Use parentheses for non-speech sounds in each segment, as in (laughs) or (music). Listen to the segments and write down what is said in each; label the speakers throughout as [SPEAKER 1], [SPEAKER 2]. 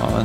[SPEAKER 1] Ja,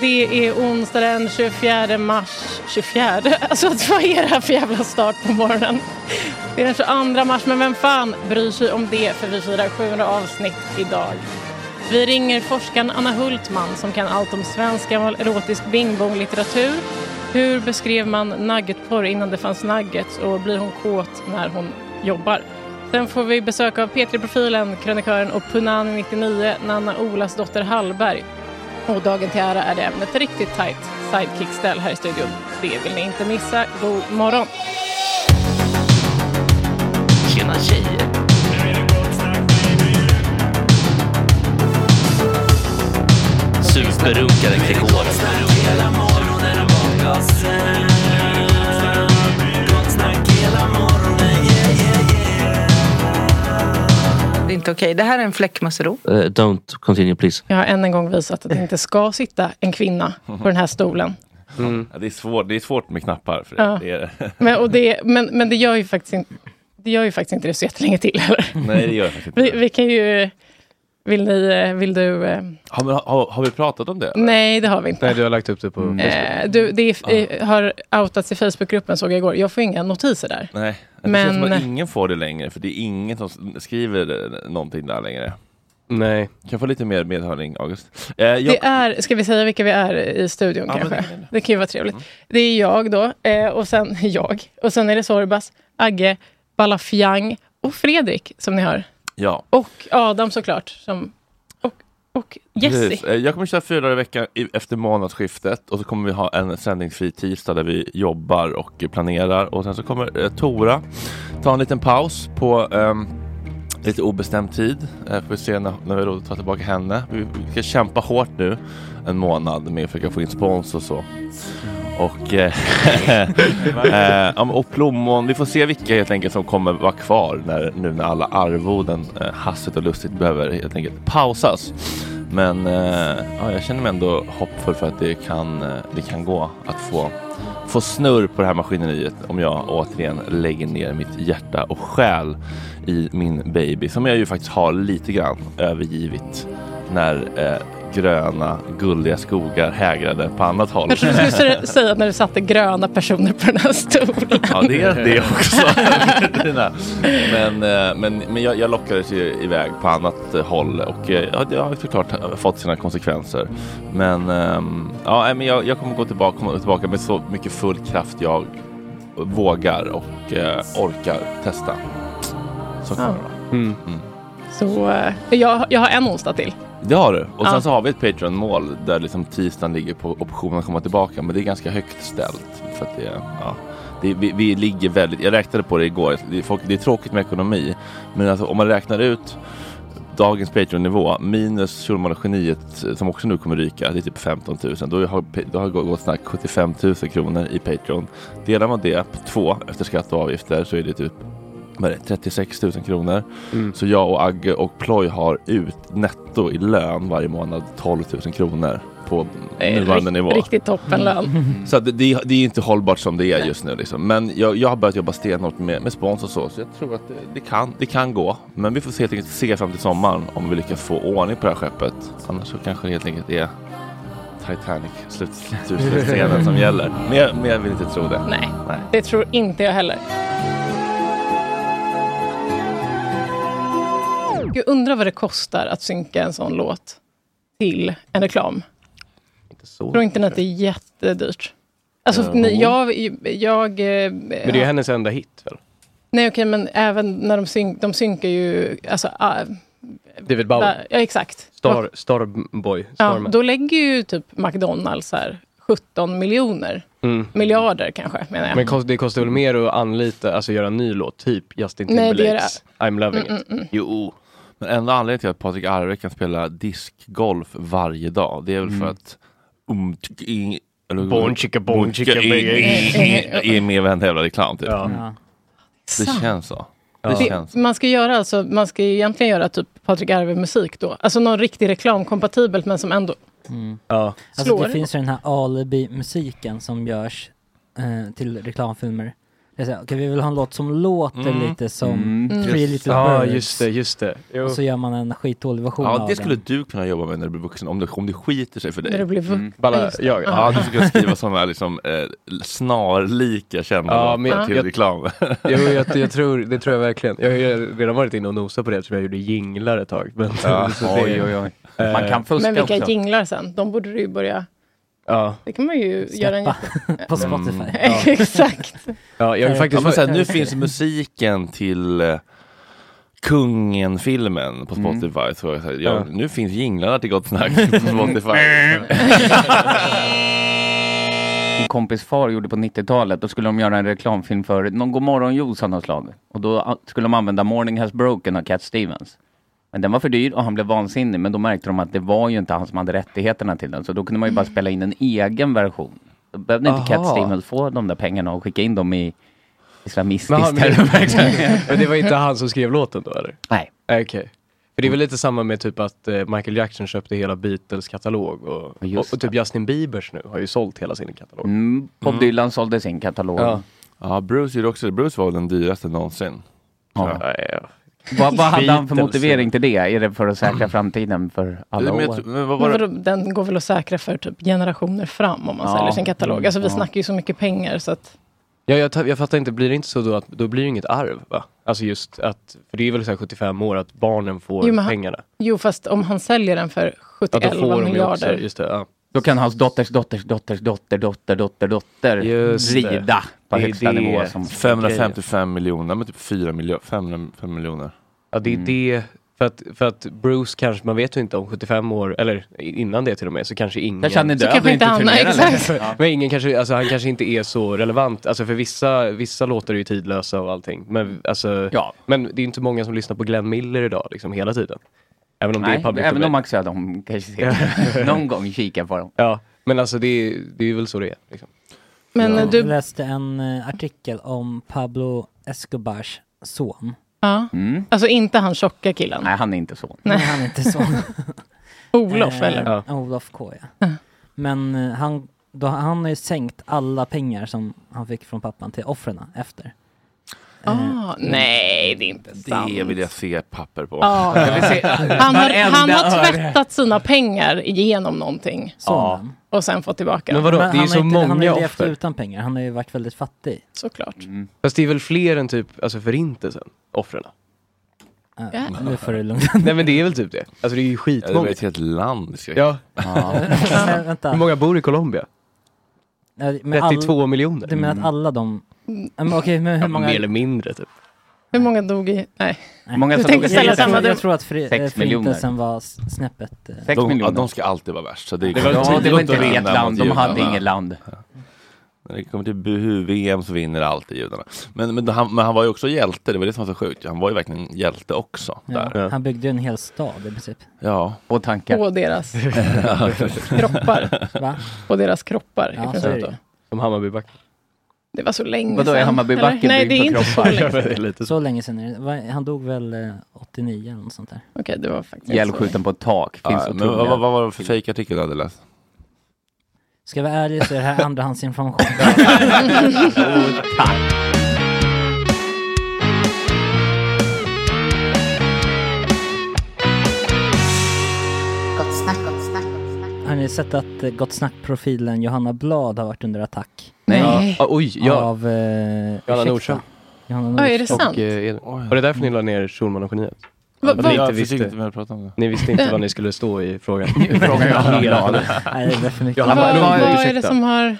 [SPEAKER 2] Det är onsdag den 24 mars. 24? (laughs) Alltså vad är det här för jävla start på morgonen? Det är den 22 mars, men vem fan bryr sig om det? För vi firar 700 avsnitt idag. Vi ringer forskaren Anna Hultman som kan allt om svensk gammal erotisk bing-bong-litteratur. Hur beskrev man nuggetporr innan det fanns nuggets och blir hon kåt när hon jobbar? Sen får vi besök av P3-profilen, krönikören och Punani 99, Nanna Olas dotter Hallberg. Och dagen till ära är det även ett riktigt tajt sidekick-ställ här i studion. Det vill ni inte missa. God morgon!
[SPEAKER 3] Tjena tjejer!
[SPEAKER 1] Berunkar en Gregor.
[SPEAKER 3] Det är inte okej. Det här är en fläckmussero.
[SPEAKER 4] Eh, don't continue please.
[SPEAKER 2] Jag har än en gång visat att det inte ska sitta en kvinna på den här stolen.
[SPEAKER 1] Ja, det, är svårt, det är svårt med knappar. För
[SPEAKER 2] Ja.
[SPEAKER 1] det, det är (laughs) det.
[SPEAKER 2] Men, och det, men, men det, gör ju faktiskt in, det gör ju faktiskt inte det så jättelänge till heller.
[SPEAKER 1] Nej, det gör jag faktiskt inte.
[SPEAKER 2] Vi, vi kan ju... Vill, ni, eh, vill du... eh,
[SPEAKER 1] Har, vi- har, har vi pratat om det? eller?
[SPEAKER 2] Nej, det har vi inte.
[SPEAKER 5] Nej, du har lagt upp det på Ah.
[SPEAKER 2] Eh, du, det är, eh, har outats i Facebookgruppen såg jag igår. Jag får inga notiser där.
[SPEAKER 1] Nej, det
[SPEAKER 2] Men-
[SPEAKER 1] känns som att ingen får det längre, för det är ingen som s- skriver eh, någonting där längre.
[SPEAKER 5] Nej.
[SPEAKER 1] Kan jag få lite mer medhörning, August? Eh, jag,
[SPEAKER 2] Det är, ska vi säga vilka vi är i studion
[SPEAKER 1] Ja, men
[SPEAKER 2] kanske?
[SPEAKER 1] det
[SPEAKER 2] Det, kan ju vara trevligt.
[SPEAKER 1] Mm.
[SPEAKER 2] Det är jag då, eh, och sen (laughs) jag. Och sen är det Sorbas, Agge, Balafiang och Fredrik som ni hör.
[SPEAKER 1] ja.
[SPEAKER 2] Och Adam såklart. Som, och och
[SPEAKER 1] Precis.
[SPEAKER 2] Jesse.
[SPEAKER 1] Eh, Jag kommer köra fyra dagar i veckan i- efter månadsskiftet och så kommer vi ha en sändningsfri tisdag där vi jobbar och planerar och sen så kommer eh, Tora ta en liten paus på ehm, lite obestämd tid. Eh, får vi se när, när vi har råd att ta tillbaka henne. Vi, vi ska kämpa hårt nu en månad med att försöka få in spons och så. Och, eh, (laughs) eh, ja, men- och plommon, vi får se vilka helt enkelt som kommer vara kvar när, nu när alla arvoden eh, hastigt och lustigt behöver helt enkelt pausas. Men eh, ja, jag känner mig ändå hoppfull för att det kan, eh, det kan gå att få, få snurr på det här maskineriet om jag återigen lägger ner mitt hjärta och själ i min baby som jag ju faktiskt har lite grann övergivit när eh, gröna guldiga skogar hägrade på annat håll.
[SPEAKER 2] Jag trodde du skulle säga när du satte gröna personer på den här stolen.
[SPEAKER 1] Ja, det är det också. (laughs) Dina. men eh, men, men jag, jag lockades ju iväg på annat eh, håll och eh, ja, det har ju såklart eh, fått sina konsekvenser. Men, ehm, ja, nej, men jag, jag kommer gå tillbaka, komma tillbaka med så mycket full kraft jag vågar och eh, orkar testa. Så kommer
[SPEAKER 2] Ja.
[SPEAKER 1] det vara.
[SPEAKER 2] Så eh, jag, jag har en onsdag till.
[SPEAKER 1] Det har du. Och sen
[SPEAKER 2] Ja.
[SPEAKER 1] så har vi ett Patreon-mål där liksom tisdagen ligger på optionen att komma tillbaka. Men det är ganska högt ställt. För att det, är- ja, det, är- vi, vi ligger väldigt, jag räknade på det igår. Det är, folk, det är tråkigt med ekonomi. Men alltså, om man räknar ut dagens Patreon-nivå minus Schulman och Geniet eh, som också nu kommer ryka. Det är typ 15 000. Då har, pa- då har det gått snart 75 000 kronor i Patreon. Delar man det på två efter skatt och avgifter så är det typ vad är det, 36 000 kronor.
[SPEAKER 2] Mm.
[SPEAKER 1] Så jag och Agge och Ploy har ut netto i lön varje månad 12 000 kronor på nuvarande
[SPEAKER 2] Rikt-
[SPEAKER 1] nivå. Mm.
[SPEAKER 2] Riktigt toppenlön.
[SPEAKER 1] Så att det, det, är- det är inte hållbart som det är just nu. Liksom. Men jag, jag har börjat jobba stenhårt med, med spons och så. Så jag tror att det, det, kan, det kan gå. Men vi får se, helt enkelt, se fram till sommaren om vi lyckas få ordning på det här skeppet. Annars så kanske det helt enkelt är Titanic slut, slut, slutscenen som gäller. Men jag, men jag vill inte tro det.
[SPEAKER 2] Nej. Det tror inte jag heller. Jag undrar vad det kostar att synka en sån låt till en reklam. Tror inte ni att det är jättedyrt? Alltså,
[SPEAKER 5] Jo.
[SPEAKER 2] ni, jag... jag eh,
[SPEAKER 5] Men det är ju hennes enda hit väl?
[SPEAKER 2] Nej, okej, men även när de, synk, de synkar ju... Alltså, ah,
[SPEAKER 5] David Bowie.
[SPEAKER 2] ja, exakt.
[SPEAKER 5] Star, Starboy.
[SPEAKER 2] ja,
[SPEAKER 5] Starman.
[SPEAKER 2] då lägger ju typ McDonalds här 17 miljoner.
[SPEAKER 5] Mm.
[SPEAKER 2] Miljarder kanske, menar jag.
[SPEAKER 5] Men kost, det kostar väl mer att anlita, alltså göra en ny låt, typ Justin
[SPEAKER 2] Nej, det är
[SPEAKER 5] Timberlakes I'm loving
[SPEAKER 2] Mm,
[SPEAKER 5] it.
[SPEAKER 2] mm, mm.
[SPEAKER 1] Jo, men enda anledningen till att Patrik Arve kan spela diskgolf varje dag, det är väl för
[SPEAKER 5] Mm.
[SPEAKER 1] att um, tsk, ing- eller-
[SPEAKER 5] Bon chicka, bon
[SPEAKER 1] Bon
[SPEAKER 5] chicka,
[SPEAKER 1] chicka,
[SPEAKER 5] bing,
[SPEAKER 1] ing- ing- är med varenda jävla reklam typ.
[SPEAKER 5] Ja.
[SPEAKER 1] Det
[SPEAKER 2] Sant.
[SPEAKER 1] känns så.
[SPEAKER 5] Ja.
[SPEAKER 1] Det känns.
[SPEAKER 2] Man ska göra alltså, man ska ju egentligen göra typ Patrik Arve-musik då. Alltså någon riktig reklam, kompatibelt men som ändå...
[SPEAKER 5] Ja.
[SPEAKER 6] Alltså
[SPEAKER 2] Slår.
[SPEAKER 6] det finns ju den här alibi-musiken som görs eh, till reklamfilmer. Det är så här, okej, vi vill ha en låt som låter
[SPEAKER 5] Mm.
[SPEAKER 6] lite som
[SPEAKER 5] Mm.
[SPEAKER 6] Three
[SPEAKER 5] Just-
[SPEAKER 6] Little
[SPEAKER 5] Ja,
[SPEAKER 6] Birds.
[SPEAKER 5] just det, just det. Jo.
[SPEAKER 6] Och så gör man en skitdålig version
[SPEAKER 1] Ja,
[SPEAKER 6] av
[SPEAKER 1] det skulle
[SPEAKER 6] den.
[SPEAKER 1] du kunna jobba med när du blir vuxen, om det, om det skiter sig för dig.
[SPEAKER 2] När du blir vuxen.
[SPEAKER 1] Mm.
[SPEAKER 2] Ja,
[SPEAKER 5] Balla,
[SPEAKER 2] just det.
[SPEAKER 5] jag,
[SPEAKER 1] Ja, du skulle kunna skriva sådana här liksom, eh, snarlika kända
[SPEAKER 5] Ja, men
[SPEAKER 1] låtar
[SPEAKER 5] jag-
[SPEAKER 1] till
[SPEAKER 5] jag-
[SPEAKER 1] reklam.
[SPEAKER 5] Jo, jag, jag tror, det tror jag verkligen. Jag har ju redan varit inne och nosat på det eftersom jag gjorde jinglar ett tag. Men, (laughs)
[SPEAKER 1] Ja,
[SPEAKER 5] så det- Eh,
[SPEAKER 7] oj, oj, oj. Man kan fuska
[SPEAKER 2] Men vilka
[SPEAKER 7] också.
[SPEAKER 2] jinglar sen? De borde du ju börja...
[SPEAKER 5] Ja.
[SPEAKER 2] Det kan man ju göra en jätte...
[SPEAKER 6] (laughs) På
[SPEAKER 1] Mm.
[SPEAKER 6] Spotify.
[SPEAKER 2] (laughs) Exakt.
[SPEAKER 5] Ja, jag vill
[SPEAKER 1] Ja,
[SPEAKER 5] faktiskt...
[SPEAKER 1] men så här, nu finns musiken till eh, Kungen-filmen på Spotify. Så jag, så här, Mm. ja,
[SPEAKER 5] Ja.
[SPEAKER 1] Nu finns jinglarna till Gott Snack på (laughs) Spotify.
[SPEAKER 7] Min kompis far gjorde på 90-talet. Då skulle de göra en reklamfilm ah, för någon Godmorgon juice av något slag. Och då a- skulle de använda Morning Has Broken av Cat Stevens. Men den var för dyr och han blev vansinnig. Men då märkte de att det var ju inte han som hade rättigheterna till den. Så då kunde man ju bara spela in en egen version. Då behövde inte
[SPEAKER 5] Aha.
[SPEAKER 7] Cat Stevens få de där pengarna och skicka in dem i islamistisk
[SPEAKER 5] Men, han,
[SPEAKER 7] terrorverksamhet.
[SPEAKER 5] (laughs) men det var inte han som skrev låten då eller?
[SPEAKER 7] Nej.
[SPEAKER 5] Okej. För det är väl lite samma med typ att eh, Michael Jackson köpte hela Beatles katalog och, och, och typ Justin Biebers nu har ju sålt hela sin katalog.
[SPEAKER 7] Mm, Bob
[SPEAKER 5] Mm.
[SPEAKER 7] Dylan sålde sin katalog.
[SPEAKER 5] Ja.
[SPEAKER 1] Ja, Bruce gjorde också det. Bruce var väl den dyraste någonsin.
[SPEAKER 7] Ja. Vad, vad hade han för
[SPEAKER 1] Beatles.
[SPEAKER 7] motivering till det? Är det för att säkra framtiden för alla
[SPEAKER 1] Men jag
[SPEAKER 7] år?
[SPEAKER 1] tror- men
[SPEAKER 2] Men vadå, den går väl att säkra för typ generationer fram om man
[SPEAKER 5] Ja.
[SPEAKER 2] säljer sin katalog. Alltså vi
[SPEAKER 5] Ja.
[SPEAKER 2] snackar ju så mycket pengar så att
[SPEAKER 5] Ja, jag, ta- jag fattar inte, blir det inte så då att då blir det inget arv va? Alltså just att, för det är väl så här 75 år att barnen får
[SPEAKER 2] Jo, men han-
[SPEAKER 5] pengarna.
[SPEAKER 2] Jo, fast om han säljer den för
[SPEAKER 5] Ja, då
[SPEAKER 2] 71
[SPEAKER 5] får de ju
[SPEAKER 2] miljarder.
[SPEAKER 5] Också, just det, ja.
[SPEAKER 7] Då kan hans dotters dotters dotters dotter dotter dotter dotter
[SPEAKER 1] Just det.
[SPEAKER 7] rida på
[SPEAKER 1] Det är
[SPEAKER 7] högsta
[SPEAKER 1] det.
[SPEAKER 7] nivå. Som
[SPEAKER 1] 555 miljoner, men typ 4 miljoner, 5 miljoner.
[SPEAKER 5] Ja, det är det. För att, för att Bruce kanske, man vet ju inte om 75 år, eller innan det till och med, så kanske ingen...
[SPEAKER 7] Kanske han är Så död kanske och inte inte han- turnerar nej, längre. exakt. Ja.
[SPEAKER 5] Men ingen kanske, alltså han kanske inte är så relevant. Alltså för vissa, vissa låtar är ju tidlösa och allting. Men, alltså, men det är ju inte många som lyssnar på Glenn Miller idag, liksom hela tiden. Även om det
[SPEAKER 7] Nej,
[SPEAKER 5] är public
[SPEAKER 7] även
[SPEAKER 5] domain.
[SPEAKER 7] om Max Söderholm kanske
[SPEAKER 5] (laughs)
[SPEAKER 7] ser- någon gång kika på dem.
[SPEAKER 5] Ja, men alltså det, är- det är väl så det är. Liksom.
[SPEAKER 2] Men eh,
[SPEAKER 6] Jag
[SPEAKER 2] du...
[SPEAKER 6] läste en eh, artikel om Pablo Escobars son.
[SPEAKER 2] Ja. Alltså inte han tjocka killen.
[SPEAKER 7] Nej, han är inte så.
[SPEAKER 6] Nej, han är inte (laughs) son.
[SPEAKER 2] Olof, eller?
[SPEAKER 6] Ja. Olof K, ja. Men eh, han, då, han har ju sänkt alla pengar som han fick från pappan till offren efter.
[SPEAKER 2] Ah, nej, det är inte sant.
[SPEAKER 1] Det vill jag se papper på.
[SPEAKER 2] Ja. Han har, han har tvättat sina pengar genom någonting.
[SPEAKER 6] Sonen.
[SPEAKER 2] Och sen fått tillbaka. dem.
[SPEAKER 6] han har inte- Han har ju levt utan pengar, han har ju varit väldigt fattig.
[SPEAKER 2] Såklart.
[SPEAKER 5] Fast det är väl fler än typ, alltså förintelsen, offren?
[SPEAKER 6] Ja. Eh, Nu får du lugna
[SPEAKER 5] Nej men det är väl typ det. Alltså det är ju
[SPEAKER 1] Ja, det var
[SPEAKER 5] skitmånga.
[SPEAKER 1] ett helt land. Ska
[SPEAKER 5] Ja.
[SPEAKER 6] (laughs) Men vänta.
[SPEAKER 5] Hur många bor i Colombia?
[SPEAKER 6] Nej, men all-
[SPEAKER 5] 32 miljoner. Mm.
[SPEAKER 6] Du menar att alla de... Ja, Men okej, men hur
[SPEAKER 5] Ja,
[SPEAKER 6] många...
[SPEAKER 5] Mer eller mindre typ.
[SPEAKER 2] Hur många dog i... Nej.
[SPEAKER 6] Nej.
[SPEAKER 7] Många
[SPEAKER 2] du
[SPEAKER 7] som
[SPEAKER 2] tänkte
[SPEAKER 7] dog i
[SPEAKER 2] ställa
[SPEAKER 7] Förintelsen.
[SPEAKER 2] samma
[SPEAKER 6] Jag
[SPEAKER 2] dum.
[SPEAKER 6] tror att fri,
[SPEAKER 7] Sex
[SPEAKER 6] eh, Förintelsen
[SPEAKER 7] miljoner.
[SPEAKER 6] var s- snäppet... eh,
[SPEAKER 7] Sex
[SPEAKER 1] de,
[SPEAKER 7] miljoner.
[SPEAKER 1] Ja, de ska alltid vara värst. Så det,
[SPEAKER 7] Det var- Ja, det var inte
[SPEAKER 1] att
[SPEAKER 7] ett
[SPEAKER 1] vinna
[SPEAKER 7] land,
[SPEAKER 1] mot
[SPEAKER 7] de hade
[SPEAKER 1] judarna.
[SPEAKER 7] inget land.
[SPEAKER 1] Ja. När det kommer till Buhu-VM så vinner alltid judarna. Men, men, han, men han var ju också hjälte, det var det som var så sjukt. Han var ju verkligen hjälte också.
[SPEAKER 6] Ja,
[SPEAKER 1] Där.
[SPEAKER 6] han byggde ju en hel stad i
[SPEAKER 5] (laughs)
[SPEAKER 6] princip.
[SPEAKER 1] Ja.
[SPEAKER 7] På tankar.
[SPEAKER 2] På deras kroppar.
[SPEAKER 6] Va?
[SPEAKER 2] På deras kroppar.
[SPEAKER 6] Ja,
[SPEAKER 2] i
[SPEAKER 6] så är det.
[SPEAKER 2] princip då.
[SPEAKER 5] Som Hammarbybacken.
[SPEAKER 2] Det var så länge
[SPEAKER 7] Vadå, är
[SPEAKER 2] sedan,
[SPEAKER 7] Hammarbybacken
[SPEAKER 2] eller? Nej, det är
[SPEAKER 7] byggd på
[SPEAKER 2] inte så
[SPEAKER 7] kroppar?
[SPEAKER 2] länge sedan.
[SPEAKER 5] Det är lite
[SPEAKER 6] Så länge sedan är det. Va- Han dog väl eh, 89 eller något sånt där.
[SPEAKER 2] Okej, det var faktiskt
[SPEAKER 7] Ihjälskjuten på ett tak. Finns
[SPEAKER 1] Ja, men
[SPEAKER 7] otroliga-
[SPEAKER 1] vad, vad, vad var det för fejkartikel du hade läst?
[SPEAKER 6] Ska jag vara ärlig så är det här andrahandsinformation.
[SPEAKER 5] (laughs)
[SPEAKER 8] Gott snack, gott snack.
[SPEAKER 6] Har ni sett att eh, Gott Snack-profilen Johanna Blad har varit under attack?
[SPEAKER 5] Nej. Ja. Ah, oj, ja.
[SPEAKER 6] Av... Eh, ursäkta.
[SPEAKER 5] Nordström.
[SPEAKER 6] Johanna
[SPEAKER 2] Ja, är det
[SPEAKER 6] Nordström.
[SPEAKER 2] sant?
[SPEAKER 5] Och, eh, Edvin. var det därför ni la ner Schulman och geniet?
[SPEAKER 2] Va-
[SPEAKER 5] För
[SPEAKER 2] va-
[SPEAKER 5] ni
[SPEAKER 2] Jag
[SPEAKER 5] inte
[SPEAKER 1] förstod
[SPEAKER 5] visste-
[SPEAKER 1] inte vad jag pratade om.
[SPEAKER 5] Ni visste inte
[SPEAKER 2] Eh.
[SPEAKER 5] vad ni skulle stå i frågan.
[SPEAKER 6] Frågan Johanna Blad. (laughs) Nej, det är för mycket.
[SPEAKER 2] Vad,
[SPEAKER 5] Johanna
[SPEAKER 2] vad,
[SPEAKER 5] Blad,
[SPEAKER 2] är det
[SPEAKER 5] ursäkta.
[SPEAKER 2] som har...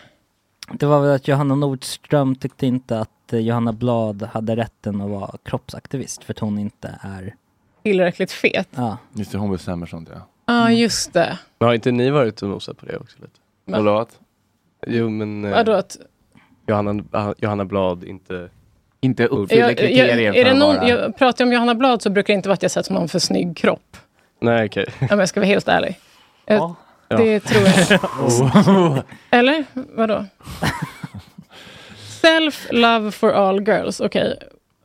[SPEAKER 6] Det var väl att Johanna Nordström tyckte inte att eh, Johanna Blad hade rätten att vara kroppsaktivist för att hon inte är...
[SPEAKER 2] tillräckligt fet.
[SPEAKER 6] Ja.
[SPEAKER 1] Just det, hon bestämmer sånt ja.
[SPEAKER 2] Ja, just det.
[SPEAKER 5] Men har inte ni varit och nosat på det också lite?
[SPEAKER 2] Men-
[SPEAKER 1] Förlåt?
[SPEAKER 5] Jo men... eh,
[SPEAKER 2] Vadå att...
[SPEAKER 5] Johanna, ah, Johanna Blad inte...
[SPEAKER 7] Inte
[SPEAKER 2] Jag, jag, är det någon, jag pratar om Johanna Blad så brukar det inte vara att jag sett någon för snygg kropp.
[SPEAKER 5] Nej okej.
[SPEAKER 2] Om jag ska vara helt ärlig. Jag,
[SPEAKER 5] Ja.
[SPEAKER 2] Det tror
[SPEAKER 5] (laughs)
[SPEAKER 2] jag. Eller? Vadå? Self-love for all girls. Okej.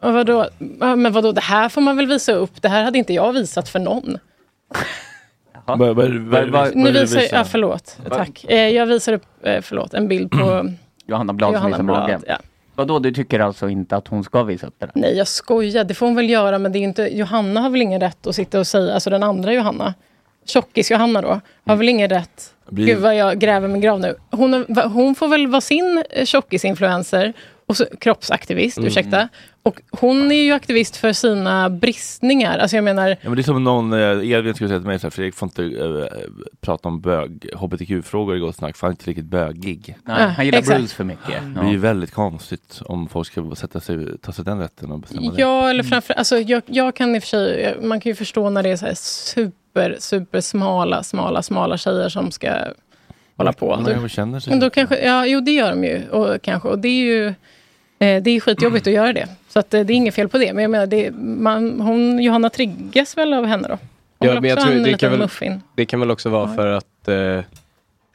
[SPEAKER 2] Okay. Vadå? Ja, Men vadå, det här får man väl visa upp? Det här hade inte jag visat för någon.
[SPEAKER 1] Vad- vad- vad- vad- vad
[SPEAKER 2] Nu
[SPEAKER 1] vill du
[SPEAKER 2] visar jag,
[SPEAKER 1] visa?
[SPEAKER 2] ja, förlåt. Tack. Eh, Jag visar upp, eh, förlåt, en bild på...
[SPEAKER 7] (clears throat) Johanna Blad som
[SPEAKER 2] Johanna
[SPEAKER 7] visar
[SPEAKER 2] Blad,
[SPEAKER 7] magen.
[SPEAKER 2] ja.
[SPEAKER 7] Vadå, du tycker alltså inte att hon ska visa upp det där?
[SPEAKER 2] Nej, jag skojar. Det får hon väl göra, men det är ju inte, Johanna har väl ingen rätt att sitta och säga, alltså den andra Johanna, tjockis-Johanna då, har
[SPEAKER 7] Mm.
[SPEAKER 2] väl ingen rätt.
[SPEAKER 1] Blir-
[SPEAKER 2] Gud vad jag gräver min grav nu. Hon, har- va- hon får väl vara sin eh, tjockis-influencer, och så, kroppsaktivist,
[SPEAKER 1] Mm.
[SPEAKER 2] ursäkta. Och hon är ju aktivist för sina bristningar. Alltså jag menar,
[SPEAKER 1] Ja, men det är som någon, eh, Edvin skulle säga till mig, så här, Fredrik får inte eh, prata om bög, hbtq-frågor i Gott Snack, för han är inte riktigt bögig.
[SPEAKER 7] Nej, Ja,
[SPEAKER 2] eh,
[SPEAKER 7] han gillar exakt. Bruce för mycket.
[SPEAKER 1] Det
[SPEAKER 7] Ja.
[SPEAKER 1] är ju väldigt konstigt om folk ska sätta sig, ta sig den rätten och bestämma det.
[SPEAKER 2] Ja,
[SPEAKER 5] Mm.
[SPEAKER 2] eller framför, alltså, jag, jag kan i och för sig, man kan ju förstå när det är så här super, super smala, smala, smala tjejer som ska hålla på.
[SPEAKER 1] Man kanske känner sig
[SPEAKER 2] Men då kanske, ja, jo, det gör de ju. Och, kanske, och det är ju Eh, Det är skitjobbigt att göra det. Så att, eh, det är inget fel på det. Men jag menar, det, man, hon, Johanna triggas väl av henne då? Hon
[SPEAKER 5] Ja,
[SPEAKER 2] vill
[SPEAKER 5] men jag
[SPEAKER 2] också ha
[SPEAKER 5] tror
[SPEAKER 2] en
[SPEAKER 5] det,
[SPEAKER 2] liten
[SPEAKER 5] kan väl,
[SPEAKER 2] muffin.
[SPEAKER 5] det kan väl också vara för att... Eh,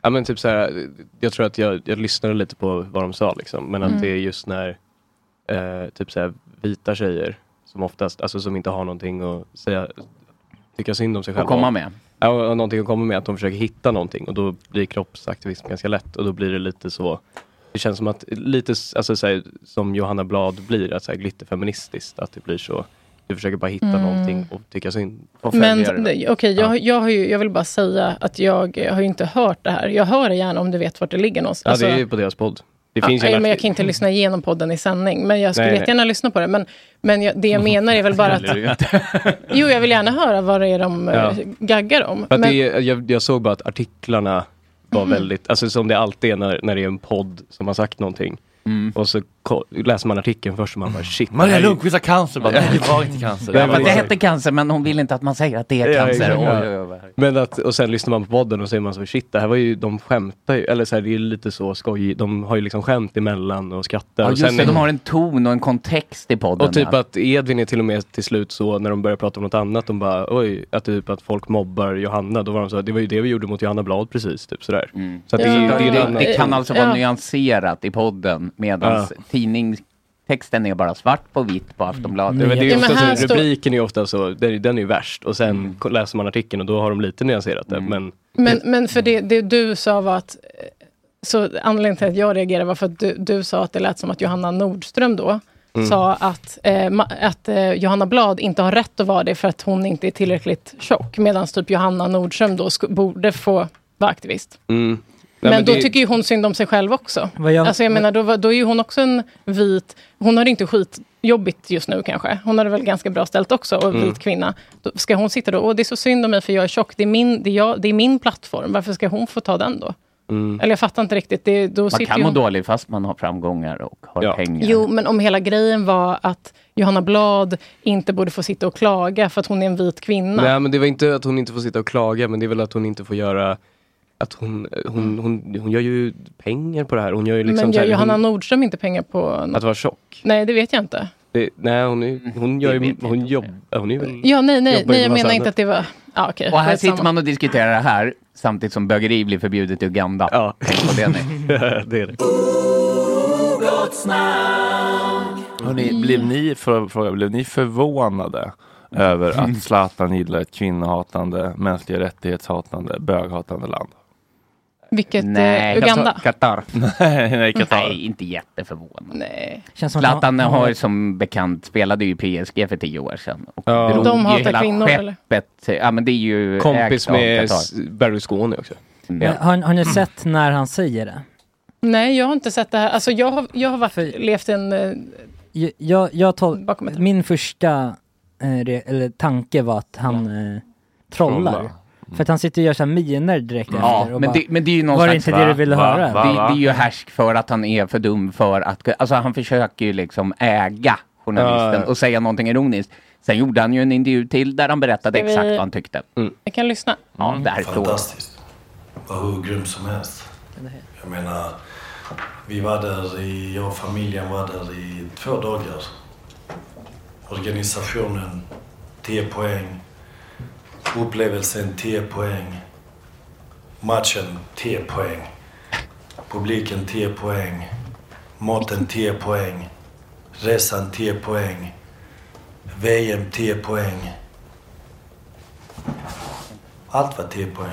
[SPEAKER 5] ja, men typ så här, jag tror att jag, jag lyssnade lite på vad de sa, liksom, men att
[SPEAKER 2] Mm.
[SPEAKER 5] det är just när eh, typ så här, vita tjejer, som oftast, alltså som inte har någonting att säga, tycka synd om sig
[SPEAKER 7] Och
[SPEAKER 5] själva.
[SPEAKER 7] komma
[SPEAKER 5] om.
[SPEAKER 7] med.
[SPEAKER 5] Ja, och, och någonting att komma med, att de försöker hitta någonting och då blir kroppsaktivism ganska lätt och då blir det lite så det känns som att lite s- alltså, så här, som Johanna Blad blir, att, så här, glitterfeministiskt, att det blir så. Du försöker bara hitta
[SPEAKER 2] Mm.
[SPEAKER 5] någonting och tycka synd. Och
[SPEAKER 2] Men okej, jag, jag, har ju- jag vill bara säga att jag eh, har ju inte hört det här. Jag hör det gärna om du vet vart det ligger någonstans.
[SPEAKER 5] Ja,
[SPEAKER 2] Alltså-
[SPEAKER 5] det är ju på deras podd. Det
[SPEAKER 2] Ja,
[SPEAKER 5] finns
[SPEAKER 2] nej,
[SPEAKER 5] ju en
[SPEAKER 2] men jag
[SPEAKER 5] artikel.
[SPEAKER 2] kan inte lyssna igenom podden i sändning, men jag skulle
[SPEAKER 5] Nej, nej.
[SPEAKER 2] jättegärna lyssna på det. Men, men jag, det jag menar är väl bara
[SPEAKER 5] (laughs)
[SPEAKER 2] att... Jo, jag vill gärna höra vad det är de eh,
[SPEAKER 5] Ja.
[SPEAKER 2] gaggar om.
[SPEAKER 5] För att
[SPEAKER 2] Men,
[SPEAKER 5] det är, jag, jag såg bara att artiklarna var
[SPEAKER 2] Mhm.
[SPEAKER 5] väldigt, alltså som det alltid är när, när det är en podd som har sagt någonting.
[SPEAKER 7] Mm.
[SPEAKER 5] Och så ko- läser man artikeln först och man bara shit.
[SPEAKER 1] Maria
[SPEAKER 5] det här är ju-
[SPEAKER 1] Lundqvist har cancer. Bara, nej, det var inte cancer.
[SPEAKER 5] Nej, men-
[SPEAKER 7] det hette cancer men hon vill inte att man säger att det är
[SPEAKER 5] Ja,
[SPEAKER 7] cancer.
[SPEAKER 5] exakt.
[SPEAKER 7] Oj, oj, oj.
[SPEAKER 5] Men att, och sen lyssnar man på podden och så är man så shit, det här var ju, de skämtar ju, eller så här, det är ju lite så skoj, de har ju liksom skämt emellan och skrattar.
[SPEAKER 7] Ja,
[SPEAKER 5] och
[SPEAKER 7] just det, de har en ton och en kontext i podden.
[SPEAKER 5] Och typ
[SPEAKER 7] där.
[SPEAKER 5] att Edvin är till och med till slut så när de börjar prata om något annat, de bara oj, att typ att folk mobbar Johanna, då var de så här, det var ju det vi gjorde mot Johanna Blad precis, typ sådär. Så att det, är ju-
[SPEAKER 7] Ja,
[SPEAKER 5] det, är ju en
[SPEAKER 7] det,
[SPEAKER 5] annan-
[SPEAKER 7] det kan alltså vara
[SPEAKER 5] Ja.
[SPEAKER 7] nyanserat i podden medan
[SPEAKER 5] Ja.
[SPEAKER 7] tidningstexten är bara svart på vitt på Aftonbladet.
[SPEAKER 6] Mm.
[SPEAKER 5] Nej, men det är
[SPEAKER 7] Ja,
[SPEAKER 5] ofta
[SPEAKER 7] men här
[SPEAKER 5] så,
[SPEAKER 7] står-
[SPEAKER 5] rubriken är ju ofta så, den, den är ju värst och sen ko- läser man artikeln och då har de lite nyanserat det. Men
[SPEAKER 2] men, men för det, det du sa var att... eh, Så anledningen till att jag reagerade var för att du, du sa att det lät som att Johanna Nordström då
[SPEAKER 5] Mm.
[SPEAKER 2] sa att, eh, ma- att eh, Johanna Blad inte har rätt att vara det för att hon inte är tillräckligt tjock. Medan typ Johanna Nordström då sk- borde få vara aktivist.
[SPEAKER 5] Mm.
[SPEAKER 2] men, då tycker ju hon synd om sig själv också.
[SPEAKER 6] Vad jag-
[SPEAKER 2] alltså jag menar, då, var- då är ju hon också en vit... Hon har det inte skitjobbigt just nu kanske. Hon har det väl ganska bra ställt också, och
[SPEAKER 6] Mm.
[SPEAKER 2] vit kvinna. Då ska hon sitta då, och det är så synd om mig för jag är tjock, det är min, det är jag, det är min plattform. Varför ska hon få ta den då?
[SPEAKER 5] Mm.
[SPEAKER 2] Eller jag fattar inte riktigt. Det, då
[SPEAKER 7] Man
[SPEAKER 2] sitter
[SPEAKER 7] kan
[SPEAKER 2] ju
[SPEAKER 7] må
[SPEAKER 2] hon...
[SPEAKER 7] dåligt fast man har framgångar och har pengar.
[SPEAKER 2] Jo, men om hela grejen var att Johanna Blad inte borde få sitta och klaga för att hon är en vit kvinna.
[SPEAKER 5] Nej men det var inte att hon inte får sitta och klaga men det är väl att hon inte får göra att hon, hon, hon, hon gör ju pengar på det här. Hon gör ju liksom
[SPEAKER 2] men
[SPEAKER 5] så
[SPEAKER 2] gör
[SPEAKER 5] här,
[SPEAKER 2] Johanna
[SPEAKER 5] hon,
[SPEAKER 2] Nordström inte pengar på något?
[SPEAKER 5] Att vara tjock.
[SPEAKER 2] Nej, det vet jag inte.
[SPEAKER 5] Det, nej hon, är- hon gör ju, hon jobbar, hon är väl...
[SPEAKER 2] Ja, nej,
[SPEAKER 7] Jobbar
[SPEAKER 2] nej,
[SPEAKER 7] ju
[SPEAKER 2] nej
[SPEAKER 7] med
[SPEAKER 2] jag
[SPEAKER 7] massa
[SPEAKER 2] menar inte
[SPEAKER 7] annat.
[SPEAKER 2] att det var... Ja, okej.
[SPEAKER 7] Och här
[SPEAKER 2] skitsamma.
[SPEAKER 7] sitter man och diskuterar det här samtidigt som bögeri blir förbjudet i Uganda.
[SPEAKER 5] Ja.
[SPEAKER 7] Tänk på det nu.
[SPEAKER 5] det är det.
[SPEAKER 1] Hörrni, blev, ni, för, fråga, blev ni förvånade över att Zlatan gillar ett kvinnohatande, mänskliga rättighetshatande, böghatande land?
[SPEAKER 2] Vilket eh, Uganda?
[SPEAKER 7] Qatar.
[SPEAKER 1] nej, nej, Qatar.
[SPEAKER 7] Nej, inte jätteförvånad.
[SPEAKER 2] Nej.
[SPEAKER 6] Känns som att
[SPEAKER 7] Zlatan
[SPEAKER 6] han-
[SPEAKER 7] har som bekant, spelade ju i PSG för tio år sedan. Och
[SPEAKER 5] Ja.
[SPEAKER 7] drog
[SPEAKER 5] De
[SPEAKER 7] ju
[SPEAKER 5] hatar
[SPEAKER 7] hela
[SPEAKER 5] kvinnor, eller?
[SPEAKER 7] skeppet. Ja men det är ju ägt
[SPEAKER 5] Kompis
[SPEAKER 7] av
[SPEAKER 5] med
[SPEAKER 7] Qatar.
[SPEAKER 5] S- Berlusconi också.
[SPEAKER 6] Men Har, har
[SPEAKER 7] Mm.
[SPEAKER 6] ni sett när han säger det?
[SPEAKER 2] Nej, jag har inte sett det här. Alltså, jag har, jag har varit, levt en... eh,
[SPEAKER 6] Jag, jag, jag tol- min första eh, re- eller tanke var att han eh, trollar.
[SPEAKER 7] Trollar.
[SPEAKER 6] För att han sitter och gör så här miner direkt
[SPEAKER 7] Ja,
[SPEAKER 6] efter. och
[SPEAKER 7] men
[SPEAKER 6] bara,
[SPEAKER 7] det, men det är ju någon
[SPEAKER 6] Var det
[SPEAKER 7] slags,
[SPEAKER 6] inte det du ville höra?
[SPEAKER 7] Det, det är ju härsk för att han är för dum för att... Alltså han försöker ju liksom äga
[SPEAKER 5] Ja,
[SPEAKER 7] journalisten
[SPEAKER 5] ja.
[SPEAKER 7] och säga någonting ironiskt. Sen gjorde han ju en intervju till där han berättade
[SPEAKER 2] Ska vi-
[SPEAKER 7] exakt vad han tyckte.
[SPEAKER 2] Jag kan lyssna.
[SPEAKER 7] Ja, där står
[SPEAKER 8] Fantastiskt. Det var hur grymt som helst. Jag menar, vi var där i, jag och familjen var där i två dagar. Organisationen 10 poäng. Upplevelsen 10 poäng. Matchen 10 poäng. Publiken 10 poäng. Maten 10 poäng. Resan 10 poäng. VM 10 poäng. Allt var 10 poäng.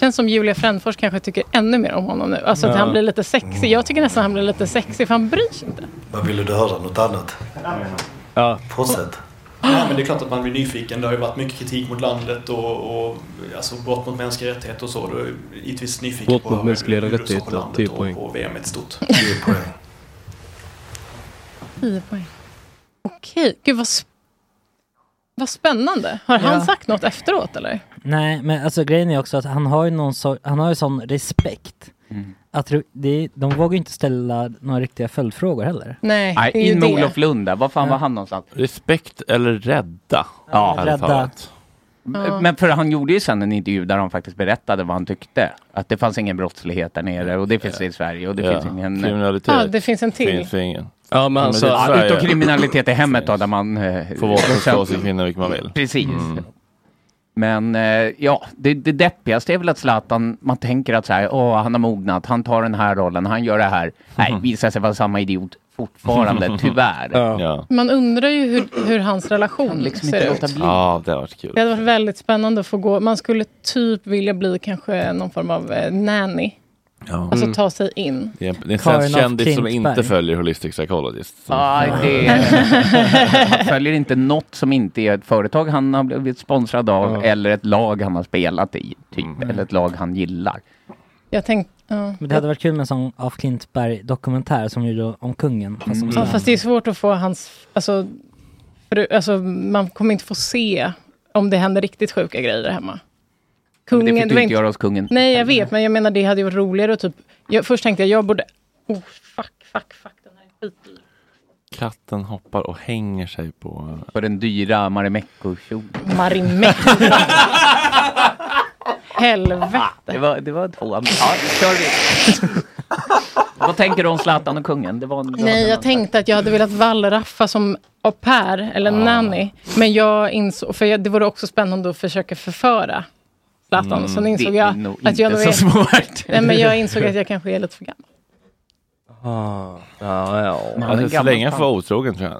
[SPEAKER 2] Känns som Julia Frändfors kanske tycker ännu mer om honom nu. Alltså att
[SPEAKER 8] Ja.
[SPEAKER 2] han blir lite sexig. Jag tycker nästan han blir lite sexig för han bryr sig inte.
[SPEAKER 8] Vad ville du höra? Något annat?
[SPEAKER 5] Ja.
[SPEAKER 8] Fortsätt.
[SPEAKER 9] Ja, men det är klart att man blir nyfiken. Det har ju varit mycket kritik mot landet och, och alltså, brott mot mänskliga rättigheter och så. Då är jag givetvis nyfiken
[SPEAKER 5] Brott
[SPEAKER 9] på
[SPEAKER 5] mot
[SPEAKER 9] hur-
[SPEAKER 5] mänskliga
[SPEAKER 9] hur du såg
[SPEAKER 5] rättigheter,
[SPEAKER 9] landet
[SPEAKER 5] 10
[SPEAKER 9] och-
[SPEAKER 5] poäng.
[SPEAKER 9] Och VM är ett stort.
[SPEAKER 8] 10 poäng.
[SPEAKER 2] 10 poäng. Okej, gud vad, sp- vad spännande. Har han
[SPEAKER 6] Ja.
[SPEAKER 2] sagt något efteråt eller?
[SPEAKER 6] Nej, men alltså grejen är också att han har ju någon sor- han har ju sån respekt.
[SPEAKER 7] Mm.
[SPEAKER 6] Att det- det, de vågar ju inte ställa några riktiga följdfrågor heller.
[SPEAKER 2] Nej,
[SPEAKER 7] Nej, in med Olof Lund där. Var fan
[SPEAKER 6] Ja.
[SPEAKER 7] var han någonstans?
[SPEAKER 1] Respekt eller rädda?
[SPEAKER 7] Ja,
[SPEAKER 6] Rädda. talat.
[SPEAKER 2] Ja.
[SPEAKER 7] Men för han gjorde ju sen en intervju där han faktiskt berättade vad han tyckte. Att det fanns ingen brottslighet där nere och det finns det i Sverige och det
[SPEAKER 1] Ja,
[SPEAKER 7] finns ingen...
[SPEAKER 1] kriminalitet.
[SPEAKER 2] Ja, det finns en till.
[SPEAKER 1] Finns ingen.
[SPEAKER 5] Ja, men alltså,
[SPEAKER 7] ja, utom kriminalitet i hemmet då, där man... eh,
[SPEAKER 1] Får våldta och sin kvinna vilken man vill.
[SPEAKER 7] Precis.
[SPEAKER 1] Mm.
[SPEAKER 7] Men eh, ja, det, det deppigaste är väl att Zlatan, man tänker att så här, åh, han har mognat, han tar den här rollen, han gör det här. Nej,
[SPEAKER 1] Mm.
[SPEAKER 7] visar sig vara samma idiot
[SPEAKER 1] (laughs)
[SPEAKER 7] fortfarande, tyvärr.
[SPEAKER 1] Ja,
[SPEAKER 2] Man undrar ju hur, hur hans relation
[SPEAKER 7] liksom
[SPEAKER 2] ser ut.
[SPEAKER 1] ja det har varit kul.
[SPEAKER 2] Det hade varit väldigt spännande att få gå. Man skulle typ vilja bli kanske någon form av eh, nanny.
[SPEAKER 1] Ja.
[SPEAKER 2] Alltså ta sig in.
[SPEAKER 1] Det är en, det är en svensk kändis som inte följer Holistic Psychologist. Så-
[SPEAKER 7] Ja, det är, (laughs) han följer inte något som inte är ett företag han har blivit sponsrad av eller ett lag han har spelat i, typ. Eller ett lag han gillar.
[SPEAKER 2] Jag tänkte... Ja.
[SPEAKER 6] Men det hade varit kul med en sån af Klintberg dokumentär som gjorde om kungen. Fast
[SPEAKER 7] Mm.
[SPEAKER 6] om
[SPEAKER 2] ja,
[SPEAKER 6] Zlatan.
[SPEAKER 2] fast det är svårt att få hans... Alltså, fru, alltså, man kommer inte få se om det händer riktigt sjuka grejer där hemma.
[SPEAKER 7] Men det fick du
[SPEAKER 2] var
[SPEAKER 7] inte göra hos kungen.
[SPEAKER 2] Nej, jag vet, men jag menar det hade ju varit roligare att typ... Jag, först tänkte jag, jag borde... Oh, fuck, fuck, fuck.
[SPEAKER 1] Katten hoppar och hänger sig på... eh,
[SPEAKER 7] På den dyra Marimekko-kjolen. (laughs)
[SPEAKER 2] Marimekko. Helvete.
[SPEAKER 7] Ah, Det var, det var två. Ja, kör vi. (laughs) Vad tänker du om Zlatan och kungen? Det var, det var
[SPEAKER 2] Nej, jag tänkte att jag hade velat wallraffa som au pair
[SPEAKER 7] Ah.
[SPEAKER 2] eller nanny. Men jag insåg, för jag, det vore också spännande att försöka förföra Zlatan.
[SPEAKER 7] Mm,
[SPEAKER 2] så insåg
[SPEAKER 7] det är
[SPEAKER 2] jag
[SPEAKER 7] nog
[SPEAKER 2] att jag
[SPEAKER 7] inte
[SPEAKER 2] nog
[SPEAKER 7] så smart.
[SPEAKER 2] Nej, men jag insåg att jag kanske är lite
[SPEAKER 7] (laughs)
[SPEAKER 2] för gammal.
[SPEAKER 1] Ah, ja, ja.
[SPEAKER 7] Men han är
[SPEAKER 1] Alltså, så
[SPEAKER 7] gammal
[SPEAKER 1] länge jag får
[SPEAKER 7] fan.
[SPEAKER 1] vara otrogen tror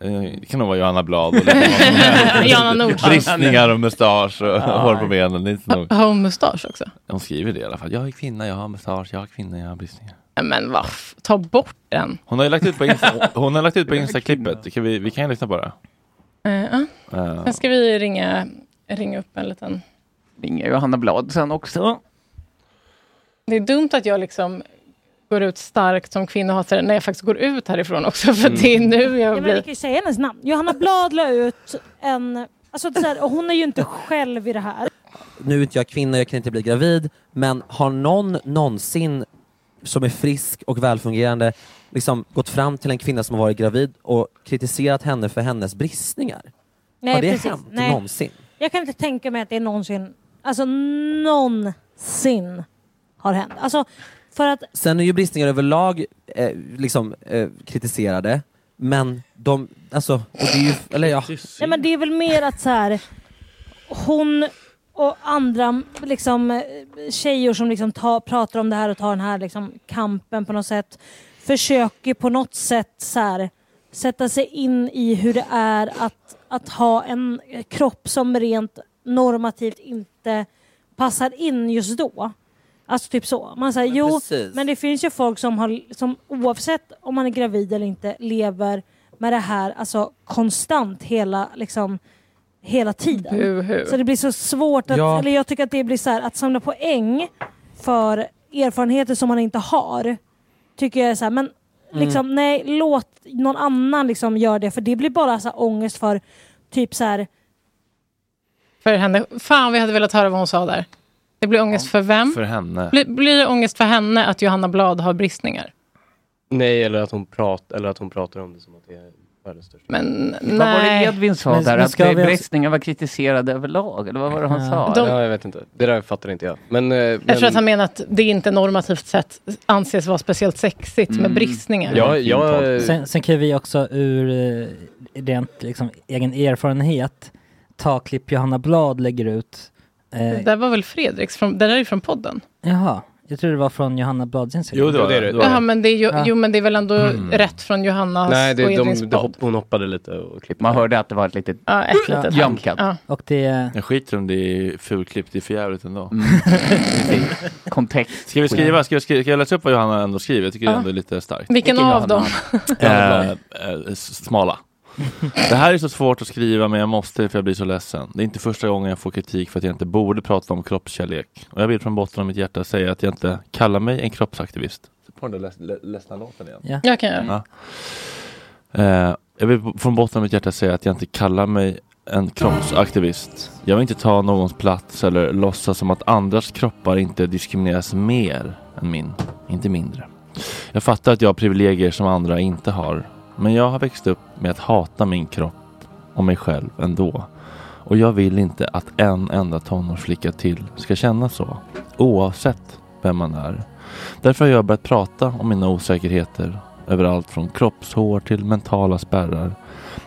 [SPEAKER 1] jag. eh, Det kan nog vara Johanna Blad. Och
[SPEAKER 2] Johanna Nordström.
[SPEAKER 1] Bristningar och mustasch och
[SPEAKER 2] Ja.
[SPEAKER 1] hår på benen. Det är inte nog.
[SPEAKER 2] Har hon mustasch också?
[SPEAKER 1] De skriver det i alla fall. Jag är kvinna, jag har mustasch, jag är kvinna, jag har bristningar.
[SPEAKER 2] Nej, Men vad, f- ta bort den.
[SPEAKER 1] Hon har ju lagt ut på, Insta, hon har lagt ut på Insta-klippet. Det kan Vi, vi kan ju lyssna på det.
[SPEAKER 2] Eh, ja.
[SPEAKER 1] Eh,
[SPEAKER 2] Sen ska vi ringa, ringa upp en liten...
[SPEAKER 7] Ringer Johanna Blad sen också.
[SPEAKER 2] Det är dumt att jag liksom går ut starkt som kvinnohatare när jag faktiskt går ut härifrån också. För
[SPEAKER 10] Mm.
[SPEAKER 2] det är nu
[SPEAKER 10] Ja,
[SPEAKER 2] jag
[SPEAKER 10] men
[SPEAKER 2] blir...
[SPEAKER 10] vi kan ju säga hennes namn. Johanna Blad la ut en... Alltså, så här, och hon är ju inte själv i det här.
[SPEAKER 11] nu är inte jag kvinna, jag kan inte bli gravid, men har någon någonsin som är frisk och välfungerande liksom gått fram till en kvinna som har varit gravid och kritiserat henne för hennes bristningar? har det hänt
[SPEAKER 10] Nej.
[SPEAKER 11] någonsin?
[SPEAKER 10] Jag kan inte tänka mig att det är någonsin... Alltså någonsin har hänt. Alltså för att...
[SPEAKER 11] Sen är ju bristningar överlag eh, liksom, eh, kritiserade, men de, alltså, och det är ju, eller ja.
[SPEAKER 10] Nej men det är väl mer att så här... Hon och andra liksom, eh, tjejer som liksom ta, pratar om det här och tar den här liksom, kampen på något sätt försöker på något sätt så här, sätta sig in i hur det är att, att ha en eh, kropp som rent normativt inte passar in just då. Alltså typ så. Man säger jo,
[SPEAKER 11] precis.
[SPEAKER 10] men det finns ju folk som, har, som oavsett om man är gravid eller inte lever med det här alltså konstant hela liksom hela tiden.
[SPEAKER 2] Buhu.
[SPEAKER 10] Så det blir så svårt att,
[SPEAKER 2] Ja.
[SPEAKER 10] eller jag tycker att det blir så här, att samla poäng för erfarenheter som man inte har. Tycker jag är så här, men
[SPEAKER 12] Mm.
[SPEAKER 10] liksom nej, låt någon annan liksom göra det för det blir bara så här ångest för typ så här
[SPEAKER 2] för henne. Fan, vi hade velat höra vad hon sa där. Det blir ångest för vem?
[SPEAKER 1] För henne.
[SPEAKER 2] Blir, blir det ångest för henne att Johanna Blad har bristningar?
[SPEAKER 5] Nej, eller att, hon prat, eller att hon pratar om det som att det är världens största.
[SPEAKER 2] Men
[SPEAKER 7] Vad var det Edvin sa
[SPEAKER 5] Men-
[SPEAKER 7] där?
[SPEAKER 5] men
[SPEAKER 7] Att
[SPEAKER 5] ska vi också-
[SPEAKER 7] bristningar var kritiserade överlag? Eller vad var det han sa?
[SPEAKER 5] De... Ja, jag vet inte. Det där fattar inte jag. Men, eh,
[SPEAKER 2] Jag tror
[SPEAKER 5] men-
[SPEAKER 2] att han menar att det inte normativt sett anses vara speciellt sexigt
[SPEAKER 7] Mm.
[SPEAKER 2] med bristningar.
[SPEAKER 5] Ja, jag-
[SPEAKER 6] sen, sen kan vi också ur eh, rent liksom, egen erfarenhet ta klipp Johanna Blad lägger ut. Eh,
[SPEAKER 2] Det där var väl Fredriks? Från, det där är från podden.
[SPEAKER 6] Jaha, jag tror det var från Johanna Blads Instagram.
[SPEAKER 5] Jo, det var det. Det var
[SPEAKER 2] Jaha, men det är ju,
[SPEAKER 6] Ja.
[SPEAKER 2] Jo, men det är väl ändå
[SPEAKER 6] Mm.
[SPEAKER 2] rätt från Johannas
[SPEAKER 5] Nej, det,
[SPEAKER 2] och
[SPEAKER 5] de,
[SPEAKER 2] Edvins
[SPEAKER 5] de,
[SPEAKER 2] podd?
[SPEAKER 5] hopp, hon hoppade lite och klippte.
[SPEAKER 7] Man hörde att det var ett litet
[SPEAKER 2] Ja, ett litet
[SPEAKER 7] jump cut.
[SPEAKER 2] Ja.
[SPEAKER 6] Och det...
[SPEAKER 1] Jag skiter om det är fulklippt, det är för jävligt ändå. (laughs)
[SPEAKER 7] Kontext.
[SPEAKER 1] Ska vi skriva? Ska, vi skriva? ska jag läsa upp vad Johanna ändå skriver? Jag tycker det
[SPEAKER 2] Ja.
[SPEAKER 1] ändå är lite starkt.
[SPEAKER 2] Vilken Vilken av Johanna?
[SPEAKER 1] eh, eh, smala. Det här är så svårt att skriva men jag måste för jag blir så ledsen. Det är inte första gången jag får kritik för att jag inte borde prata om kroppskärlek. Och jag vill från botten av mitt hjärta säga att jag inte kallar mig en kroppsaktivist. På den där lä- lä- ledsna låten igen.
[SPEAKER 6] Ja.
[SPEAKER 2] Jag kan göra.
[SPEAKER 1] Ja. Eh, jag vill b- från botten av mitt hjärta säga att jag inte kallar mig en kroppsaktivist. Jag vill inte ta någons plats eller låtsas som att andras kroppar inte diskrimineras mer än min, inte mindre. Jag fattar att jag har privilegier som andra inte har, men jag har växt upp med att hata min kropp och mig själv ändå. Och jag vill inte att en enda tonårsflicka till ska känna så, oavsett vem man är. Därför har jag börjat prata om mina osäkerheter över allt från kroppshår till mentala spärrar.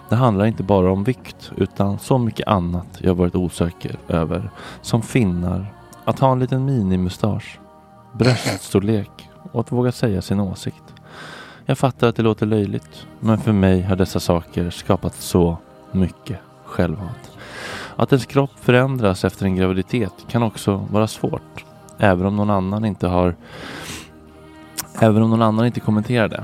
[SPEAKER 1] Det handlar inte bara om vikt utan så mycket annat jag varit osäker över. Som finnar, att ha en liten minimustasch, bröststorlek och att våga säga sin åsikt. Jag fattar att det låter löjligt, men för mig har dessa saker skapat så mycket självhat. Att ens kropp förändras efter en graviditet kan också vara svårt, även om någon annan inte har Även om någon annan inte kommenterar det.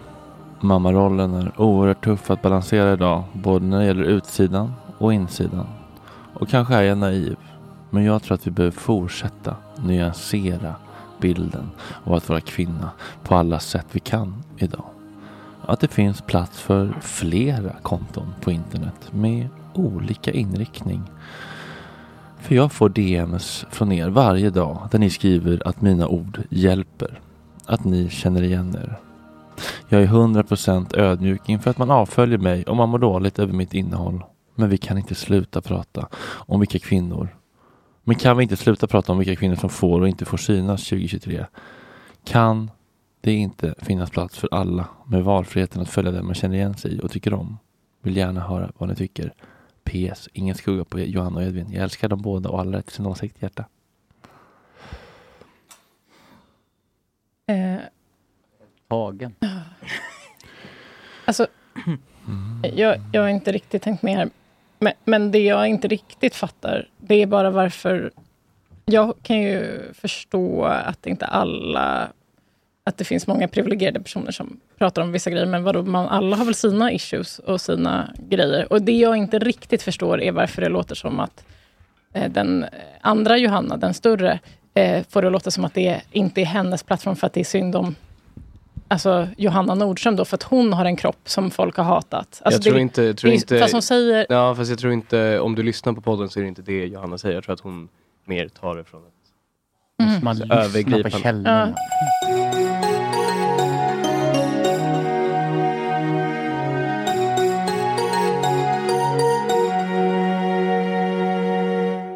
[SPEAKER 1] Mammarollen är oerhört tuff att balansera idag, både när det gäller utsidan och insidan. Och kanske är jag naiv, men jag tror att vi behöver fortsätta nyansera bilden av att vara kvinna på alla sätt vi kan idag. Att det finns plats för flera konton på internet med olika inriktning. För jag får DMs från er varje dag där ni skriver att mina ord hjälper. Att ni känner igen er. Jag är 100% ödmjuk inför att man avföljer mig om man mår dåligt över mitt innehåll. Men vi kan inte sluta prata om vilka kvinnor. Men kan vi inte sluta prata om vilka kvinnor som får och inte får synas 2023? Kan det inte finnas plats för alla med valfriheten att följa den man känner igen sig i och tycker om? Vill gärna höra vad ni tycker. PS. Ingen skugga på Johanna och Edvin. Jag älskar dem båda och alla rätt till sin åsikt hjärta.
[SPEAKER 2] Eh,
[SPEAKER 7] Hagen.
[SPEAKER 2] Alltså, jag, jag har inte riktigt tänkt med här. Men, men det jag inte riktigt fattar, det är bara varför... Jag kan ju förstå att inte alla... Att det finns många privilegierade personer som pratar om vissa grejer, men vadå, man, alla har väl sina issues och sina grejer. Och det jag inte riktigt förstår är varför det låter som att eh, den andra Johanna, den större, eh, får det att låta som att det inte är hennes plattform för att det är synd om alltså, Johanna Nordström då, för att hon har en kropp som folk har hatat. Alltså,
[SPEAKER 5] jag tror
[SPEAKER 2] det,
[SPEAKER 5] inte... jag Tror
[SPEAKER 2] det är-
[SPEAKER 5] inte
[SPEAKER 2] Fast hon säger...
[SPEAKER 5] Ja, fast jag tror inte... Om du lyssnar på podden så är det inte det Johanna säger. Jag tror att hon mer tar det från ett
[SPEAKER 2] Mm.
[SPEAKER 7] Man
[SPEAKER 5] så
[SPEAKER 7] lyssnar på
[SPEAKER 5] övergripande-
[SPEAKER 7] källorna.
[SPEAKER 2] Ja.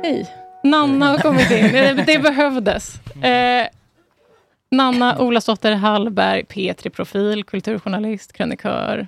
[SPEAKER 2] Hej. Nanna har kommit in. Det, det behövdes.
[SPEAKER 5] Mm.
[SPEAKER 2] Eh, Nanna Olasdotter Hallberg, P3-profil, kulturjournalist, krönikör,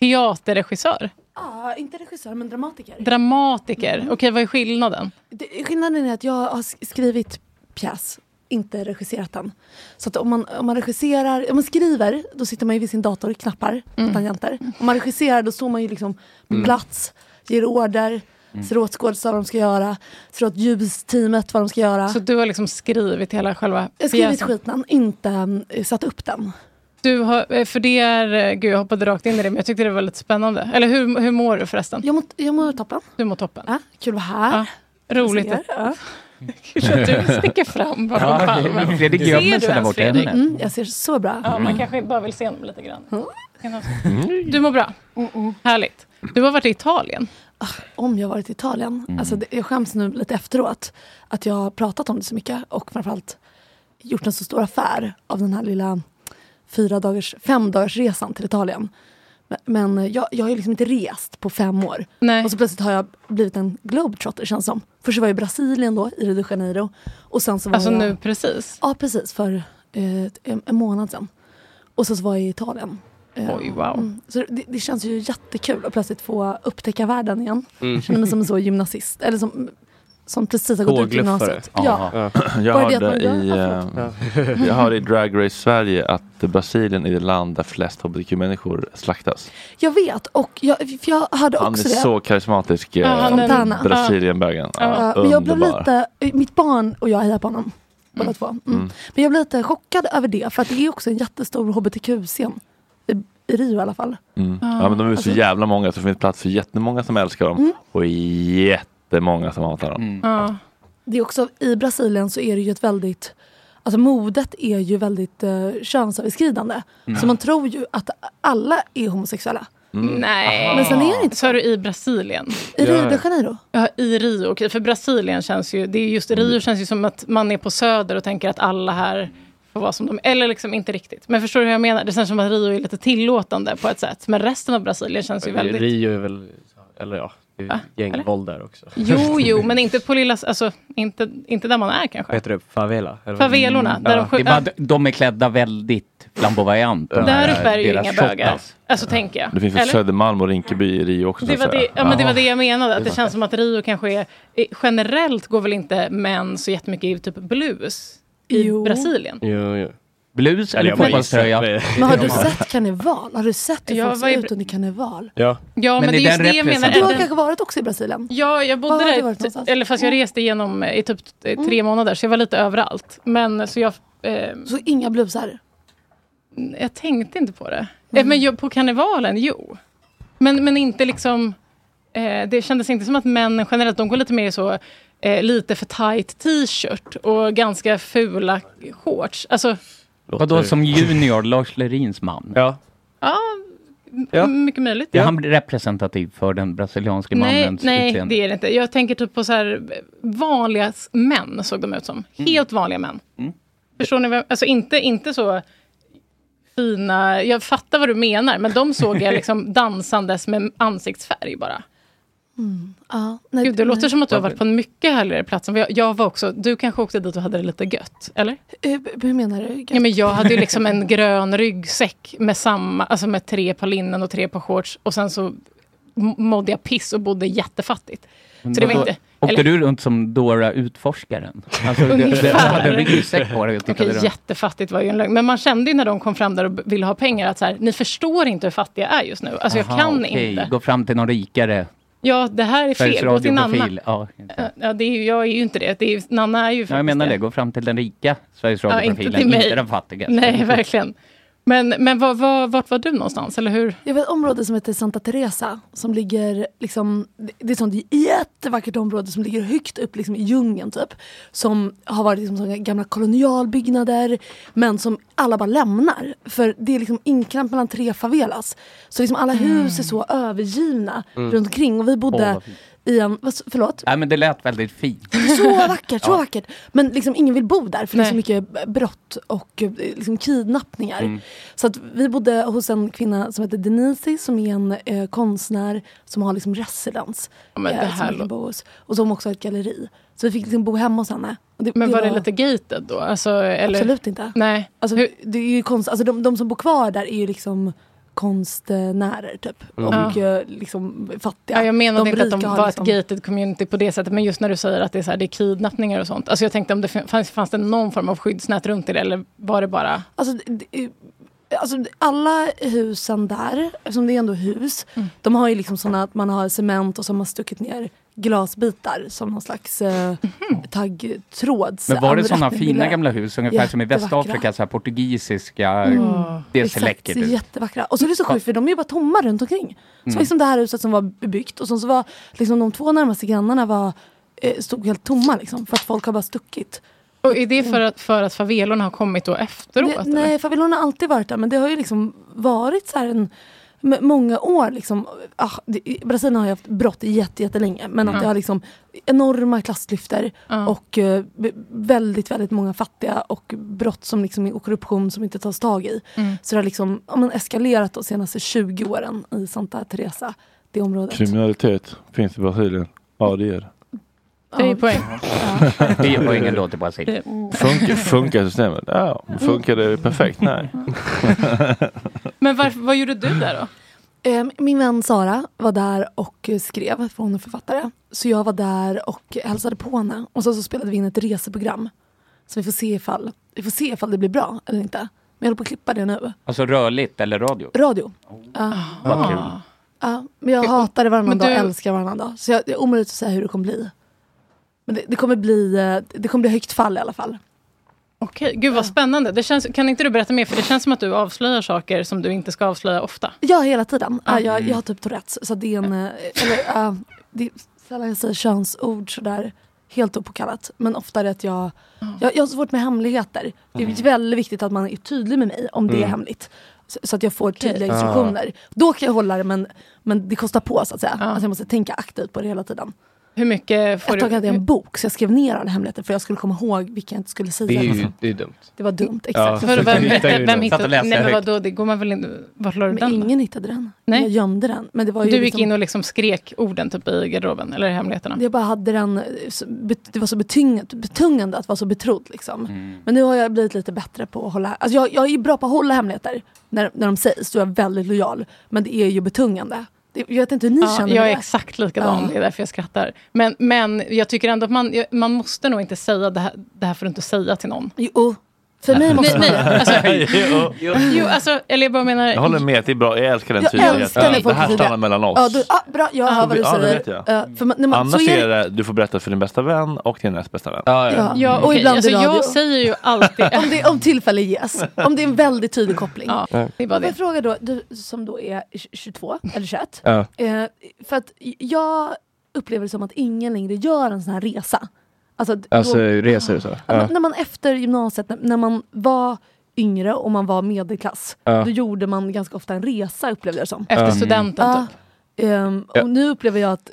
[SPEAKER 2] teaterregissör,
[SPEAKER 12] Ja, inte regissör men dramatiker. Mm.
[SPEAKER 2] dramatiker. Okej, vad är skillnaden?
[SPEAKER 12] Det, skillnaden är att jag har sk- skrivit pjäs, inte regisserat den. Så att om man, om man regisserar, om man skriver, då sitter man ju vid sin dator och knappar på tangenter. Om man regisserar, då står man ju liksom på
[SPEAKER 13] Mm.
[SPEAKER 12] plats, ger order,
[SPEAKER 2] Mm.
[SPEAKER 12] ser åt skådisar vad de ska göra, ser åt ljusteamet vad de ska göra.
[SPEAKER 2] Så du har liksom skrivit hela själva
[SPEAKER 12] jag har skrivit
[SPEAKER 2] pjäsen?
[SPEAKER 12] skiten, inte mm, satt upp den.
[SPEAKER 2] Du har, eh, för det är, eh, gud jag hoppade rakt in i det, men jag tyckte det var lite spännande. Eller hur, hur mår du förresten?
[SPEAKER 12] Jag mår, jag mår toppen.
[SPEAKER 2] Du mår toppen?
[SPEAKER 12] Ja, kul att vara här.
[SPEAKER 2] roligt.
[SPEAKER 12] Jag ser, ja.
[SPEAKER 2] (laughs) Kul att du sticker fram bakom
[SPEAKER 7] Ja,
[SPEAKER 2] palmen.
[SPEAKER 7] Fredrik
[SPEAKER 2] Ser
[SPEAKER 7] gömmer
[SPEAKER 2] du
[SPEAKER 7] sig där
[SPEAKER 2] ens,
[SPEAKER 7] borta.
[SPEAKER 2] Fredrik?
[SPEAKER 12] Mm, jag ser så bra.
[SPEAKER 2] Ja, man kanske bara vill se honom lite grann.
[SPEAKER 12] Mm.
[SPEAKER 2] Du mår bra? Härligt. Du har varit i Italien.
[SPEAKER 12] om jag varit i Italien.
[SPEAKER 2] Mm.
[SPEAKER 12] Alltså, det, jag skäms nu lite efteråt att jag har pratat om det så mycket och framförallt gjort en så stor affär av den här lilla fyra dagars, fem dagars resan till Italien. Men- Men jag, jag har ju liksom inte rest på fem år. Och så plötsligt har jag blivit en globetrotter känns som. Först var jag i Brasilien då, i Rio de Janeiro. Och sen så var
[SPEAKER 2] Alltså
[SPEAKER 12] jag,
[SPEAKER 2] nu precis?
[SPEAKER 12] Ja precis, för eh, ett- en, en månad sedan. Och så, så var jag i Italien. Eh,
[SPEAKER 2] Oj, wow.
[SPEAKER 12] mm. Så det, det känns ju jättekul att plötsligt få upptäcka världen igen.
[SPEAKER 1] Mm.
[SPEAKER 12] Känner mig som en så gymnasist, eller som, som precis har gått ut gymnasiet. Ja.
[SPEAKER 1] Jag
[SPEAKER 12] Bara det att
[SPEAKER 1] hörde,
[SPEAKER 12] man-
[SPEAKER 1] i,
[SPEAKER 12] ja,
[SPEAKER 1] eh, jag hörde i Drag Race Sverige att Brasilien är det land där flest hbtq-människor slaktas.
[SPEAKER 12] Jag vet, och jag, för jag hörde
[SPEAKER 1] Han är
[SPEAKER 12] också det.
[SPEAKER 1] så karismatisk, eh,
[SPEAKER 12] Ja, han är- Fontana.
[SPEAKER 1] Brasilienbögen. Ja,
[SPEAKER 12] Eh, men jag blev
[SPEAKER 1] underbar.
[SPEAKER 12] lite, mitt barn och jag hejar på honom. Båda två. Mm.
[SPEAKER 1] Mm.
[SPEAKER 12] Men jag blev lite chockad över det, för att det är också en jättestor hbtq-scen. I, I Rio i alla fall.
[SPEAKER 1] Mm. Ja, men de är ju så jävla många så det finns plats för jättemånga som älskar dem
[SPEAKER 12] alltså- Mm.
[SPEAKER 1] och jättemånga som hatar dem.
[SPEAKER 12] Ja. Det är också, I Brasilien så är det ju ett väldigt... Alltså modet är ju väldigt eh, könsöverskridande.
[SPEAKER 1] Mm.
[SPEAKER 12] Så man tror ju att alla är homosexuella.
[SPEAKER 1] Mm.
[SPEAKER 2] Nej.
[SPEAKER 12] Men sen är det
[SPEAKER 2] inte så. Sa du i Brasilien?
[SPEAKER 12] I Rio de Janeiro.
[SPEAKER 2] Ja, i Rio. Okej, för Brasilien känns ju... Det är just
[SPEAKER 5] Mm.
[SPEAKER 2] Rio känns ju som att man är på söder och tänker att alla här får vara som de Eller liksom inte riktigt. Men förstår du hur jag menar? Det känns som att Rio är lite tillåtande på ett sätt. Men resten av Brasilien känns ju väldigt...
[SPEAKER 5] Rio är väl... Eller ja, det är gängvåld där också. (laughs)
[SPEAKER 2] Jo, jo, men inte på lilla... Alltså, inte, inte där man är kanske.
[SPEAKER 5] Vad heter det? Favela? eller vad?
[SPEAKER 2] Favelorna, där de
[SPEAKER 7] det är
[SPEAKER 2] skjuter-
[SPEAKER 7] bara, att de är klädda väldigt flamboyant. de
[SPEAKER 2] Där
[SPEAKER 7] här,
[SPEAKER 2] uppe är det ju
[SPEAKER 7] deras
[SPEAKER 2] inga bögar.
[SPEAKER 7] shottas.
[SPEAKER 2] Alltså tänker jag.
[SPEAKER 1] Det finns väl
[SPEAKER 2] Eller?
[SPEAKER 1] Södermalm och Rinkeby i Rio också?
[SPEAKER 2] Det
[SPEAKER 1] så
[SPEAKER 2] var
[SPEAKER 1] att
[SPEAKER 2] det,
[SPEAKER 1] säga.
[SPEAKER 2] ja, men det var det jag menade, att
[SPEAKER 1] Det
[SPEAKER 2] det
[SPEAKER 1] var-
[SPEAKER 2] känns som att Rio kanske är... eh, Generellt går väl inte män så jättemycket i typ blues i Brasilien?
[SPEAKER 5] Jo, jo.
[SPEAKER 7] Blus eller fotbollströja?
[SPEAKER 12] Men har du sett karneval? Har du sett hur
[SPEAKER 2] Jag
[SPEAKER 12] folk
[SPEAKER 2] var i-
[SPEAKER 12] ser ut under karneval?
[SPEAKER 5] Ja.
[SPEAKER 2] Ja, men, det är just det jag menar.
[SPEAKER 12] Du har
[SPEAKER 2] Den-
[SPEAKER 12] kanske varit också i Brasilien?
[SPEAKER 2] Ja, jag
[SPEAKER 12] Var
[SPEAKER 2] bodde
[SPEAKER 12] har du
[SPEAKER 2] där,
[SPEAKER 12] varit
[SPEAKER 2] t-
[SPEAKER 12] någonstans?
[SPEAKER 2] eller fast jag
[SPEAKER 12] Mm.
[SPEAKER 2] reste igenom eh, i typ eh, tre månader, så jag var lite överallt. Men så jag... eh, Mm,
[SPEAKER 12] Så inga blusar? Mm.
[SPEAKER 2] Jag tänkte inte på det. Eh, Men jag, på karnevalen, jo. Men, men inte liksom... Eh, det kändes inte som att männen generellt, de går lite mer i så... Eh, lite för tight t-shirt och ganska fula shorts. Alltså,
[SPEAKER 7] Vadå som junior, Lars Lerins man?
[SPEAKER 5] Ja.
[SPEAKER 2] ja, m- mycket möjligt.
[SPEAKER 7] Är han representativ för den brasilianske
[SPEAKER 2] Nej,
[SPEAKER 7] mannens
[SPEAKER 2] nej,
[SPEAKER 7] utseende?
[SPEAKER 2] det är det inte. Jag tänker typ på så här, vanliga s- män såg de ut som. Helt vanliga män.
[SPEAKER 7] Mm.
[SPEAKER 2] Förstår ni? Vad, alltså inte, inte så fina... Jag fattar vad du menar, men de såg
[SPEAKER 7] (laughs)
[SPEAKER 2] jag liksom dansandes med ansiktsfärg bara.
[SPEAKER 12] Mm. Ja.
[SPEAKER 2] Gud, det låter som att du har varit på en mycket härligare plats än vad jag, jag var också. Du kanske åkte dit och hade det lite gött, eller?
[SPEAKER 12] Eh, b- Hur menar du?
[SPEAKER 2] Ja, men jag hade ju liksom en grön ryggsäck med, samma, alltså med tre par linnen och tre par shorts. Och sen så m- mådde jag piss och bodde jättefattigt.
[SPEAKER 7] Men
[SPEAKER 2] Så det var
[SPEAKER 7] vadå?
[SPEAKER 2] inte...
[SPEAKER 7] Åkte
[SPEAKER 2] eller-
[SPEAKER 7] du runt som Dora Utforskaren? Alltså, du, du, du
[SPEAKER 2] Ungefär.
[SPEAKER 7] hade en ryggsäck på dig och tittade
[SPEAKER 2] Okej,
[SPEAKER 7] runt.
[SPEAKER 2] jättefattigt var ju en lögn. Men man kände ju när de kom fram där och ville ha pengar att så här, ni förstår inte hur fattig jag är just nu. Alltså jag
[SPEAKER 7] Aha,
[SPEAKER 2] kan
[SPEAKER 7] okej.
[SPEAKER 2] inte.
[SPEAKER 7] Gå fram till någon rikare.
[SPEAKER 2] Ja, det här är
[SPEAKER 7] Sveriges
[SPEAKER 2] fel. Gå till Nanna.
[SPEAKER 7] Radio-profil. Ja.
[SPEAKER 2] Ja, det är ju, jag är ju inte det. det är, ju- Nanna är ju
[SPEAKER 7] Ja, jag menar det, gå fram till den rika Sveriges
[SPEAKER 2] Ja, inte
[SPEAKER 7] Radio-profilen,
[SPEAKER 2] till
[SPEAKER 7] inte,
[SPEAKER 2] mig.
[SPEAKER 7] den fattiga.
[SPEAKER 2] Nej, verkligen. Men, men var, var, vart var du någonstans, eller hur?
[SPEAKER 12] Jag vet ett område som heter Santa Teresa som ligger liksom, det- det är ett sånt jättevackert område som ligger högt upp liksom i djungeln typ. Som har varit liksom såna gamla kolonialbyggnader men som alla bara lämnar. För det är liksom inklämt mellan tre favelas. Så liksom alla hus är så övergivna
[SPEAKER 7] Mm.
[SPEAKER 12] runt omkring och vi
[SPEAKER 7] Åh,
[SPEAKER 12] bodde
[SPEAKER 7] vad fint.
[SPEAKER 12] i en, vad s- förlåt?
[SPEAKER 7] Nej, men det lät väldigt fint.
[SPEAKER 12] Så vackert, så
[SPEAKER 7] Ja.
[SPEAKER 12] vackert. Men liksom ingen vill bo där för det är
[SPEAKER 7] Nej.
[SPEAKER 12] så mycket brott och eh, liksom kidnappningar.
[SPEAKER 7] Mm.
[SPEAKER 12] Så att vi bodde hos en kvinna som heter Denisi som är en eh, konstnär som har liksom residens.
[SPEAKER 2] Ja, men det
[SPEAKER 12] som
[SPEAKER 2] här
[SPEAKER 12] vi kan
[SPEAKER 2] lå-
[SPEAKER 12] bo hos. Och som också har ett galleri. Så vi fick liksom bo hemma hos henne. Och
[SPEAKER 2] Men var det lite gated då? Alltså, eller?
[SPEAKER 12] Absolut inte.
[SPEAKER 2] Nej.
[SPEAKER 12] Alltså, det är ju konst, alltså de, de som bor kvar där är ju liksom konstnärer typ.
[SPEAKER 2] Mm.
[SPEAKER 12] Och
[SPEAKER 2] Ja.
[SPEAKER 12] eh, liksom fattiga.
[SPEAKER 2] Ja, jag menade inte att de
[SPEAKER 12] rika har
[SPEAKER 2] var
[SPEAKER 12] liksom-
[SPEAKER 2] ett gated community på det sättet, men just när du säger att det är, så här, det är kidnappningar och sånt. Alltså jag tänkte om det fin- fanns, fanns det någon form av skyddsnät runt det, eller var det bara...
[SPEAKER 12] Alltså, det- det- alltså alla husen där, eftersom det är ändå hus,
[SPEAKER 2] Mm.
[SPEAKER 12] de har ju liksom sådana att man har cement och så har man stuckit ner glasbitar som någon slags eh,
[SPEAKER 2] Mhm.
[SPEAKER 12] taggtråds.
[SPEAKER 7] Men var det sådana
[SPEAKER 12] anrättning,
[SPEAKER 7] fina
[SPEAKER 12] billigare.
[SPEAKER 7] gamla hus, ungefär som i
[SPEAKER 12] Jättevackra.
[SPEAKER 7] Västafrika, så här portugisiska? typ?
[SPEAKER 12] Mm.
[SPEAKER 7] Det ser
[SPEAKER 12] Exakt,
[SPEAKER 7] läckert
[SPEAKER 12] ser
[SPEAKER 7] ut.
[SPEAKER 12] jättevackra. Och så är det så sjukt för de är ju bara tomma runt omkring. Så
[SPEAKER 7] Mm.
[SPEAKER 12] liksom det här huset som var bebyggt och sen så var liksom de två närmaste grannarna var, eh, stod helt tomma liksom för att folk har bara stuckit.
[SPEAKER 2] Och är det för att, för att favelorna har kommit då efteråt?
[SPEAKER 12] Det,
[SPEAKER 2] eller?
[SPEAKER 12] nej, Favilon har alltid varit där men det har ju liksom varit så här en m- Många år liksom, ah, det, i Brasilien har ju haft brott jätte- jättelänge men
[SPEAKER 2] Mm.
[SPEAKER 12] att det har liksom enorma klassklyftor och eh, b- väldigt, väldigt många fattiga och brott som liksom, och korruption som inte tas tag i.
[SPEAKER 2] Mm.
[SPEAKER 12] Så det har liksom ja, men eskalerat de senaste 20 åren i Santa Teresa, det området.
[SPEAKER 1] Kriminalitet finns i Brasilien. Ja, det gör det.
[SPEAKER 2] Det är ju poäng.
[SPEAKER 7] Det ger poängen då till Brasilien.
[SPEAKER 1] Funkar, funkar systemet? Ja. Funkar det perfekt? Nej.
[SPEAKER 2] Men varf- vad gjorde du där då?
[SPEAKER 12] Eh, Min vän Sara var där och eh, skrev, för hon är författare. Så jag var där och hälsade på henne. Och sen så spelade vi in ett reseprogram. Så vi får se ifall, vi får se ifall det blir bra eller inte. Men jag håller på att klippa det nu.
[SPEAKER 7] Alltså rörligt eller radio? Oh. Ah.
[SPEAKER 12] Radio. Ja.
[SPEAKER 7] Vad kul.
[SPEAKER 12] Ja, men jag hatar det varannan
[SPEAKER 2] Men
[SPEAKER 12] dag och
[SPEAKER 2] du-
[SPEAKER 12] älskar varannan dag. Så jag, det är omöjligt att säga hur det kommer bli. Men det, det, kommer bli, eh, det kommer bli högt fall i alla fall.
[SPEAKER 2] Okej, gud vad spännande. Det känns, kan inte du berätta mer? För det känns som att du avslöjar saker som du inte ska avslöja ofta.
[SPEAKER 12] Ja, hela tiden. Ja,
[SPEAKER 2] Mm.
[SPEAKER 12] jag, jag har typ Tourettes. Så det är en... eh, Eller, ja, det är sällan jag säger könsord sådär helt opåkallat. Men oftare att jag... Jag, jag har svårt med hemligheter. Det är
[SPEAKER 2] Mm.
[SPEAKER 12] väldigt viktigt att man är tydlig med mig om det är
[SPEAKER 2] Mm.
[SPEAKER 12] hemligt. Så, så att jag får tydliga
[SPEAKER 2] Ah.
[SPEAKER 12] instruktioner. Då kan jag hålla det men, men det kostar på så att säga. Alltså jag måste tänka aktivt på det hela tiden.
[SPEAKER 2] Hur mycket får
[SPEAKER 12] Ett
[SPEAKER 2] du?
[SPEAKER 12] tag hade jag en bok så jag skrev ner alla hemligheter för jag skulle komma ihåg vilka jag inte skulle säga.
[SPEAKER 5] Det är ju det är dumt.
[SPEAKER 12] Det var dumt,
[SPEAKER 5] Ja,
[SPEAKER 12] exakt.
[SPEAKER 5] så Vadå, vem- du hittar ju vem den. hittade- Satt och läste
[SPEAKER 2] Nej men
[SPEAKER 5] högt.
[SPEAKER 2] vadå, det går man väl inte... Vart la du
[SPEAKER 12] Men
[SPEAKER 2] den?
[SPEAKER 12] ingen hittade den.
[SPEAKER 2] Nej.
[SPEAKER 12] Jag gömde den. Men det var ju
[SPEAKER 2] Du gick
[SPEAKER 12] liksom-
[SPEAKER 2] in och liksom skrek orden typ i garderoben, eller i hemligheterna?
[SPEAKER 12] Jag bara hade den, eh, så bet- det var så betungat- betungande att vara så betrodd. Liksom.
[SPEAKER 2] Mm.
[SPEAKER 12] Men nu har jag blivit lite bättre på att hålla, alltså jag, jag är ju bra på att hålla hemligheter när, när de sägs, då är jag väldigt lojal. Men det är ju betungande. Det, jag vet inte hur ni
[SPEAKER 2] Ja,
[SPEAKER 12] känner
[SPEAKER 2] jag
[SPEAKER 12] med
[SPEAKER 2] är
[SPEAKER 12] det.
[SPEAKER 2] exakt likadan,
[SPEAKER 12] Ja.
[SPEAKER 2] det är därför jag skrattar. Men, men jag tycker ändå att man, man måste nog inte säga det här, det här får du inte säga till någon.
[SPEAKER 12] Jo, oh, för mig måste
[SPEAKER 2] nej,
[SPEAKER 12] man-
[SPEAKER 2] nej, (laughs) alltså,
[SPEAKER 1] Jo.
[SPEAKER 2] jo, alltså, eller jag bara menar...
[SPEAKER 1] Jag håller med, det är bra. Jag älskar den
[SPEAKER 12] Jag
[SPEAKER 1] tydligheten.
[SPEAKER 12] älskar när folk
[SPEAKER 1] det här
[SPEAKER 12] är
[SPEAKER 1] stannar
[SPEAKER 12] tydliga.
[SPEAKER 1] mellan oss.
[SPEAKER 12] Ja, du, ah, bra, jag hör vad du
[SPEAKER 1] Ja, det
[SPEAKER 12] säger.
[SPEAKER 1] vet jag.
[SPEAKER 12] Ja, för man, när man,
[SPEAKER 1] Annars
[SPEAKER 12] så är
[SPEAKER 1] är
[SPEAKER 12] det,
[SPEAKER 1] det, du får berätta för din bästa vän och din näst bästa vän.
[SPEAKER 2] Ja, och ibland alltså, jag säger ju
[SPEAKER 12] (laughs)
[SPEAKER 2] alltid...
[SPEAKER 12] om, det, om tillfälle ges. Om det är en väldigt tydlig koppling.
[SPEAKER 2] Ja, det är bara
[SPEAKER 12] Får
[SPEAKER 2] det.
[SPEAKER 12] jag fråga då, du som då är 22 eller 21.
[SPEAKER 2] Ja.
[SPEAKER 12] Eh, för att jag upplever det som att ingen längre gör en sån här resa. Alltså, d-
[SPEAKER 5] Alltså
[SPEAKER 12] då,
[SPEAKER 5] resor och så.
[SPEAKER 12] att
[SPEAKER 5] Ja.
[SPEAKER 12] man, när man efter gymnasiet, när, när man var yngre och man var medelklass,
[SPEAKER 5] Ja.
[SPEAKER 12] då gjorde man ganska ofta en resa upplevde jag det som.
[SPEAKER 5] Efter Ja. studenten,
[SPEAKER 12] Ja.
[SPEAKER 5] typ.
[SPEAKER 12] Ehm,
[SPEAKER 5] Ja.
[SPEAKER 12] och nu upplever jag att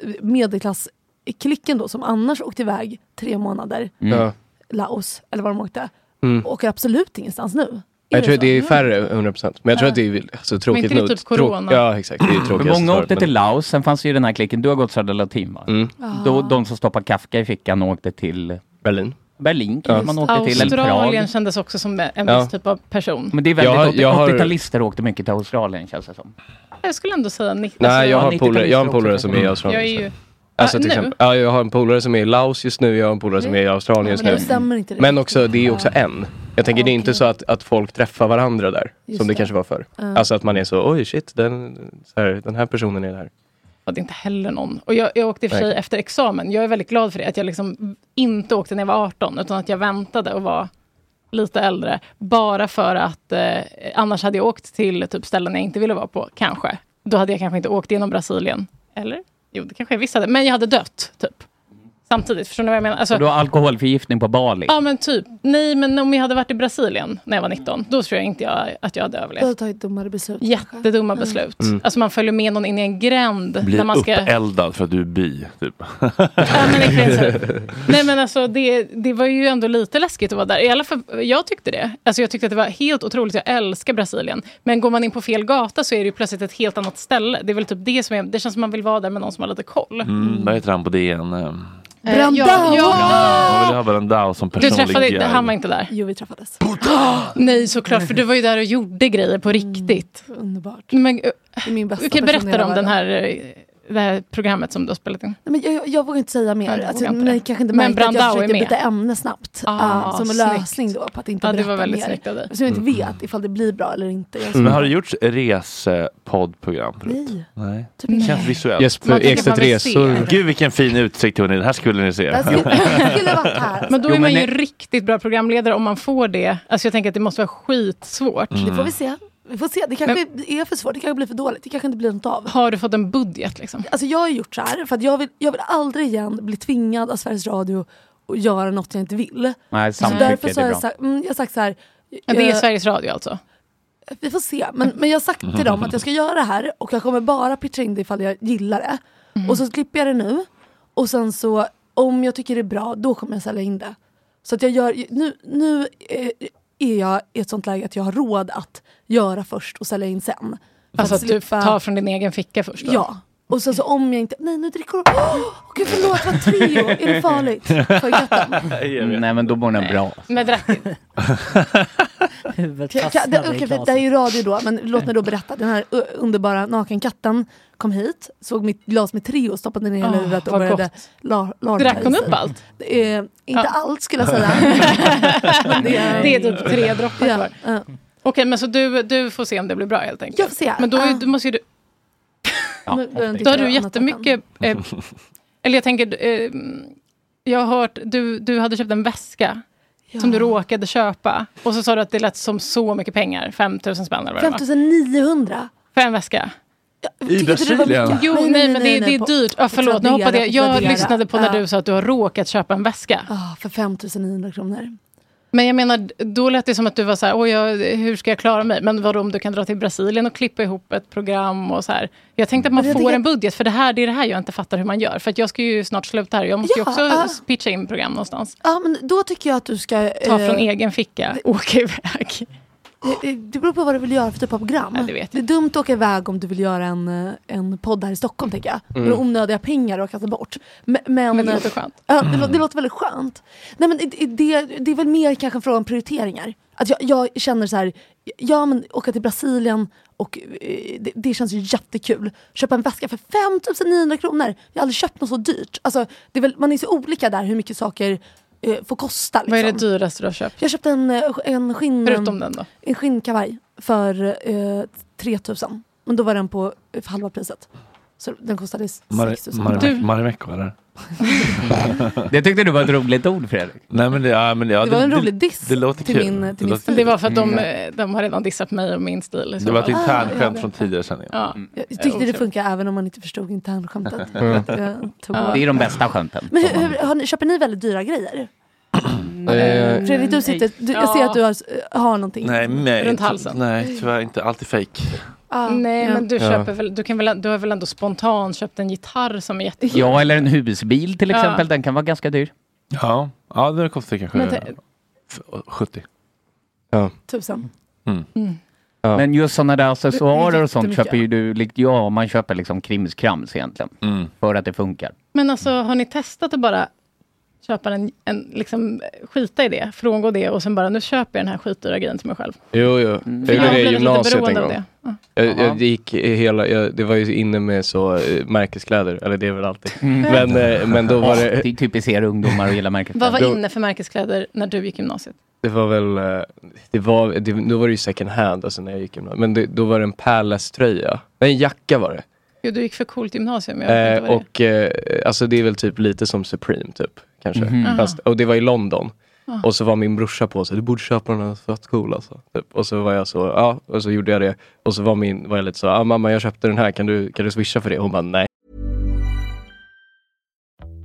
[SPEAKER 12] medelklassklicken då, som annars åkte iväg tre månader,
[SPEAKER 5] Mm. Ja.
[SPEAKER 12] Laos, eller var de åkte,
[SPEAKER 5] Mm.
[SPEAKER 12] åker absolut ingenstans nu.
[SPEAKER 5] Jag tror
[SPEAKER 12] så?
[SPEAKER 5] att det är färre, 100%. Men jag tror att det är alltså, tråkigt
[SPEAKER 12] inte det
[SPEAKER 5] nog.
[SPEAKER 12] typ
[SPEAKER 5] Trå-
[SPEAKER 12] corona?
[SPEAKER 5] Ja, exakt. Det är
[SPEAKER 4] För
[SPEAKER 5] tråkigt.
[SPEAKER 4] Mm. många åkte till Laos, sen fanns ju den här klicken, du har gått Södra Latin va? Då, de som stoppade Kafka i fickan åkte till
[SPEAKER 5] Berlin.
[SPEAKER 4] Berlin kanske man åkte till, eller Prag.
[SPEAKER 2] Australien kändes också som en viss
[SPEAKER 4] Ja.
[SPEAKER 2] typ av person.
[SPEAKER 4] Men det är väldigt,
[SPEAKER 5] Jag har- jag har-
[SPEAKER 4] 80-talister åkte mycket till Australien känns det som.
[SPEAKER 2] Jag skulle ändå säga alltså, 90.
[SPEAKER 5] Nej, jag har,
[SPEAKER 4] 90-talister
[SPEAKER 5] polare, jag har en
[SPEAKER 4] också
[SPEAKER 5] polare
[SPEAKER 4] kanske.
[SPEAKER 5] som är i
[SPEAKER 4] Mm.
[SPEAKER 5] Australien.
[SPEAKER 2] Jag är ju...
[SPEAKER 5] Alltså
[SPEAKER 2] Ah,
[SPEAKER 5] till
[SPEAKER 2] nu?
[SPEAKER 5] exempel, ja, jag har en polare som är i Laos just nu, jag har en polare som är i Australien just
[SPEAKER 12] men
[SPEAKER 5] nu.
[SPEAKER 12] det stämmer inte riktigt.
[SPEAKER 5] men också, det är ju också en. Jag tänker det är inte så att, att folk träffar varandra där,
[SPEAKER 12] Just
[SPEAKER 5] som det,
[SPEAKER 12] det.
[SPEAKER 5] kanske var förr.
[SPEAKER 2] Ja.
[SPEAKER 5] Alltså att man är så, oj shit, den, så här, den här personen är där.
[SPEAKER 2] Och det är inte heller någon. Och jag, jag åkte i och för sig
[SPEAKER 5] Nej.
[SPEAKER 2] efter examen. Jag är väldigt glad för det, att jag liksom inte åkte när jag var 18, utan att jag väntade och var lite äldre. Bara för att eh, annars hade jag åkt till typ ställen jag inte ville vara på, kanske. Då hade jag kanske inte åkt genom Brasilien. Eller? Jo, det kanske jag visst hade. Men jag hade dött, typ. Samtidigt, förstår ni vad jag menar? Alltså-
[SPEAKER 4] Och du har alkoholförgiftning på Bali.
[SPEAKER 2] Ja, men typ. Nej, men om jag hade varit i Brasilien när jag var 19, då tror jag inte jag, att jag hade
[SPEAKER 12] Du har
[SPEAKER 2] överlevt.
[SPEAKER 12] tagit dummare beslut.
[SPEAKER 2] Jättedumma beslut.
[SPEAKER 1] Mm.
[SPEAKER 2] Alltså man följer med någon in i en gränd.
[SPEAKER 1] Blir
[SPEAKER 2] där man ska...
[SPEAKER 1] uppeldad för att du är bi, typ.
[SPEAKER 2] Nej men alltså det, det var ju ändå lite läskigt att vara där. I alla fall, jag tyckte det. Alltså jag tyckte att det var helt otroligt. Jag älskar Brasilien. Men går man in på fel gata så är det ju plötsligt ett helt annat ställe. Det är väl typ det som är... Det känns som man vill vara där med någon som har lite koll.
[SPEAKER 1] Mm, vad heter han på DN? Eh,
[SPEAKER 2] Eh,
[SPEAKER 12] Brandao!
[SPEAKER 2] Ja, ja.
[SPEAKER 1] Man vill ha Brandao som
[SPEAKER 2] Du
[SPEAKER 1] personlig
[SPEAKER 2] träffade...
[SPEAKER 1] guide.
[SPEAKER 2] Han var inte där.
[SPEAKER 12] Jo, vi träffades.
[SPEAKER 2] (gasps) Nej, såklart. För du var ju där och gjorde grejer på riktigt.
[SPEAKER 12] Mm. Underbart.
[SPEAKER 2] Men,
[SPEAKER 12] det är min bästa
[SPEAKER 2] Du kan
[SPEAKER 12] person i
[SPEAKER 2] berätta
[SPEAKER 12] hela
[SPEAKER 2] om den
[SPEAKER 12] världen.
[SPEAKER 2] här, eh, det här programmet som du har spelat in.
[SPEAKER 12] Nej, men jag, jag, jag vågar inte säga
[SPEAKER 2] Nej,
[SPEAKER 12] mer.
[SPEAKER 2] du
[SPEAKER 12] alltså,
[SPEAKER 2] vågar inte
[SPEAKER 12] ni
[SPEAKER 2] det.
[SPEAKER 12] kanske inte
[SPEAKER 2] Men
[SPEAKER 12] märkte att jag
[SPEAKER 2] Brandao är
[SPEAKER 12] försökte
[SPEAKER 2] med.
[SPEAKER 12] byta ämne snabbt.
[SPEAKER 2] Ah,
[SPEAKER 12] ah, som en
[SPEAKER 2] snyggt.
[SPEAKER 12] lösning då på att inte
[SPEAKER 2] Ja, det
[SPEAKER 12] berätta
[SPEAKER 2] var väldigt
[SPEAKER 12] mer.
[SPEAKER 2] snyggt av dig.
[SPEAKER 12] Så jag inte
[SPEAKER 1] Mm.
[SPEAKER 12] vet ifall det blir bra eller inte. Jag
[SPEAKER 1] Men har det gjorts resepoddprogram? förut?
[SPEAKER 12] Nej.
[SPEAKER 1] Nej.
[SPEAKER 12] Typ inte.
[SPEAKER 1] Känns visuellt.
[SPEAKER 5] Jesper Man tycker Ekstedt man vill se resor. det.
[SPEAKER 1] Gud vilken fin utsikt hörni, det här skulle ni se.
[SPEAKER 2] Men då
[SPEAKER 1] Jo,
[SPEAKER 2] är man
[SPEAKER 1] men
[SPEAKER 2] ju riktigt bra programledare om man får det. Alltså jag tänker att det måste vara skitsvårt.
[SPEAKER 1] Mm. Det får vi
[SPEAKER 12] se. Vi får se. Det kanske är för svårt, det kanske blir för dåligt, det kanske inte blir något av.
[SPEAKER 2] Har du fått en budget liksom?
[SPEAKER 12] Alltså jag har gjort så här för att jag vill, jag vill aldrig igen bli tvingad av Sveriges Radio att göra något jag inte vill.
[SPEAKER 4] Nej,
[SPEAKER 12] så
[SPEAKER 4] samtycke,
[SPEAKER 12] därför så
[SPEAKER 4] det
[SPEAKER 12] har
[SPEAKER 4] är
[SPEAKER 12] jag,
[SPEAKER 4] bra.
[SPEAKER 12] sagt, mm, jag har sagt så här.
[SPEAKER 2] Ja, det är
[SPEAKER 12] eh,
[SPEAKER 2] Sveriges Radio alltså?
[SPEAKER 12] Vi får se. Men, men jag har sagt till dem att jag ska göra det här och jag kommer bara pitcha in det ifall jag gillar det.
[SPEAKER 2] Mm.
[SPEAKER 12] Och så klipper jag det nu. Och sen så, om jag tycker det är bra, då kommer jag sälja in det. Så att jag gör, nu, nu eh, är jag i ett sånt läge att jag har råd att göra först och sälja in sen. För
[SPEAKER 2] Alltså att du
[SPEAKER 12] slippa-
[SPEAKER 2] tar från din egen ficka först? Då?
[SPEAKER 12] Ja. Och sen så om jag inte, nej nu dricker hon, (gasps) åh gud förlåt vad Treo, är det farligt? Får jag katten?
[SPEAKER 4] Nej men då mår den bra.
[SPEAKER 2] Men drack inte.
[SPEAKER 12] Kan- kan- det, okej, för det här är ju radio då, men låt mig då berätta. Den här ö, underbara nakenkatten kom hit, såg mitt glas med Treo, stoppade ner i
[SPEAKER 2] Åh,
[SPEAKER 12] huvudet och
[SPEAKER 2] vad
[SPEAKER 12] började
[SPEAKER 2] gott.
[SPEAKER 12] la, larva
[SPEAKER 2] Drack hon
[SPEAKER 12] i sig.
[SPEAKER 2] upp allt?
[SPEAKER 12] Eh, inte
[SPEAKER 2] Ja.
[SPEAKER 12] allt skulle jag säga. Men
[SPEAKER 2] Det är typ tre droppar
[SPEAKER 12] Ja,
[SPEAKER 2] kvar.
[SPEAKER 12] ja.
[SPEAKER 2] Okej, men så du, du får se om det blir bra helt enkelt?
[SPEAKER 12] Jag får se,
[SPEAKER 2] Men då, är-
[SPEAKER 12] ja.
[SPEAKER 2] då måste ju du...
[SPEAKER 12] Ja, Nu börjar jag
[SPEAKER 2] då har
[SPEAKER 12] tycka
[SPEAKER 2] du
[SPEAKER 12] annat om
[SPEAKER 2] jättemycket... Eh, eller jag tänker... Eh, jag har hört... Du, du hade köpt en väska. Som du råkade köpa. Och så sa du att det lät som så mycket pengar. 5 000 spänn eller vad det var.
[SPEAKER 12] 5900.
[SPEAKER 2] För en väska?
[SPEAKER 1] I Brasilien?
[SPEAKER 2] Jo, nej, men det, det är dyrt. Ja, förlåt, nu hoppade jag. Jag lyssnade på när
[SPEAKER 12] Ja.
[SPEAKER 2] du sa att du har råkat köpa en väska.
[SPEAKER 12] Ah, för 5900 kronor.
[SPEAKER 2] Men jag menar, då lät det som att du var så här, Oj, jag, hur ska jag klara mig? Men vadå om du kan dra till Brasilien och klippa ihop ett program och så här. Jag tänkte att man
[SPEAKER 12] Men jag
[SPEAKER 2] får
[SPEAKER 12] tycker-
[SPEAKER 2] en budget, för det här det är det här jag inte fattar hur man gör. För att jag ska ju snart sluta här, jag måste
[SPEAKER 12] Ja,
[SPEAKER 2] ju också
[SPEAKER 12] ah.
[SPEAKER 2] pitcha in program någonstans.
[SPEAKER 12] Ja, men då tycker jag att du ska...
[SPEAKER 2] Ta
[SPEAKER 12] eh,
[SPEAKER 2] från egen ficka, åka iväg.
[SPEAKER 12] Det, det beror på vad du vill göra för typ av program. det, är dumt att åka iväg om du vill göra en, eh, en podd här i Stockholm, tänker jag.
[SPEAKER 2] Mm.
[SPEAKER 12] Med onödiga pengar att kasta bort. Men, men, eh,
[SPEAKER 2] Men alltså, det låter skönt.
[SPEAKER 12] Ja, det, lå- det låter väldigt skönt. Nej, men det, det, det är väl mer kanske en fråga om prioriteringar. Att jag, jag känner så här, ja men åka till Brasilien och eh, det, det känns ju jättekul. Köpa en väska för 5 900 kronor. Jag har aldrig köpt något så dyrt. Alltså, det är väl, man är så olika där hur mycket saker eh, får kosta. Liksom.
[SPEAKER 2] Vad är det dyraste du har köpt? Mm.
[SPEAKER 12] Jag köpte en, eh, en, skinn,
[SPEAKER 2] Förutom den då?
[SPEAKER 12] en skinnkavaj för eh, 3000. Men då var den på eh, för halva priset. Så den kostade 6000.
[SPEAKER 1] Marimekko eller?
[SPEAKER 4] (laughs) Det tyckte du var ett roligt ord Fredrik.
[SPEAKER 1] Nej men det, ja, men ja,
[SPEAKER 12] Det var en rolig diss
[SPEAKER 1] det låter
[SPEAKER 12] till
[SPEAKER 1] kul.
[SPEAKER 12] min- till
[SPEAKER 1] Det
[SPEAKER 12] min
[SPEAKER 1] låter-
[SPEAKER 12] stil.
[SPEAKER 2] Men det var för att de,
[SPEAKER 1] Mm.
[SPEAKER 2] eh, de har redan dissat mig och min stil. i så
[SPEAKER 1] Det var ett
[SPEAKER 2] fall.
[SPEAKER 4] typ-
[SPEAKER 1] internskämt
[SPEAKER 12] Ah.
[SPEAKER 1] från tidigare sändningar.
[SPEAKER 2] Ja.
[SPEAKER 12] Jag tyckte det funkar även om man inte förstod internskämtet.
[SPEAKER 4] Mm.
[SPEAKER 12] Jag tog-
[SPEAKER 4] Det är de bästa skämten.
[SPEAKER 12] Men hur, hur, har ni, köper ni väldigt dyra grejer? Fredrik, du sitter, du, jag ser att du har, har någonting
[SPEAKER 1] Nej, nej.
[SPEAKER 12] runt
[SPEAKER 1] ty-
[SPEAKER 12] halsen.
[SPEAKER 1] Nej, tyvärr inte. Alltid fake.
[SPEAKER 2] Nej,
[SPEAKER 12] Ah. ja.
[SPEAKER 2] men du,
[SPEAKER 1] Ja.
[SPEAKER 2] köper väl, du, kan väl, du har väl ändå spontant köpt en gitarr som är jättefin?
[SPEAKER 4] Ja, eller en husbil till
[SPEAKER 2] Ja.
[SPEAKER 4] exempel. Den kan vara ganska dyr.
[SPEAKER 1] Ja, ja det kostar kanske
[SPEAKER 2] Men det-
[SPEAKER 1] f- 70.
[SPEAKER 12] Tusen.
[SPEAKER 1] Mm.
[SPEAKER 4] Men just sådana där accessoarer och sånt
[SPEAKER 2] Jättemycket.
[SPEAKER 4] köper ju du, likt jag, man köper liksom krimskrams egentligen. För att det funkar.
[SPEAKER 2] Men alltså, har ni testat att bara köpa en, en liksom, skita i det, frångå det och sen bara, nu köper jag den här skitdyra grejen till mig själv.
[SPEAKER 5] Jo, jo. Jag
[SPEAKER 2] Ja,
[SPEAKER 5] gjorde det
[SPEAKER 2] blev
[SPEAKER 5] i
[SPEAKER 2] lite
[SPEAKER 5] gymnasiet en
[SPEAKER 2] beroende av
[SPEAKER 5] gång.
[SPEAKER 2] det. Ja.
[SPEAKER 5] Jag, jag gick i hela, jag, det var ju inne med så eh, märkeskläder, eller det är väl alltid.
[SPEAKER 4] Mm.
[SPEAKER 5] Men, eh, men då var
[SPEAKER 4] Ja,
[SPEAKER 5] det...
[SPEAKER 4] Det är typiskt er ungdomar att gilla märkeskläder.
[SPEAKER 2] Vad var inne för märkeskläder när du gick gymnasiet?
[SPEAKER 5] Det var väl, eh, det var, det, då var det ju second hand alltså när jag gick gymnasiet. Men det, då var det en Palace-tröja. Nej, en jacka var det.
[SPEAKER 2] Jo, du gick för coolt gymnasium. Jag vet
[SPEAKER 5] Eh,
[SPEAKER 2] inte vad det är.
[SPEAKER 5] och eh, alltså det är väl typ lite som Supreme typ, kanske.
[SPEAKER 2] Mhm.
[SPEAKER 5] Fast, och det var i London.
[SPEAKER 2] Ah.
[SPEAKER 5] Och så var min brorsa på sig, du borde köpa den här för att cool alltså. Typ. Och så var jag så, ja, och så gjorde jag det. Och så var, min, var jag lite så, ah, mamma jag köpte den här, kan du, kan du swisha för det? Hon bara, nej.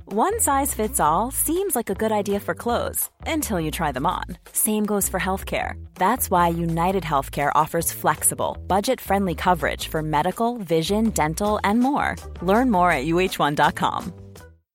[SPEAKER 13] One size fits all seems like a good idea for clothes until you try them on. Same goes for healthcare. That's why United Healthcare offers flexible, budget friendly coverage for medical, vision, dental, and more. Learn more at uh1.com.
[SPEAKER 2] Mm.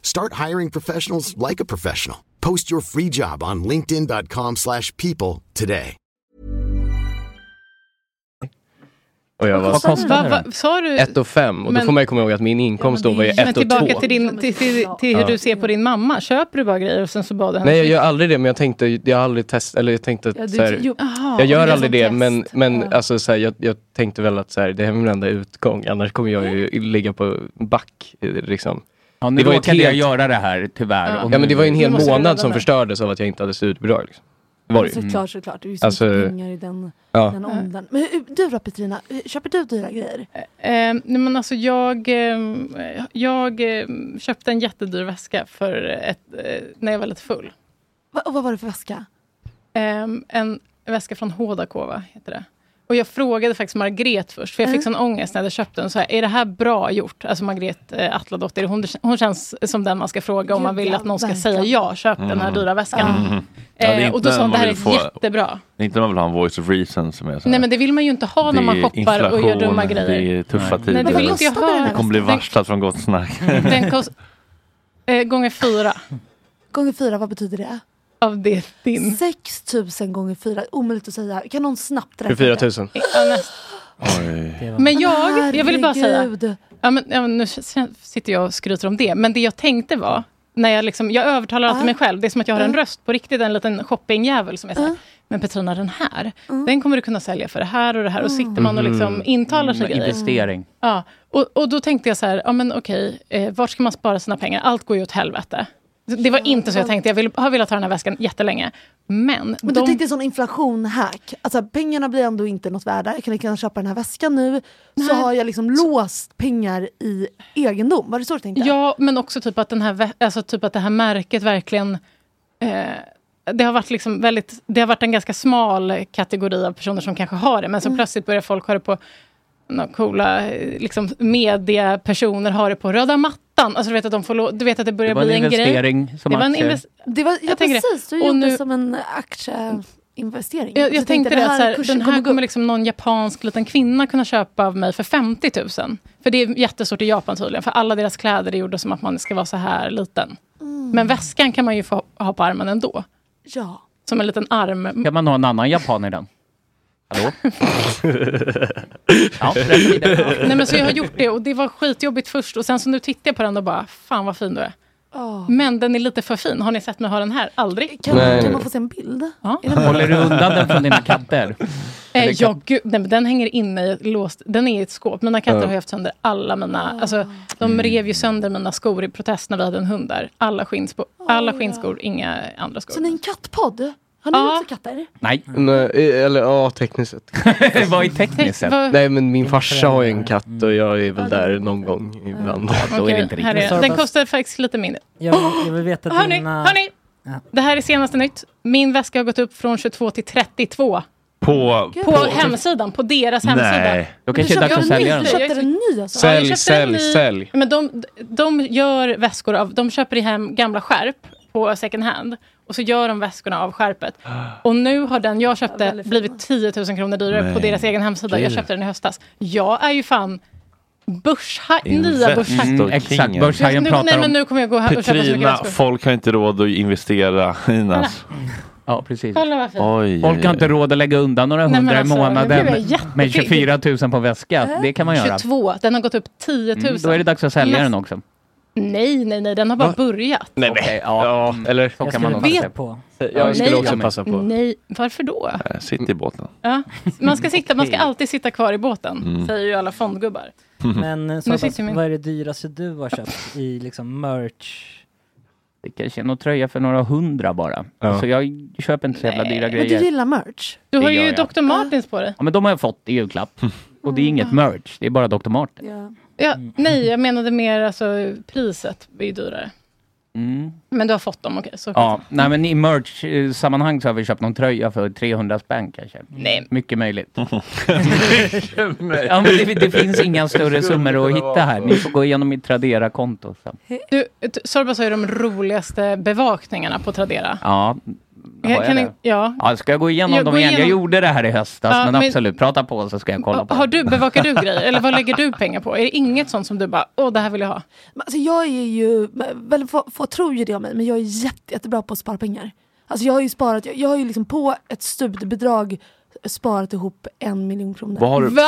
[SPEAKER 14] Start hiring professionals like a professional. Post your free job on linkedin.com/people slash people today.
[SPEAKER 5] Och jag
[SPEAKER 2] Vad kostade Vad- den? vad- sa du-
[SPEAKER 5] Ett och fem. Och
[SPEAKER 2] Men-
[SPEAKER 5] då får man ju komma ihåg att min inkomst då var ju
[SPEAKER 2] Men
[SPEAKER 5] ett och två.
[SPEAKER 2] tillbaka till, din, till, till, till hur
[SPEAKER 5] Ja.
[SPEAKER 2] du ser på din mamma. Köper du bara grejer och sen så bad du henne?
[SPEAKER 5] Nej jag gör aldrig det men jag tänkte, jag har aldrig testat, eller jag tänkte att
[SPEAKER 2] Ja, du-
[SPEAKER 5] så här,
[SPEAKER 2] jo, aha,
[SPEAKER 5] Jag gör
[SPEAKER 2] det är
[SPEAKER 5] aldrig
[SPEAKER 2] som
[SPEAKER 5] det
[SPEAKER 2] test.
[SPEAKER 5] men, men alltså, så här, jag, jag tänkte väl att så här, det här är min enda utgång annars kommer jag ju ligga på back. eh, Liksom.
[SPEAKER 4] Ja, nu
[SPEAKER 5] ju ett
[SPEAKER 4] råkade jag göra det här tyvärr.
[SPEAKER 5] Ja,
[SPEAKER 4] och
[SPEAKER 5] men
[SPEAKER 4] nu-
[SPEAKER 5] det var ju en
[SPEAKER 4] Nu
[SPEAKER 5] hel
[SPEAKER 4] måste du
[SPEAKER 5] månad
[SPEAKER 4] rädda
[SPEAKER 5] som
[SPEAKER 4] mig.
[SPEAKER 5] förstördes av att jag inte hade studiebidrag. Liksom. Det var det ju.
[SPEAKER 12] Såklart, såklart. Det är ju så
[SPEAKER 5] Alltså,
[SPEAKER 12] mycket pengar i den,
[SPEAKER 5] ja.
[SPEAKER 12] den åldern. Men hur- du då Petrina, köper du dyra grejer?
[SPEAKER 2] Eh, nej men alltså jag, ehm, eh, jag ehm, köpte en jättedyr väska för ett, eh, när jag var lite full.
[SPEAKER 12] Va, och vad var det för väska?
[SPEAKER 2] Ehm, en väska från Hodakova heter det. Och jag frågade faktiskt Margret först, för jag fick
[SPEAKER 12] Mm.
[SPEAKER 2] sån ångest när jag hade köpt den. Så här, är det här bra gjort? Alltså Margret eh, Atladottir, hon, hon känns som den man ska fråga om man vill att någon ska säga ja, köp den här
[SPEAKER 1] Mm.
[SPEAKER 2] dyra väskan.
[SPEAKER 1] Mm. Ja, det är
[SPEAKER 2] Eh,
[SPEAKER 1] inte
[SPEAKER 2] och då sa
[SPEAKER 1] den
[SPEAKER 2] hon, det
[SPEAKER 1] man
[SPEAKER 2] här
[SPEAKER 1] vill få-
[SPEAKER 2] är jättebra.
[SPEAKER 1] Det är Inte när man vill ha en voice of reason som är så här.
[SPEAKER 2] Nej men det vill man ju inte ha när
[SPEAKER 1] Det
[SPEAKER 2] man
[SPEAKER 1] är
[SPEAKER 2] shoppar och gör
[SPEAKER 1] inflation,
[SPEAKER 2] dumma grejer.
[SPEAKER 1] Det är tuffa
[SPEAKER 2] Nej, det vill inte jag
[SPEAKER 1] tider.
[SPEAKER 2] ha.
[SPEAKER 1] Det kommer bli varslad från Gott Snack.
[SPEAKER 2] Den kost, eh, gånger fyra
[SPEAKER 12] Gånger fyra, vad betyder det?
[SPEAKER 2] av det din.
[SPEAKER 12] 6 000 gånger fyra, omöjligt att säga. Kan någon snabbt räkna?
[SPEAKER 5] 24 000.
[SPEAKER 2] Ja, näst- Men jag, jag ville bara säga...
[SPEAKER 12] Herregud.
[SPEAKER 2] Ja, men, ja, men nu s- sitter jag och skryter om det, men det jag tänkte var... När jag, liksom, jag övertalar alltid mig själv. Det är som att jag har en
[SPEAKER 12] Ah.
[SPEAKER 2] röst på riktigt, en liten shoppingjävel som är såhär, men Petrina den här, den kommer du kunna sälja för det här och det här. Och sitter man och liksom intalar sig
[SPEAKER 4] Mm,
[SPEAKER 2] grejer.
[SPEAKER 4] Investering.
[SPEAKER 2] Ja, och, och då tänkte jag så här, ja men okej, eh, vart ska man spara sina pengar? Allt går ju åt helvete. Det var inte så jag tänkte, jag vill, har velat ha den här väskan jättelänge. Men,
[SPEAKER 12] Men
[SPEAKER 2] de,
[SPEAKER 12] du tänkte sån inflationhack. Alltså pengarna blir ändå inte något värda. Jag kan lika gärna köpa den här väskan nu. Så har jag liksom låst pengar i egendom. Var det så du tänkte?
[SPEAKER 2] ja, men också typ att, den här, vä- alltså typ att det här märket verkligen... Eh, det har, varit liksom väldigt, det har varit en ganska smal kategori av personer som kanske har det, men så
[SPEAKER 12] Mm.
[SPEAKER 2] plötsligt börjar folk ha det på några coola eh, liksom, mediepersoner, har det på röda mattan. Alltså, du, vet att de får, lå- du vet att det börjar
[SPEAKER 4] Det var en
[SPEAKER 2] bli en
[SPEAKER 4] investering
[SPEAKER 2] grej.
[SPEAKER 4] som
[SPEAKER 2] det var en
[SPEAKER 4] aktier.
[SPEAKER 2] invest-
[SPEAKER 12] Det var, ja,
[SPEAKER 2] Jag tänker det.
[SPEAKER 12] precis, du
[SPEAKER 2] Och
[SPEAKER 12] gjorde
[SPEAKER 2] nu-
[SPEAKER 12] som en aktieinvestering. Alltså,
[SPEAKER 2] Jag,
[SPEAKER 12] Så
[SPEAKER 2] jag tänkte det, att så här,
[SPEAKER 12] kursen
[SPEAKER 2] den här
[SPEAKER 12] gå
[SPEAKER 2] kommer liksom någon japansk liten kvinna kunna köpa av mig för 50 000. För det är jättestort i Japan tydligen, för alla deras kläder är gjorda som att man ska vara så här liten. Men väskan kan man ju få ha på armen ändå.
[SPEAKER 12] Mm. Ja.
[SPEAKER 2] Som en liten arm.
[SPEAKER 4] Kan man ha en annan japan i den?
[SPEAKER 5] (laughs)
[SPEAKER 4] Hallå? ja, rätt vidare.
[SPEAKER 2] Nej, men så jag har gjort det och det var skitjobbigt först och sen så nu tittar jag på den och bara, fan vad fin du är.
[SPEAKER 12] Åh.
[SPEAKER 2] Men den är lite för fin. Har ni sett mig ha den här? Aldrig.
[SPEAKER 12] Ah. Kan,
[SPEAKER 4] Nej,
[SPEAKER 12] kan
[SPEAKER 4] nej.
[SPEAKER 12] man få se en bild?
[SPEAKER 2] Ja.
[SPEAKER 12] Är den-
[SPEAKER 4] Håller du undan den från dina katter?
[SPEAKER 2] Eh,
[SPEAKER 4] Eller
[SPEAKER 2] ja, gud, nej, men den hänger inne i ett låst... Den är i ett skåp. Mina katter
[SPEAKER 4] Ja.
[SPEAKER 2] har ju haft sönder alla mina...
[SPEAKER 12] Ah.
[SPEAKER 2] Alltså, de
[SPEAKER 5] Mm.
[SPEAKER 2] rev ju sönder mina skor i protest när vi hade en hund där. Alla, skinnsko, alla skinnskor, inga andra skor.
[SPEAKER 12] Ah, Så ni är en kattpodd? Har ni också katter?
[SPEAKER 4] Nej.
[SPEAKER 5] eh, eller ja,
[SPEAKER 4] (laughs)
[SPEAKER 5] tekniskt sett.
[SPEAKER 4] Vad är tekniskt sett? vad-
[SPEAKER 5] Nej, men min farsa har ju en katt och jag är väl där någon gång ibland.
[SPEAKER 2] Okej, här är, den kostar faktiskt lite mindre.
[SPEAKER 6] Jag vill, jag vill veta
[SPEAKER 2] Oh, hörni,
[SPEAKER 6] dina...
[SPEAKER 2] hörni! Det här är senaste nytt. Min väska har gått upp från 22 till 32.
[SPEAKER 1] På...
[SPEAKER 2] På hemsidan, på deras hemsida.
[SPEAKER 1] Nej. Då kanske det är dags att
[SPEAKER 2] jag-
[SPEAKER 1] sälja
[SPEAKER 2] jag-
[SPEAKER 1] den.
[SPEAKER 12] Köpte den ny alltså?
[SPEAKER 2] Ja,
[SPEAKER 1] Sälj,
[SPEAKER 2] jag köpte en
[SPEAKER 1] sälj,
[SPEAKER 2] ny-
[SPEAKER 1] sälj.
[SPEAKER 2] Men de, de gör väskor av, de köper hem gamla skärp på second hand och så gör de väskorna av skärpet. Och nu har den jag köpte blivit 10 000 kronor dyrare på
[SPEAKER 4] Nej.
[SPEAKER 2] deras egen hemsida. Jag
[SPEAKER 4] Dyr.
[SPEAKER 2] köpte den i höstas. Jag är ju fan börshaj, nya börshajen.
[SPEAKER 1] Investor
[SPEAKER 4] Mm, exakt,
[SPEAKER 1] King.
[SPEAKER 4] börshajen
[SPEAKER 2] Nu-
[SPEAKER 4] pratar
[SPEAKER 2] nej,
[SPEAKER 4] om.
[SPEAKER 2] men nu kommer jag gå hem och köpa så mycket
[SPEAKER 1] Petrina,
[SPEAKER 2] väskor.
[SPEAKER 1] folk har inte råd att investera i Inas.
[SPEAKER 4] Ja, precis.
[SPEAKER 2] Kolla vad fint.
[SPEAKER 1] Oj,
[SPEAKER 4] Folk
[SPEAKER 1] oj,
[SPEAKER 4] har
[SPEAKER 1] oj.
[SPEAKER 4] inte råd att lägga undan några
[SPEAKER 2] Nej, men
[SPEAKER 4] hundra i
[SPEAKER 2] alltså, nu blir
[SPEAKER 4] månaden
[SPEAKER 2] jag jättepigg.
[SPEAKER 4] med 24 000 på väska. Det kan man göra.
[SPEAKER 2] 22, Äh? den har gått upp 10 000.
[SPEAKER 4] Mm, då är det dags att sälja
[SPEAKER 2] Näst-
[SPEAKER 4] den också.
[SPEAKER 2] Nej, nej, nej, den har bara börjat.
[SPEAKER 5] Nej, nej. Ja,
[SPEAKER 4] Mm.
[SPEAKER 5] eller så
[SPEAKER 4] kan man nog
[SPEAKER 2] Vet-
[SPEAKER 4] passa på.
[SPEAKER 5] Jag skulle
[SPEAKER 2] Nej,
[SPEAKER 5] också
[SPEAKER 2] men-
[SPEAKER 5] passa på.
[SPEAKER 2] Nej, varför då?
[SPEAKER 1] Eh, Sitt i båten.
[SPEAKER 2] Ja. Man, ska sitta, man ska
[SPEAKER 4] Mm.
[SPEAKER 1] Okej.
[SPEAKER 2] alltid sitta kvar i båten,
[SPEAKER 1] Mm.
[SPEAKER 2] säger ju alla fondgubbar.
[SPEAKER 7] Mm.
[SPEAKER 6] Men eh,
[SPEAKER 2] Nu
[SPEAKER 6] Sara,
[SPEAKER 2] sitter vi med-
[SPEAKER 6] vad är det dyraste du har köpt i liksom merch?
[SPEAKER 4] Det kanske är någon tröja för några hundra bara. Så jag köper inte så jävla dyra
[SPEAKER 12] Men du
[SPEAKER 4] grejer.
[SPEAKER 12] gillar merch?
[SPEAKER 2] Du har
[SPEAKER 4] Det
[SPEAKER 2] ju
[SPEAKER 4] gör jag.
[SPEAKER 2] Dr. Martins på dig.
[SPEAKER 4] Ja, men de har jag fått i
[SPEAKER 5] (laughs)
[SPEAKER 4] julklapp. Och det är inget merch, det är bara Dr. Martens.
[SPEAKER 2] Ja, nej, jag menade mer alltså priset är ju dyrare.
[SPEAKER 4] Mm.
[SPEAKER 2] Men du har fått dem, okej. så
[SPEAKER 4] Ja, nej men i merch-sammanhang så har vi köpt någon tröja för 300 spänn kanske.
[SPEAKER 2] Nej.
[SPEAKER 4] Mycket
[SPEAKER 12] (laughs)
[SPEAKER 4] möjligt. ja, men det, det finns inga större summor att hitta här. Ni får gå igenom mitt Tradera-konto sen.
[SPEAKER 2] Du, t- Sorbas har ju de roligaste bevakningarna på Tradera.
[SPEAKER 4] Ja, har jag
[SPEAKER 2] Kan ni-
[SPEAKER 4] det?
[SPEAKER 2] ja.
[SPEAKER 4] Ja, ska jag gå igenom
[SPEAKER 2] Jag
[SPEAKER 4] dem
[SPEAKER 2] går
[SPEAKER 4] igen? Jag
[SPEAKER 2] igenom-
[SPEAKER 4] gjorde det här i höstas,
[SPEAKER 2] Ja,
[SPEAKER 4] men,
[SPEAKER 2] men-
[SPEAKER 4] absolut, prata på så ska jag kolla på
[SPEAKER 2] Har du, bevakar du grejer? Eller vad lägger du pengar på? Är det inget sånt som du bara, åh, det här vill jag ha?
[SPEAKER 12] Men Alltså jag är ju, väl få, få tror ju det om mig, men jag är jätte, jättebra på att spara pengar. Alltså jag har ju sparat, jag, jag har ju liksom på ett studiebidrag sparat ihop en miljon kronor.
[SPEAKER 1] Vad har du-
[SPEAKER 2] Va?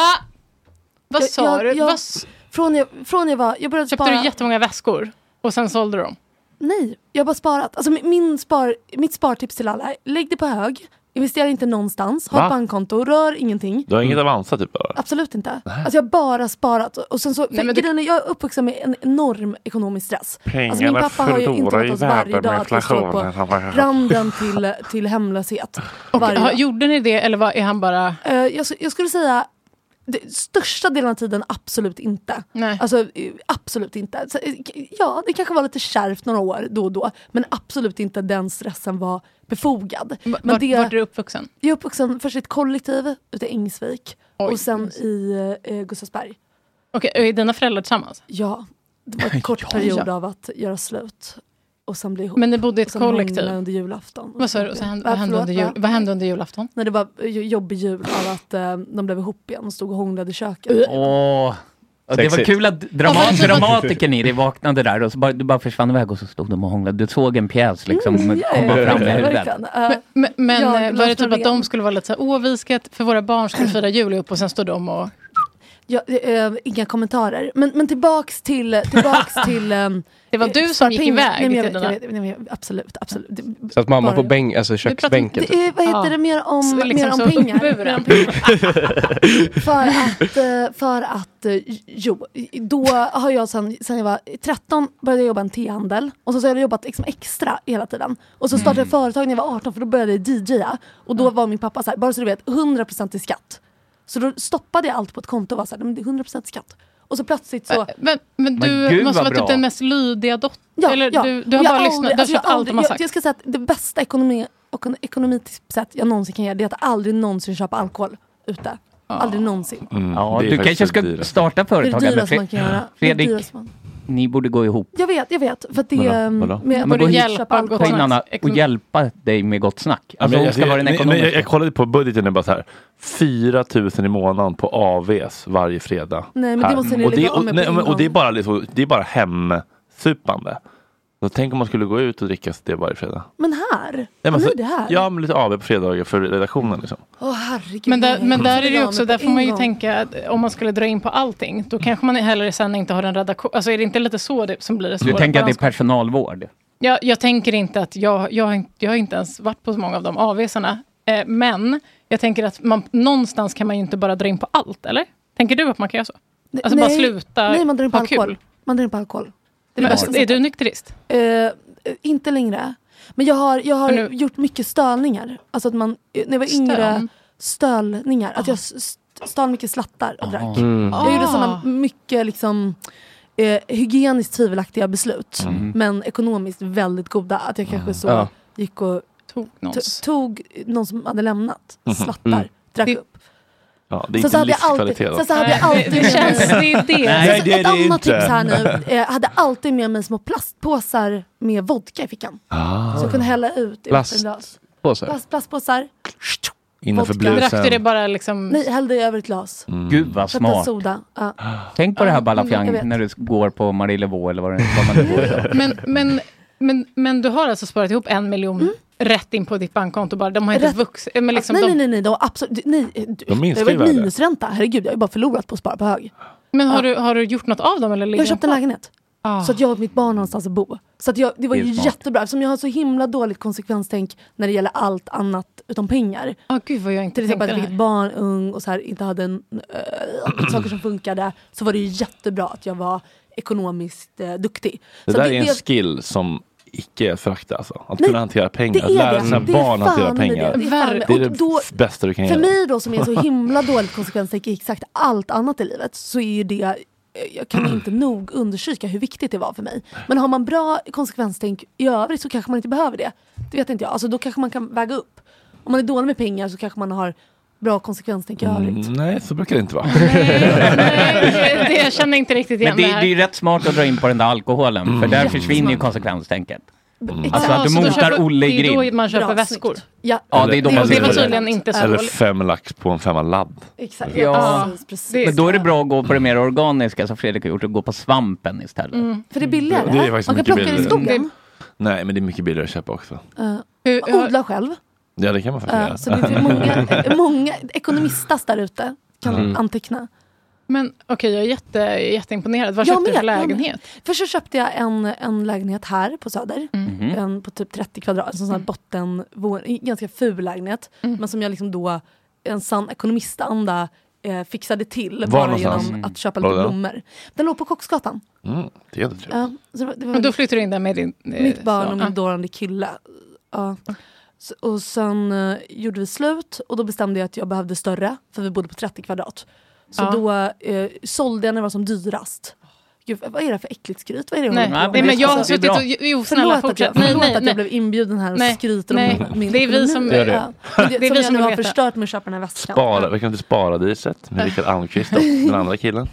[SPEAKER 2] Vad
[SPEAKER 12] Jag-
[SPEAKER 2] sa
[SPEAKER 12] jag-
[SPEAKER 2] du?
[SPEAKER 12] jag-
[SPEAKER 2] Vad s-
[SPEAKER 12] Från jag, från jag var, jag började
[SPEAKER 2] Köpte
[SPEAKER 12] spara.
[SPEAKER 2] du jättemånga väskor och sen sålde du dem?
[SPEAKER 12] Nej, jag har bara sparat. Alltså min- min spar, mitt spartips till alla, är, lägg det på hög, investera inte någonstans, ha
[SPEAKER 1] Va?
[SPEAKER 12] ett bankkonto, rör ingenting.
[SPEAKER 1] Du har inget Avanza typ? eller?
[SPEAKER 12] Absolut inte. Alltså jag har bara sparat. Och sen så,
[SPEAKER 2] Nej, men
[SPEAKER 12] för
[SPEAKER 2] det-
[SPEAKER 12] grejen är, jag är uppvuxen med en enorm ekonomisk stress. Alltså min
[SPEAKER 1] Pengarna
[SPEAKER 12] pappa har ju
[SPEAKER 1] förlorar
[SPEAKER 12] intervjuat
[SPEAKER 1] i
[SPEAKER 12] oss varje
[SPEAKER 1] värde
[SPEAKER 12] dag
[SPEAKER 1] med
[SPEAKER 12] att vi står på
[SPEAKER 1] inflationen.
[SPEAKER 12] randen till, till
[SPEAKER 2] (laughs)
[SPEAKER 12] hemlöshet. Varje
[SPEAKER 2] Ja,
[SPEAKER 12] dag.
[SPEAKER 2] gjorde ni det eller vad, är han bara...
[SPEAKER 12] Eh, jag, sk- jag skulle säga det, största delen av tiden absolut inte.
[SPEAKER 2] Nej.
[SPEAKER 12] Alltså eh, absolut inte. Så, eh, k- ja, det kanske var lite kärvt några år då och då. Men absolut inte den stressen var befogad. Men
[SPEAKER 2] Vart, vart är du uppvuxen?
[SPEAKER 12] jag är uppvuxen först i ett kollektiv ute i Ängsvik och sen i eh, Gustavsberg.
[SPEAKER 2] Okej, är dina föräldrar tillsammans?
[SPEAKER 12] Ja, det var en kort period av att göra slut och sen bli ihop.
[SPEAKER 2] Men ni bodde i ett
[SPEAKER 12] Och sen
[SPEAKER 2] kollektiv?
[SPEAKER 12] hångla under julafton.
[SPEAKER 2] Vad sa du? Och sen hände-
[SPEAKER 12] Va,
[SPEAKER 2] vad hände
[SPEAKER 12] förlåt, äh.
[SPEAKER 2] under jul-
[SPEAKER 12] va?
[SPEAKER 2] vad hände under julafton?
[SPEAKER 12] När det var eh, jobbig jul av att eh, de blev ihop igen och stod och hånglade i köket.
[SPEAKER 4] Åh, Ja, det var
[SPEAKER 7] Sexigt.
[SPEAKER 4] kul att drama
[SPEAKER 7] Ja, men typ-
[SPEAKER 4] dramatikern i dig vaknade där och så bara, du bara försvann iväg och så stod de och hånglade. Du såg en pjäs liksom
[SPEAKER 12] Mm, ja,
[SPEAKER 4] komma
[SPEAKER 12] ja,
[SPEAKER 4] fram i
[SPEAKER 12] verkligen,
[SPEAKER 4] huvudet.
[SPEAKER 12] verkligen. Eh,
[SPEAKER 2] Men, men
[SPEAKER 12] jag
[SPEAKER 2] eh, var det
[SPEAKER 12] låter
[SPEAKER 2] typ att
[SPEAKER 12] ren.
[SPEAKER 2] de skulle vara lite så här, åh vi ska för våra barn skulle fira jul ihop och sen står de och...
[SPEAKER 12] Ja, eh, inga kommentarer. Men, men tillbaks till...
[SPEAKER 2] (laughs)
[SPEAKER 12] Tillbaks till eh,
[SPEAKER 2] det var du som gick iväg
[SPEAKER 12] Nej, men jag
[SPEAKER 2] till
[SPEAKER 12] vet, jag
[SPEAKER 2] dina-
[SPEAKER 12] vet, nej, men jag, absolut, absolut. Det,
[SPEAKER 5] Så att mamma
[SPEAKER 12] Bara
[SPEAKER 5] på
[SPEAKER 12] jag.
[SPEAKER 5] bänk, alltså köksbänken.
[SPEAKER 12] det är, vad heter
[SPEAKER 2] Ja.
[SPEAKER 12] det, mer om,
[SPEAKER 2] Så liksom
[SPEAKER 12] mer om
[SPEAKER 2] så
[SPEAKER 12] pengar?
[SPEAKER 2] uppburen.
[SPEAKER 12] Mer om
[SPEAKER 2] (laughs)
[SPEAKER 12] pengar. för att, eh, för att eh, jo, då har jag sen, sen jag var 13 började jag jobba i en tehandel och så, så har jag jobbat liksom extra hela tiden. Och så startade jag företag när jag var 18 för då började jag DJa och då var min pappa så här, bara så du vet, 100% i skatt. Så då stoppade jag allt på ett konto och var så här, "Men det är 100% i skatt. Och så plötsligt så...
[SPEAKER 2] Men, men du
[SPEAKER 12] Men gud,
[SPEAKER 2] måste
[SPEAKER 12] vad
[SPEAKER 2] vara typ
[SPEAKER 12] bra.
[SPEAKER 2] den mest lydiga dottern.
[SPEAKER 12] Ja,
[SPEAKER 2] Eller
[SPEAKER 12] ja.
[SPEAKER 2] du, du har
[SPEAKER 12] Jag
[SPEAKER 2] bara lyssnat,
[SPEAKER 12] aldrig-
[SPEAKER 2] du har
[SPEAKER 12] alltså, jag
[SPEAKER 2] köpt allt de har
[SPEAKER 12] aldrig-
[SPEAKER 2] sagt.
[SPEAKER 12] Jag, jag ska säga att det bästa ekonomi och ekonomitipset jag någonsin kan ge det är att aldrig någonsin köpa alkohol ute. Aldrig någonsin.
[SPEAKER 4] Mm. ja,
[SPEAKER 7] det är
[SPEAKER 4] du
[SPEAKER 7] faktiskt
[SPEAKER 4] kanske ska
[SPEAKER 7] det dyraste.
[SPEAKER 4] starta
[SPEAKER 12] Det är det
[SPEAKER 4] företag. Anna.
[SPEAKER 12] dyraste
[SPEAKER 4] Fre-
[SPEAKER 12] man kan göra. Det är det
[SPEAKER 4] Fredrik,
[SPEAKER 12] dyraste man-
[SPEAKER 4] ni borde gå ihop.
[SPEAKER 12] Jag vet, jag vet. För att det
[SPEAKER 4] Vadå?
[SPEAKER 12] är...
[SPEAKER 4] Vadå?
[SPEAKER 12] med-
[SPEAKER 4] Ja, men
[SPEAKER 12] med
[SPEAKER 4] gå
[SPEAKER 12] att
[SPEAKER 4] hit,
[SPEAKER 12] köpa alkohol.
[SPEAKER 4] Kom in Anna och hjälpa dig med gott snack. Alltså,
[SPEAKER 1] men
[SPEAKER 4] hon ska
[SPEAKER 1] jag,
[SPEAKER 4] vara den
[SPEAKER 1] men- men jag,
[SPEAKER 4] ekonomiska.
[SPEAKER 1] jag kollade på budgeten, det är bara så här. 4 000 i månaden på AVs varje fredag.
[SPEAKER 12] Nej, men det
[SPEAKER 1] här.
[SPEAKER 12] måste ni
[SPEAKER 1] och, det,
[SPEAKER 12] lägga av
[SPEAKER 1] och,
[SPEAKER 12] med på
[SPEAKER 1] nej,
[SPEAKER 12] en
[SPEAKER 1] men- och
[SPEAKER 12] gång.
[SPEAKER 1] det är bara, liksom, det är bara hemsupande. Så tänk om man skulle gå ut och dricka det varje fredag.
[SPEAKER 12] Men här?
[SPEAKER 1] Nej, men
[SPEAKER 12] nu
[SPEAKER 1] så-
[SPEAKER 12] det här?
[SPEAKER 1] Ja, men lite AV på fredagar för redaktionen. Liksom.
[SPEAKER 12] Åh herregud.
[SPEAKER 2] Men där,
[SPEAKER 12] vad
[SPEAKER 2] men
[SPEAKER 12] jag
[SPEAKER 2] där
[SPEAKER 12] vill
[SPEAKER 2] är det
[SPEAKER 12] ha
[SPEAKER 2] ju
[SPEAKER 12] mig
[SPEAKER 2] också,
[SPEAKER 12] Mm. på Mm.
[SPEAKER 2] där får
[SPEAKER 12] en
[SPEAKER 2] man ju
[SPEAKER 12] gång.
[SPEAKER 2] tänka att om man skulle dra in på allting, då kanske man hellre sen inte har en redaktion. Alltså är det inte lite så det, som blir det
[SPEAKER 4] Du
[SPEAKER 2] svåra?
[SPEAKER 4] tänker att det är
[SPEAKER 2] balansgången?
[SPEAKER 4] personalvård?
[SPEAKER 2] jag, jag tänker inte att jag, jag, har inte- jag har inte ens varit på så många av de avvisarna. Eh, men jag tänker att man, någonstans kan man ju inte bara dra in på allt, eller? Tänker du att man kan göra så?
[SPEAKER 12] Nej,
[SPEAKER 2] Alltså bara
[SPEAKER 12] nej.
[SPEAKER 2] sluta
[SPEAKER 12] Nej, man drar in på
[SPEAKER 2] ha kul.
[SPEAKER 12] alkohol. Man drar in på alkohol. Det är
[SPEAKER 2] Men,
[SPEAKER 12] det bästa
[SPEAKER 2] är du nykterist?
[SPEAKER 12] Eh, eh, inte längre. Men jag har, jag har
[SPEAKER 2] Men
[SPEAKER 12] gjort mycket stölningar. Alltså att man, eh, när jag var
[SPEAKER 2] Stön?
[SPEAKER 12] yngre, stölningar. Att jag s- stal mycket slattar och drack.
[SPEAKER 15] Mm.
[SPEAKER 12] Jag gjorde
[SPEAKER 15] Ah.
[SPEAKER 12] sådana mycket liksom, eh, hygieniskt tvivelaktiga beslut.
[SPEAKER 15] Mm.
[SPEAKER 12] Men ekonomiskt väldigt goda. Att jag kanske så
[SPEAKER 15] Ja.
[SPEAKER 12] gick och
[SPEAKER 2] tog,
[SPEAKER 1] någons.
[SPEAKER 12] tog någon som hade lämnat.
[SPEAKER 1] Mhm.
[SPEAKER 12] Slattar.
[SPEAKER 1] Mm.
[SPEAKER 12] Drack upp.
[SPEAKER 1] Ja, det är
[SPEAKER 12] Sen så
[SPEAKER 1] inte
[SPEAKER 12] hade jag alltid-
[SPEAKER 1] livskvalitet.
[SPEAKER 12] sen så hade jag
[SPEAKER 2] Nej,
[SPEAKER 12] alltid
[SPEAKER 2] det
[SPEAKER 12] med
[SPEAKER 2] känns-
[SPEAKER 12] mig-
[SPEAKER 2] det Alltså, är det.
[SPEAKER 1] Nej,
[SPEAKER 12] Sen så
[SPEAKER 1] det är
[SPEAKER 12] ett
[SPEAKER 1] det
[SPEAKER 12] annat
[SPEAKER 1] inte.
[SPEAKER 12] tips här nu. Jag hade alltid med mig små plastpåsar med vodka i fickan.
[SPEAKER 1] Ah.
[SPEAKER 12] Så jag kunde hälla ut i
[SPEAKER 1] Plast-
[SPEAKER 12] vattenglas.
[SPEAKER 1] Påsar?
[SPEAKER 12] Plast, plastpåsar.
[SPEAKER 1] Innanför
[SPEAKER 12] Vodka.
[SPEAKER 1] blusen. Mm.
[SPEAKER 2] Drack du det bara liksom...
[SPEAKER 12] Nej, hällde jag över ett glas.
[SPEAKER 4] Gud vad
[SPEAKER 12] Satte
[SPEAKER 4] smart.
[SPEAKER 12] soda.
[SPEAKER 1] (laughs)
[SPEAKER 12] Ja.
[SPEAKER 4] Tänk på det här
[SPEAKER 12] jag vet.
[SPEAKER 4] Balafjang när du går på Marillevaux eller vad det vad man nu går på.
[SPEAKER 2] Men, men, men, men du har alltså sparat ihop en miljon rätt in på ditt bankkonto bara? De har inte
[SPEAKER 12] Mm. Rätt-
[SPEAKER 2] vuxit? Men liksom
[SPEAKER 12] Alltså, nej,
[SPEAKER 2] de,
[SPEAKER 12] nej, nej, nej, de, absolut, nej. Du,
[SPEAKER 2] De
[SPEAKER 12] det
[SPEAKER 2] minskar
[SPEAKER 12] var
[SPEAKER 2] ju
[SPEAKER 12] ju
[SPEAKER 2] värde.
[SPEAKER 12] minusränta. Herregud, jag har ju bara förlorat på att spara på hög.
[SPEAKER 2] Men har, du, har du gjort något av dem? Eller ligger
[SPEAKER 12] Jag köpte en
[SPEAKER 2] de kvar?
[SPEAKER 12] lägenhet.
[SPEAKER 2] Ah.
[SPEAKER 12] Så att jag och mitt barn har någonstans att bo. Så att jag, det var
[SPEAKER 2] Det är
[SPEAKER 12] ju
[SPEAKER 2] smart.
[SPEAKER 12] jättebra eftersom jag har så himla dåligt konsekvenstänk när det gäller allt annat utom pengar.
[SPEAKER 2] Ah, gud vad jag inte
[SPEAKER 12] Till exempel
[SPEAKER 2] tänkte
[SPEAKER 12] att
[SPEAKER 2] det
[SPEAKER 12] jag fick ett typ barn ung och så här, inte hade en, eh, saker som funkade. Så var det ju jättebra att jag var ekonomiskt eh, duktig.
[SPEAKER 1] Det
[SPEAKER 12] så
[SPEAKER 1] där
[SPEAKER 12] att
[SPEAKER 1] är en
[SPEAKER 12] det,
[SPEAKER 1] skill som icke är att förakta alltså. Att
[SPEAKER 12] Nej,
[SPEAKER 1] kunna hantera
[SPEAKER 12] det
[SPEAKER 1] pengar,
[SPEAKER 12] är
[SPEAKER 1] att lära
[SPEAKER 12] det.
[SPEAKER 1] sina
[SPEAKER 12] Det är
[SPEAKER 1] barn att hantera
[SPEAKER 12] fan med det.
[SPEAKER 1] pengar.
[SPEAKER 12] Det är fan med-
[SPEAKER 1] det är det
[SPEAKER 12] och då-
[SPEAKER 1] f- bästa du kan
[SPEAKER 12] för
[SPEAKER 1] göra.
[SPEAKER 12] mig då som är så himla dåligt konsekvenstänk i exakt allt annat i livet så är ju det eh, jag kan inte nog understryka hur viktigt det var för mig. Men har man bra konsekvenstänk i övrigt så kanske man inte behöver det. Det vet inte jag. Alltså, då kanske man kan väga upp. Om man är dålig med pengar så kanske man har bra konsekvenstänk i övrigt.
[SPEAKER 1] Mm, (laughs) nej, så brukar det inte vara.
[SPEAKER 2] Det, jag känner inte riktigt igen
[SPEAKER 4] Men det,
[SPEAKER 2] det,
[SPEAKER 4] det är
[SPEAKER 2] här.
[SPEAKER 4] ju rätt smart att dra in på den där alkoholen,
[SPEAKER 1] Mm.
[SPEAKER 4] för där
[SPEAKER 2] Jättesmart.
[SPEAKER 4] försvinner ju konsekvenstänket. Alltså
[SPEAKER 2] Ja,
[SPEAKER 4] att du
[SPEAKER 2] så då
[SPEAKER 4] motar
[SPEAKER 2] köper-
[SPEAKER 4] Olle i
[SPEAKER 2] Det är
[SPEAKER 4] grind.
[SPEAKER 2] då man köper
[SPEAKER 12] Bra,
[SPEAKER 2] väskor.
[SPEAKER 12] Ja,
[SPEAKER 4] Ja, det är då man
[SPEAKER 2] det var
[SPEAKER 4] köper
[SPEAKER 2] tydligen inte så
[SPEAKER 1] Eller
[SPEAKER 2] dåligt.
[SPEAKER 1] fem lax på en femma ladd.
[SPEAKER 12] Exakt.
[SPEAKER 4] Ja.
[SPEAKER 12] Precis, precis.
[SPEAKER 4] Men då är det bra att gå på det mer organiska som Fredrik har gjort och gå på svampen istället.
[SPEAKER 12] Mm. För det är billigare.
[SPEAKER 1] Det är faktiskt
[SPEAKER 12] man kan
[SPEAKER 1] mycket
[SPEAKER 12] plocka det i
[SPEAKER 1] billigare.
[SPEAKER 12] skogen.
[SPEAKER 1] Nej, men det är mycket billigare att köpa också.
[SPEAKER 12] Uh, odla själv.
[SPEAKER 1] Ja, det kan man faktiskt
[SPEAKER 12] Eh,
[SPEAKER 1] göra.
[SPEAKER 12] så det är många, många ekonomistas där ute kan
[SPEAKER 1] Mm.
[SPEAKER 12] anteckna.
[SPEAKER 2] Men okej, jag är jätte, jätteimponerad. Vad
[SPEAKER 12] Jag
[SPEAKER 2] köpte du
[SPEAKER 12] med,
[SPEAKER 2] för
[SPEAKER 12] jag med.
[SPEAKER 2] lägenhet?
[SPEAKER 12] Först så köpte jag en, en lägenhet här på Söder.
[SPEAKER 2] Mhm.
[SPEAKER 12] En på typ 30 kvadrat. En sån
[SPEAKER 2] Mm.
[SPEAKER 12] här bottenvåning. Ganska ful lägenhet. Men som jag liksom då, en sann ekonomistanda, eh, fixade till.
[SPEAKER 1] Var
[SPEAKER 12] bara
[SPEAKER 1] någonstans?
[SPEAKER 12] genom
[SPEAKER 1] Mm.
[SPEAKER 12] att köpa
[SPEAKER 1] Var
[SPEAKER 12] lite
[SPEAKER 1] det?
[SPEAKER 12] blommor. Den låg på Koksgatan.
[SPEAKER 1] Mm, det är det.
[SPEAKER 12] Ja, så det var- det var
[SPEAKER 2] Men då
[SPEAKER 12] väldigt-
[SPEAKER 2] flyttade du in där med din... eh,
[SPEAKER 12] Mitt barn
[SPEAKER 2] son.
[SPEAKER 12] och
[SPEAKER 2] Ah.
[SPEAKER 12] min dåvarande kille. Ja. Så, och sen eh, gjorde vi slut och då bestämde jag att jag behövde större för vi bodde på 30 kvadrat. Så
[SPEAKER 2] Ja.
[SPEAKER 12] då eh, sålde jag när det var som dyrast. Gud, vad är det för äckligt skryt? Vad är det jag
[SPEAKER 2] Nej,
[SPEAKER 12] håller på
[SPEAKER 2] nej,
[SPEAKER 12] med?
[SPEAKER 2] men jag har
[SPEAKER 12] Alltså,
[SPEAKER 2] suttit och- jo, snälla,
[SPEAKER 12] förlåt
[SPEAKER 2] fortsätt.
[SPEAKER 12] Att jag,
[SPEAKER 2] Nej,
[SPEAKER 12] förlåt
[SPEAKER 2] nej,
[SPEAKER 12] att
[SPEAKER 2] nej.
[SPEAKER 12] jag blev inbjuden här och
[SPEAKER 2] Nej,
[SPEAKER 12] skryter om
[SPEAKER 2] nej.
[SPEAKER 12] min
[SPEAKER 2] Det är vi
[SPEAKER 12] ekonomi.
[SPEAKER 2] som-
[SPEAKER 1] Gör det.
[SPEAKER 12] Ja. Men
[SPEAKER 2] (laughs) Det är
[SPEAKER 12] som
[SPEAKER 2] vi
[SPEAKER 12] jag
[SPEAKER 2] som
[SPEAKER 12] nu
[SPEAKER 2] vill
[SPEAKER 12] har
[SPEAKER 2] veta.
[SPEAKER 12] förstört med att köpa den här väskan.
[SPEAKER 1] Spara, vi kan inte spara diset med Rickard Almqvist och den andra killen.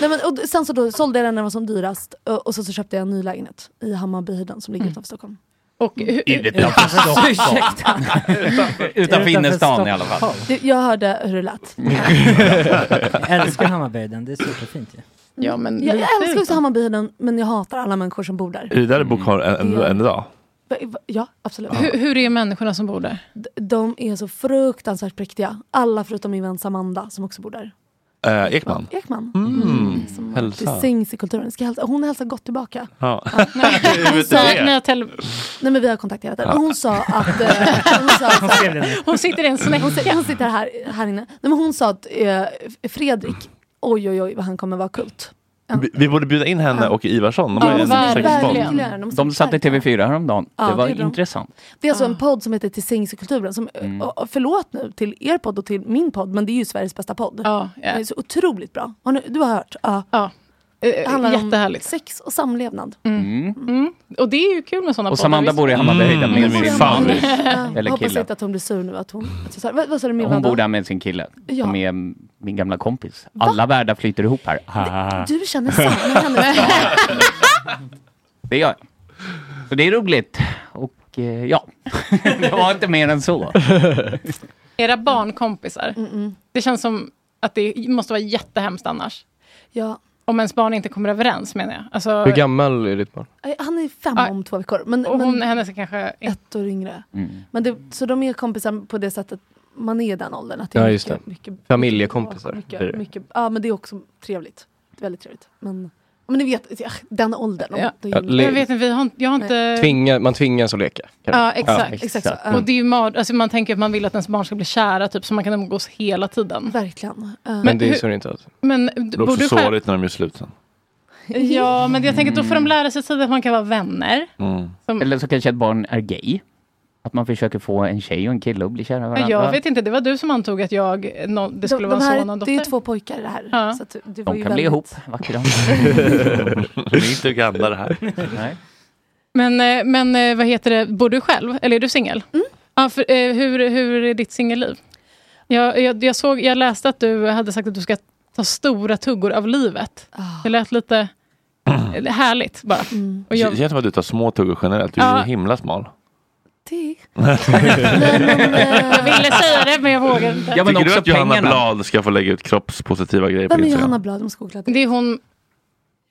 [SPEAKER 12] Nej, men, och sen eh,
[SPEAKER 2] Mm.
[SPEAKER 12] så då sålde jag den när den var som dyrast och, och sen så köpte jag en ny lägenhet (laughs) i Hammarbyhöjden som ligger utanför Stockholm.
[SPEAKER 2] Och hur-
[SPEAKER 7] Utanför
[SPEAKER 6] Alltså,
[SPEAKER 7] Stockholm.
[SPEAKER 2] Ursäkta.
[SPEAKER 7] Utanför, utanför innerstan i alla fall.
[SPEAKER 12] Du, Jag hörde hur det lät.
[SPEAKER 6] Jag älskar Hammarbyhöjden, det är superfint ju.
[SPEAKER 2] Ja, men
[SPEAKER 12] Jag, jag älskar också Hammarbyhöjden men jag hatar alla människor som bor där.
[SPEAKER 1] Är det där du bor kvar än, än, än idag?
[SPEAKER 12] Va- va- Ja, absolut.
[SPEAKER 2] Hur, hur är människorna som bor där?
[SPEAKER 12] D- De är så fruktansvärt präktiga. Alla förutom min vän Samanda som också bor där.
[SPEAKER 1] Eh, Ekman?
[SPEAKER 12] Ekman.
[SPEAKER 1] Mm.
[SPEAKER 12] Som
[SPEAKER 1] Hälsa.
[SPEAKER 12] Till sängs i kulturen. Ska hälsa. Hon hälsar gott tillbaka.
[SPEAKER 1] Ja. (laughs)
[SPEAKER 12] Hon sa,
[SPEAKER 2] Ni har tele-
[SPEAKER 12] nej men vi har kontakt hela tiden.
[SPEAKER 2] Ja.
[SPEAKER 12] Hon sa att... eh, Hon, sa
[SPEAKER 2] Hon
[SPEAKER 12] att
[SPEAKER 2] skrev det nu. Hon sitter i en snäcka.
[SPEAKER 12] Hon, sitter- hon sitter här, här inne. Nej, men hon sa att eh, Fredrik, oj oj oj vad han kommer vara kult.
[SPEAKER 1] Vi, vi borde bjuda in henne och Ivarsson. De,
[SPEAKER 12] Ja,
[SPEAKER 1] har ju en
[SPEAKER 12] verkligen.
[SPEAKER 1] sexbomb.
[SPEAKER 12] Verkligen. De
[SPEAKER 7] De satt i TV4 häromdagen.
[SPEAKER 12] Ja,
[SPEAKER 7] det var
[SPEAKER 12] det gjorde de.
[SPEAKER 7] intressant.
[SPEAKER 12] Det är alltså
[SPEAKER 2] Ah.
[SPEAKER 12] en podd som heter Till sängs i kulturen. Som,
[SPEAKER 7] Mm.
[SPEAKER 12] och- och förlåt nu till er podd och till min podd, men det är ju Sveriges bästa podd. Den är så otroligt bra. Har ni, du har hört? Ja. Det handlar om
[SPEAKER 2] Eh, jättehärligt.
[SPEAKER 12] sex och samlevnad.
[SPEAKER 7] Mm.
[SPEAKER 2] Mm. Och det är ju kul med sådana
[SPEAKER 7] Och Samanda bor i Hammarbyhöjden
[SPEAKER 1] Mm,
[SPEAKER 7] med
[SPEAKER 1] det är
[SPEAKER 7] sin
[SPEAKER 1] fan.
[SPEAKER 7] man.
[SPEAKER 12] Ja,
[SPEAKER 7] Eller
[SPEAKER 12] hoppas
[SPEAKER 7] kille.
[SPEAKER 12] inte att hon blir sur nu. Att hon, att jag sa, vad, vad sa du min
[SPEAKER 7] Hon
[SPEAKER 12] vän då?
[SPEAKER 7] bor där med sin kille,
[SPEAKER 12] Ja.
[SPEAKER 7] som är mm, min gamla kompis. Alla världar flyter ihop här. Ah.
[SPEAKER 12] Du känner samma med henne.
[SPEAKER 7] (laughs) Det gör jag. Så det är roligt. Och eh, ja, (laughs) det var inte mer än så.
[SPEAKER 2] Era barnkompisar. Det känns som att det måste vara jättehemskt annars.
[SPEAKER 12] Ja.
[SPEAKER 2] Om ens barn inte kommer överens menar jag. Alltså,
[SPEAKER 5] Hur gammal är ditt barn?
[SPEAKER 12] Nej, Äh, Han är fem om två veckor. Men,
[SPEAKER 2] och
[SPEAKER 12] men
[SPEAKER 2] hon, hennes är kanske...
[SPEAKER 12] ett år yngre. Men det, så de är kompisar på det sättet man är i den åldern. Att det är
[SPEAKER 5] Ja, just det.
[SPEAKER 12] mycket, mycket,
[SPEAKER 5] Familjekompisar. blir
[SPEAKER 12] mycket,
[SPEAKER 5] det.
[SPEAKER 12] mycket, ja, men det är också trevligt. Det är väldigt trevligt. Men, men ni vet, ja, den åldern. om-
[SPEAKER 2] Ja.
[SPEAKER 12] det
[SPEAKER 5] Ja,
[SPEAKER 12] är ju-
[SPEAKER 5] le- Jag vet
[SPEAKER 2] inte, vi har, jag har inte...
[SPEAKER 5] Tvingar, man tvingas att leka. kanske.
[SPEAKER 2] Ja, exakt. exakt.
[SPEAKER 5] Mm.
[SPEAKER 2] Och det är ju mar- alltså, man tänker att man vill att ens barn ska bli kära, typ, så man kan umgås hela tiden.
[SPEAKER 12] Verkligen.
[SPEAKER 2] Men,
[SPEAKER 5] Men det är
[SPEAKER 2] hur-
[SPEAKER 5] så det inte är.
[SPEAKER 2] men
[SPEAKER 1] Det
[SPEAKER 2] d-
[SPEAKER 1] blir
[SPEAKER 2] borde
[SPEAKER 1] också
[SPEAKER 2] du själv...
[SPEAKER 1] sårigt när de gör
[SPEAKER 12] (laughs)
[SPEAKER 1] slut sen.
[SPEAKER 2] (laughs) Ja, men jag tänker att då får de lära sig tidigt att man kan vara vänner. Som-
[SPEAKER 7] Eller så kanske ett barn är gay. Att man försöker få en tjej och en kille att bli kära i varandra.
[SPEAKER 2] Men jag vet inte, det var du som antog att jag, no, det skulle
[SPEAKER 12] de
[SPEAKER 2] vara
[SPEAKER 12] här-
[SPEAKER 2] en son och en
[SPEAKER 12] Det är
[SPEAKER 2] dotter.
[SPEAKER 12] ju två pojkar i det här. Så att det var
[SPEAKER 7] De
[SPEAKER 12] ju
[SPEAKER 7] kan bli
[SPEAKER 12] väldigt...
[SPEAKER 7] ihop, vackra.
[SPEAKER 1] Det är inte Uganda det här.
[SPEAKER 7] Nej.
[SPEAKER 2] Men, eh, men eh, vad heter det, bor du själv eller är du singel? Ja, för, eh, hur, hur är ditt singelliv? Jag, jag, jag, såg, jag läste att du hade sagt att du ska ta stora tuggor av livet. Det lät lite eller härligt bara. Och
[SPEAKER 5] (laughs)
[SPEAKER 2] jag,
[SPEAKER 1] Känns som att du tar små tuggor generellt. Du är
[SPEAKER 2] Ja.
[SPEAKER 1] ju himla smal.
[SPEAKER 2] jag ville säga det men jag vågade inte.
[SPEAKER 1] Tycker du att Johanna Blad ska få lägga ut kroppspositiva grejer på
[SPEAKER 2] Vem är
[SPEAKER 1] Instagram?
[SPEAKER 2] Johanna
[SPEAKER 12] Blad om skoklad.
[SPEAKER 2] Det är hon,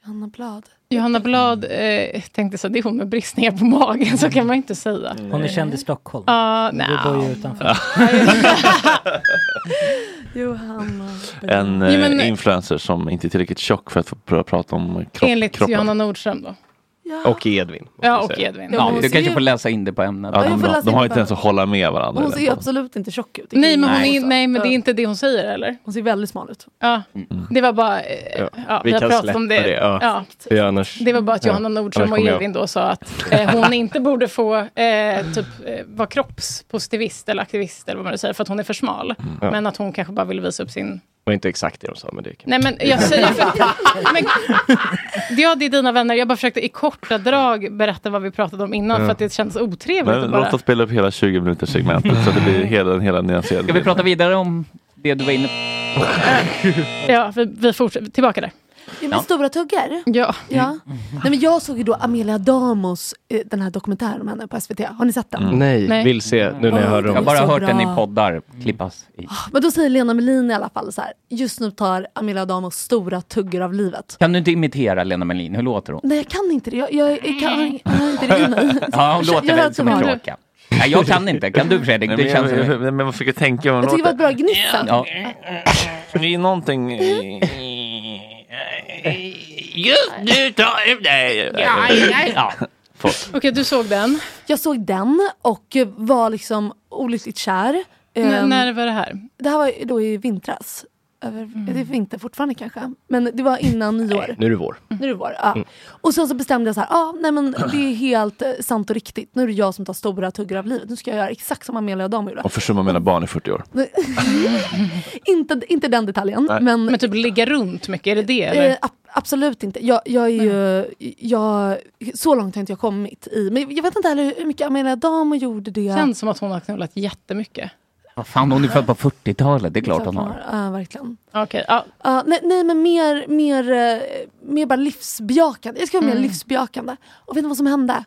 [SPEAKER 12] Johanna Blad.
[SPEAKER 2] Johanna Blad, eh, tänkte så, det är hon med bristningar på magen, så kan man inte säga.
[SPEAKER 6] Hon är känd i Stockholm.
[SPEAKER 2] Ja,
[SPEAKER 6] Mm. Men
[SPEAKER 2] nja.
[SPEAKER 6] Du bor
[SPEAKER 2] (laughs)
[SPEAKER 6] ju utanför.
[SPEAKER 12] Johanna.
[SPEAKER 1] En
[SPEAKER 2] Jo,
[SPEAKER 1] eh,
[SPEAKER 2] men-
[SPEAKER 1] influencer som inte är tillräckligt tjock för att få pr- prata om kropp,
[SPEAKER 2] Enligt
[SPEAKER 1] kroppen.
[SPEAKER 2] Johanna Nordström då.
[SPEAKER 1] Och Edvin.
[SPEAKER 2] Ja, och Edvin.
[SPEAKER 7] Ja, du kanske
[SPEAKER 12] ju-
[SPEAKER 7] får läsa in det på ämnet.
[SPEAKER 1] Ja,
[SPEAKER 12] jag
[SPEAKER 1] de,
[SPEAKER 12] får läsa
[SPEAKER 1] de har
[SPEAKER 12] in
[SPEAKER 1] inte
[SPEAKER 12] på-
[SPEAKER 1] ens att hålla med varandra.
[SPEAKER 12] Hon
[SPEAKER 1] i
[SPEAKER 12] ser
[SPEAKER 1] den
[SPEAKER 12] ju
[SPEAKER 1] podden.
[SPEAKER 12] absolut inte tjock ut.
[SPEAKER 2] Nej men, hon
[SPEAKER 1] Nej.
[SPEAKER 2] är, nej, men det är inte det hon säger eller?
[SPEAKER 12] Hon ser väldigt smal ut.
[SPEAKER 2] Ja, det var bara... eh,
[SPEAKER 5] Mm. Ja.
[SPEAKER 2] Ja,
[SPEAKER 5] Vi
[SPEAKER 2] vi har
[SPEAKER 5] kan
[SPEAKER 2] pratat
[SPEAKER 5] släppa
[SPEAKER 2] om
[SPEAKER 5] det.
[SPEAKER 2] det.
[SPEAKER 5] Ja.
[SPEAKER 2] Ja.
[SPEAKER 5] För jag annars...
[SPEAKER 2] Det var bara att
[SPEAKER 5] Ja.
[SPEAKER 2] Johanna Nordström
[SPEAKER 5] Annars
[SPEAKER 2] och
[SPEAKER 5] kommer jag-
[SPEAKER 2] Edvin då sa att eh, hon inte borde få eh, typ, eh, vara kroppspositivist eller aktivist eller vad man nu säger för att hon är för smal.
[SPEAKER 5] Mm. Ja.
[SPEAKER 2] Men att hon kanske bara vill visa upp sin...
[SPEAKER 5] Det var inte exakt det de sa, men det kan...
[SPEAKER 2] Nej men
[SPEAKER 5] (laughs)
[SPEAKER 2] jag säger... För... Men... Ja, det är dina vänner. Jag bara försökte i korta drag berätta vad vi pratade om innan
[SPEAKER 1] Ja.
[SPEAKER 2] för att det känns otrevligt
[SPEAKER 1] Men
[SPEAKER 2] att bara...
[SPEAKER 1] låt oss spela upp hela 20 minuters segmentet så att det blir hela, hela nyanserad.
[SPEAKER 7] Ska vi prata vidare om det du var inne på?
[SPEAKER 2] Ja, vi, vi fortsätter. Tillbaka där.
[SPEAKER 12] Ja, men
[SPEAKER 7] Ja. Mm.
[SPEAKER 12] Stora tuggar.
[SPEAKER 2] Ja.
[SPEAKER 12] ja. Nej, men jag såg ju då Amelia Damos, eh, den här dokumentären om henne på SVT. Har ni sett den?
[SPEAKER 7] Mm.
[SPEAKER 5] Nej, vill se nu när jag hör
[SPEAKER 7] Jag
[SPEAKER 5] dem.
[SPEAKER 7] har bara hört den i
[SPEAKER 12] bra. Ah,
[SPEAKER 7] poddar klippas. I.
[SPEAKER 12] Men då säger Lena Melin i alla fall så här. Just nu tar Amelia Damos stora tuggor av livet.
[SPEAKER 7] Kan du inte imitera Lena Melin? Hur låter hon?
[SPEAKER 12] Nej, jag kan inte det. Jag, jag, jag, kan, jag har inte det i mig.
[SPEAKER 7] (laughs) Ja, hon låter
[SPEAKER 12] jag hör
[SPEAKER 7] väl som en
[SPEAKER 12] tyvärr.
[SPEAKER 7] kråka. Nej, jag kan inte. Kan du Fredrik?
[SPEAKER 1] Nej,
[SPEAKER 7] Det
[SPEAKER 1] men,
[SPEAKER 7] känns som...
[SPEAKER 1] jag, jag, men man försöker tänka hur
[SPEAKER 12] Jag
[SPEAKER 1] man
[SPEAKER 12] tycker det var
[SPEAKER 1] låter.
[SPEAKER 12] ett bra alltså. gnissel.
[SPEAKER 7] Ja.
[SPEAKER 1] Det är någonting... Just nu tar du dig!
[SPEAKER 12] Ja, ja, ja.
[SPEAKER 1] Förlåt.
[SPEAKER 2] Okej, du såg den.
[SPEAKER 12] Jag såg den och eh, var liksom olyckligt kär.
[SPEAKER 2] N-
[SPEAKER 12] Ehm,
[SPEAKER 2] när var det här?
[SPEAKER 12] Det här var ju då i vintras. Över, Är det vinter fortfarande kanske? Men det var innan nyår. Mm.
[SPEAKER 5] Nu är det vår.
[SPEAKER 12] Nu är det vår. Ja. Och sen så bestämde jag så här, ah, nej men det är helt eh, sant och riktigt. Nu är det jag som tar stora tuggar av livet. Nu ska jag göra exakt som Amelia Damo gjorde.
[SPEAKER 1] Och försumma mina barn i 40 år.
[SPEAKER 12] (laughs) inte, inte den detaljen.
[SPEAKER 1] Nej.
[SPEAKER 12] Men,
[SPEAKER 2] Men typ ligga runt mycket, är det det? Eller?
[SPEAKER 12] Eh, ab- absolut inte. Jag, jag är ju, jag, så långt har inte jag kommit i... Men jag vet inte heller hur mycket Amelia Damo gjorde det.
[SPEAKER 2] Känns som att hon har knullat jättemycket.
[SPEAKER 7] Vad fan, hon är född på 40-talet. Det är klart hon har.
[SPEAKER 12] Ja, verkligen.
[SPEAKER 2] Okej, ja.
[SPEAKER 12] Ja, nej, nej, men mer,
[SPEAKER 2] Mm.
[SPEAKER 12] mer, eh, mer bara livsbejakande. Jag ska vara mer livsbejakande. Och vet ni vad som hände?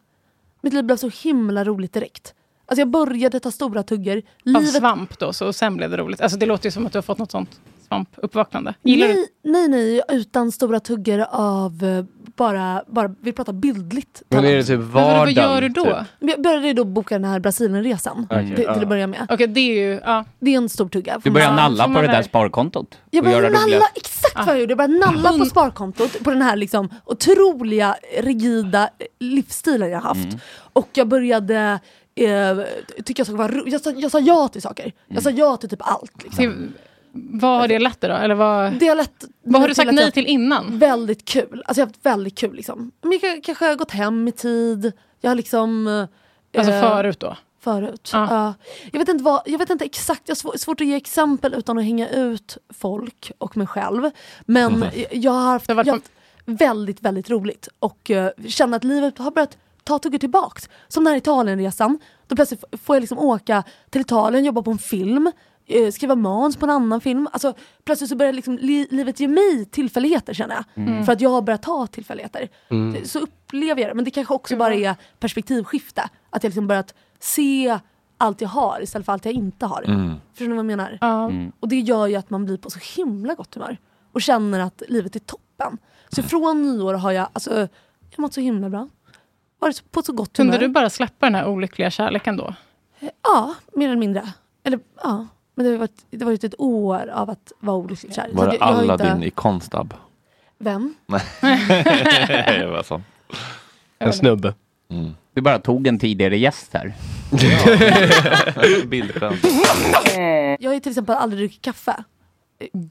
[SPEAKER 12] Mitt liv blev så himla roligt direkt. Alltså jag började ta stora tuggor.
[SPEAKER 2] Av svamp då, så sen blev det roligt. Alltså det låter ju som att du har fått något sånt svampuppvaknande. Gillar
[SPEAKER 12] Nej, nej, nej, utan stora tuggor av eh, bara, bara, vi pratar bildligt.
[SPEAKER 5] Men är det typ vardagen? typ?
[SPEAKER 12] Men Jag började ju då boka den här Brasilienresan
[SPEAKER 5] Okej,
[SPEAKER 12] till,
[SPEAKER 5] ja.
[SPEAKER 12] till att börja med.
[SPEAKER 2] Okej, det är ju... Det
[SPEAKER 12] är en stor tugga.
[SPEAKER 7] Du börjar
[SPEAKER 12] Ja, får
[SPEAKER 7] nalla på
[SPEAKER 12] man
[SPEAKER 7] det där
[SPEAKER 12] väl.
[SPEAKER 7] sparkontot.
[SPEAKER 12] Jag
[SPEAKER 7] och
[SPEAKER 12] började
[SPEAKER 7] göra roliga-
[SPEAKER 12] nalla, exakt vad jag gjorde. Jag började nalla på sparkontot, på den här liksom otroliga rigida eh, livsstilen jag haft.
[SPEAKER 7] Mm.
[SPEAKER 12] Och jag började eh, tycka att saker var ro- jag, sa, jag sa ja till saker. Jag
[SPEAKER 7] Mm.
[SPEAKER 12] sa ja till typ allt. Liksom.
[SPEAKER 2] Vad har det lett dig då? Eller vad...
[SPEAKER 12] Det har lett
[SPEAKER 2] Vad har
[SPEAKER 12] mig
[SPEAKER 2] du sagt
[SPEAKER 12] att
[SPEAKER 2] nej
[SPEAKER 12] jag-
[SPEAKER 2] till innan?
[SPEAKER 12] Väldigt kul. Alltså jag har haft väldigt kul. Liksom. Men jag k- kanske har gått hem i tid. Jag har liksom... eh,
[SPEAKER 2] Alltså förut då?
[SPEAKER 12] Förut.
[SPEAKER 2] Ja.
[SPEAKER 12] Ja. jag, vet inte vad, jag vet inte exakt, jag har svår, svårt att ge exempel utan att hänga ut folk och mig själv. Men
[SPEAKER 2] Mhm.
[SPEAKER 12] jag- jag har haft, jag har haft väldigt, väldigt roligt och eh, känner att livet har börjat ta tuggar tillbaks. Som den här Italienresan, då plötsligt f- får jag liksom åka till Italien, jobba på en film, eh, skriva manus på en annan film. Alltså, plötsligt så börjar liksom li- livet ge mig tillfälligheter känner jag.
[SPEAKER 2] Mm.
[SPEAKER 12] För att jag har börjat ta tillfälligheter.
[SPEAKER 2] Mm.
[SPEAKER 12] Det- Så upplever jag det. Men det kanske också bara är perspektivskifte. Att jag liksom börjat se allt jag har istället för allt jag inte har.
[SPEAKER 15] Mm.
[SPEAKER 12] Förstår ni vad jag menar?
[SPEAKER 15] Mm.
[SPEAKER 12] Och det gör ju att man blir på så himla gott humör. Och känner att livet är toppen. Så
[SPEAKER 7] Mm.
[SPEAKER 12] från nyår har jag, alltså, jag har mått så himla bra. Varit på så gott humör.
[SPEAKER 2] Kunde du bara släppa den här olyckliga kärleken då?
[SPEAKER 12] Ja, mer eller mindre. Eller ja, men det har varit, det har varit ett år av att vara olyckligt kär.
[SPEAKER 1] Var
[SPEAKER 12] Så
[SPEAKER 1] det
[SPEAKER 12] jag- jag har ju
[SPEAKER 1] Aladdin
[SPEAKER 12] inte-
[SPEAKER 1] i Konstab?
[SPEAKER 12] Vem?
[SPEAKER 1] Nej,
[SPEAKER 12] (laughs)
[SPEAKER 1] (laughs) det var sån.
[SPEAKER 5] En snubbe.
[SPEAKER 7] Du bara tog en tidigare gäst här.
[SPEAKER 1] Bildskämt.
[SPEAKER 12] Jag har ju till exempel aldrig druckit kaffe.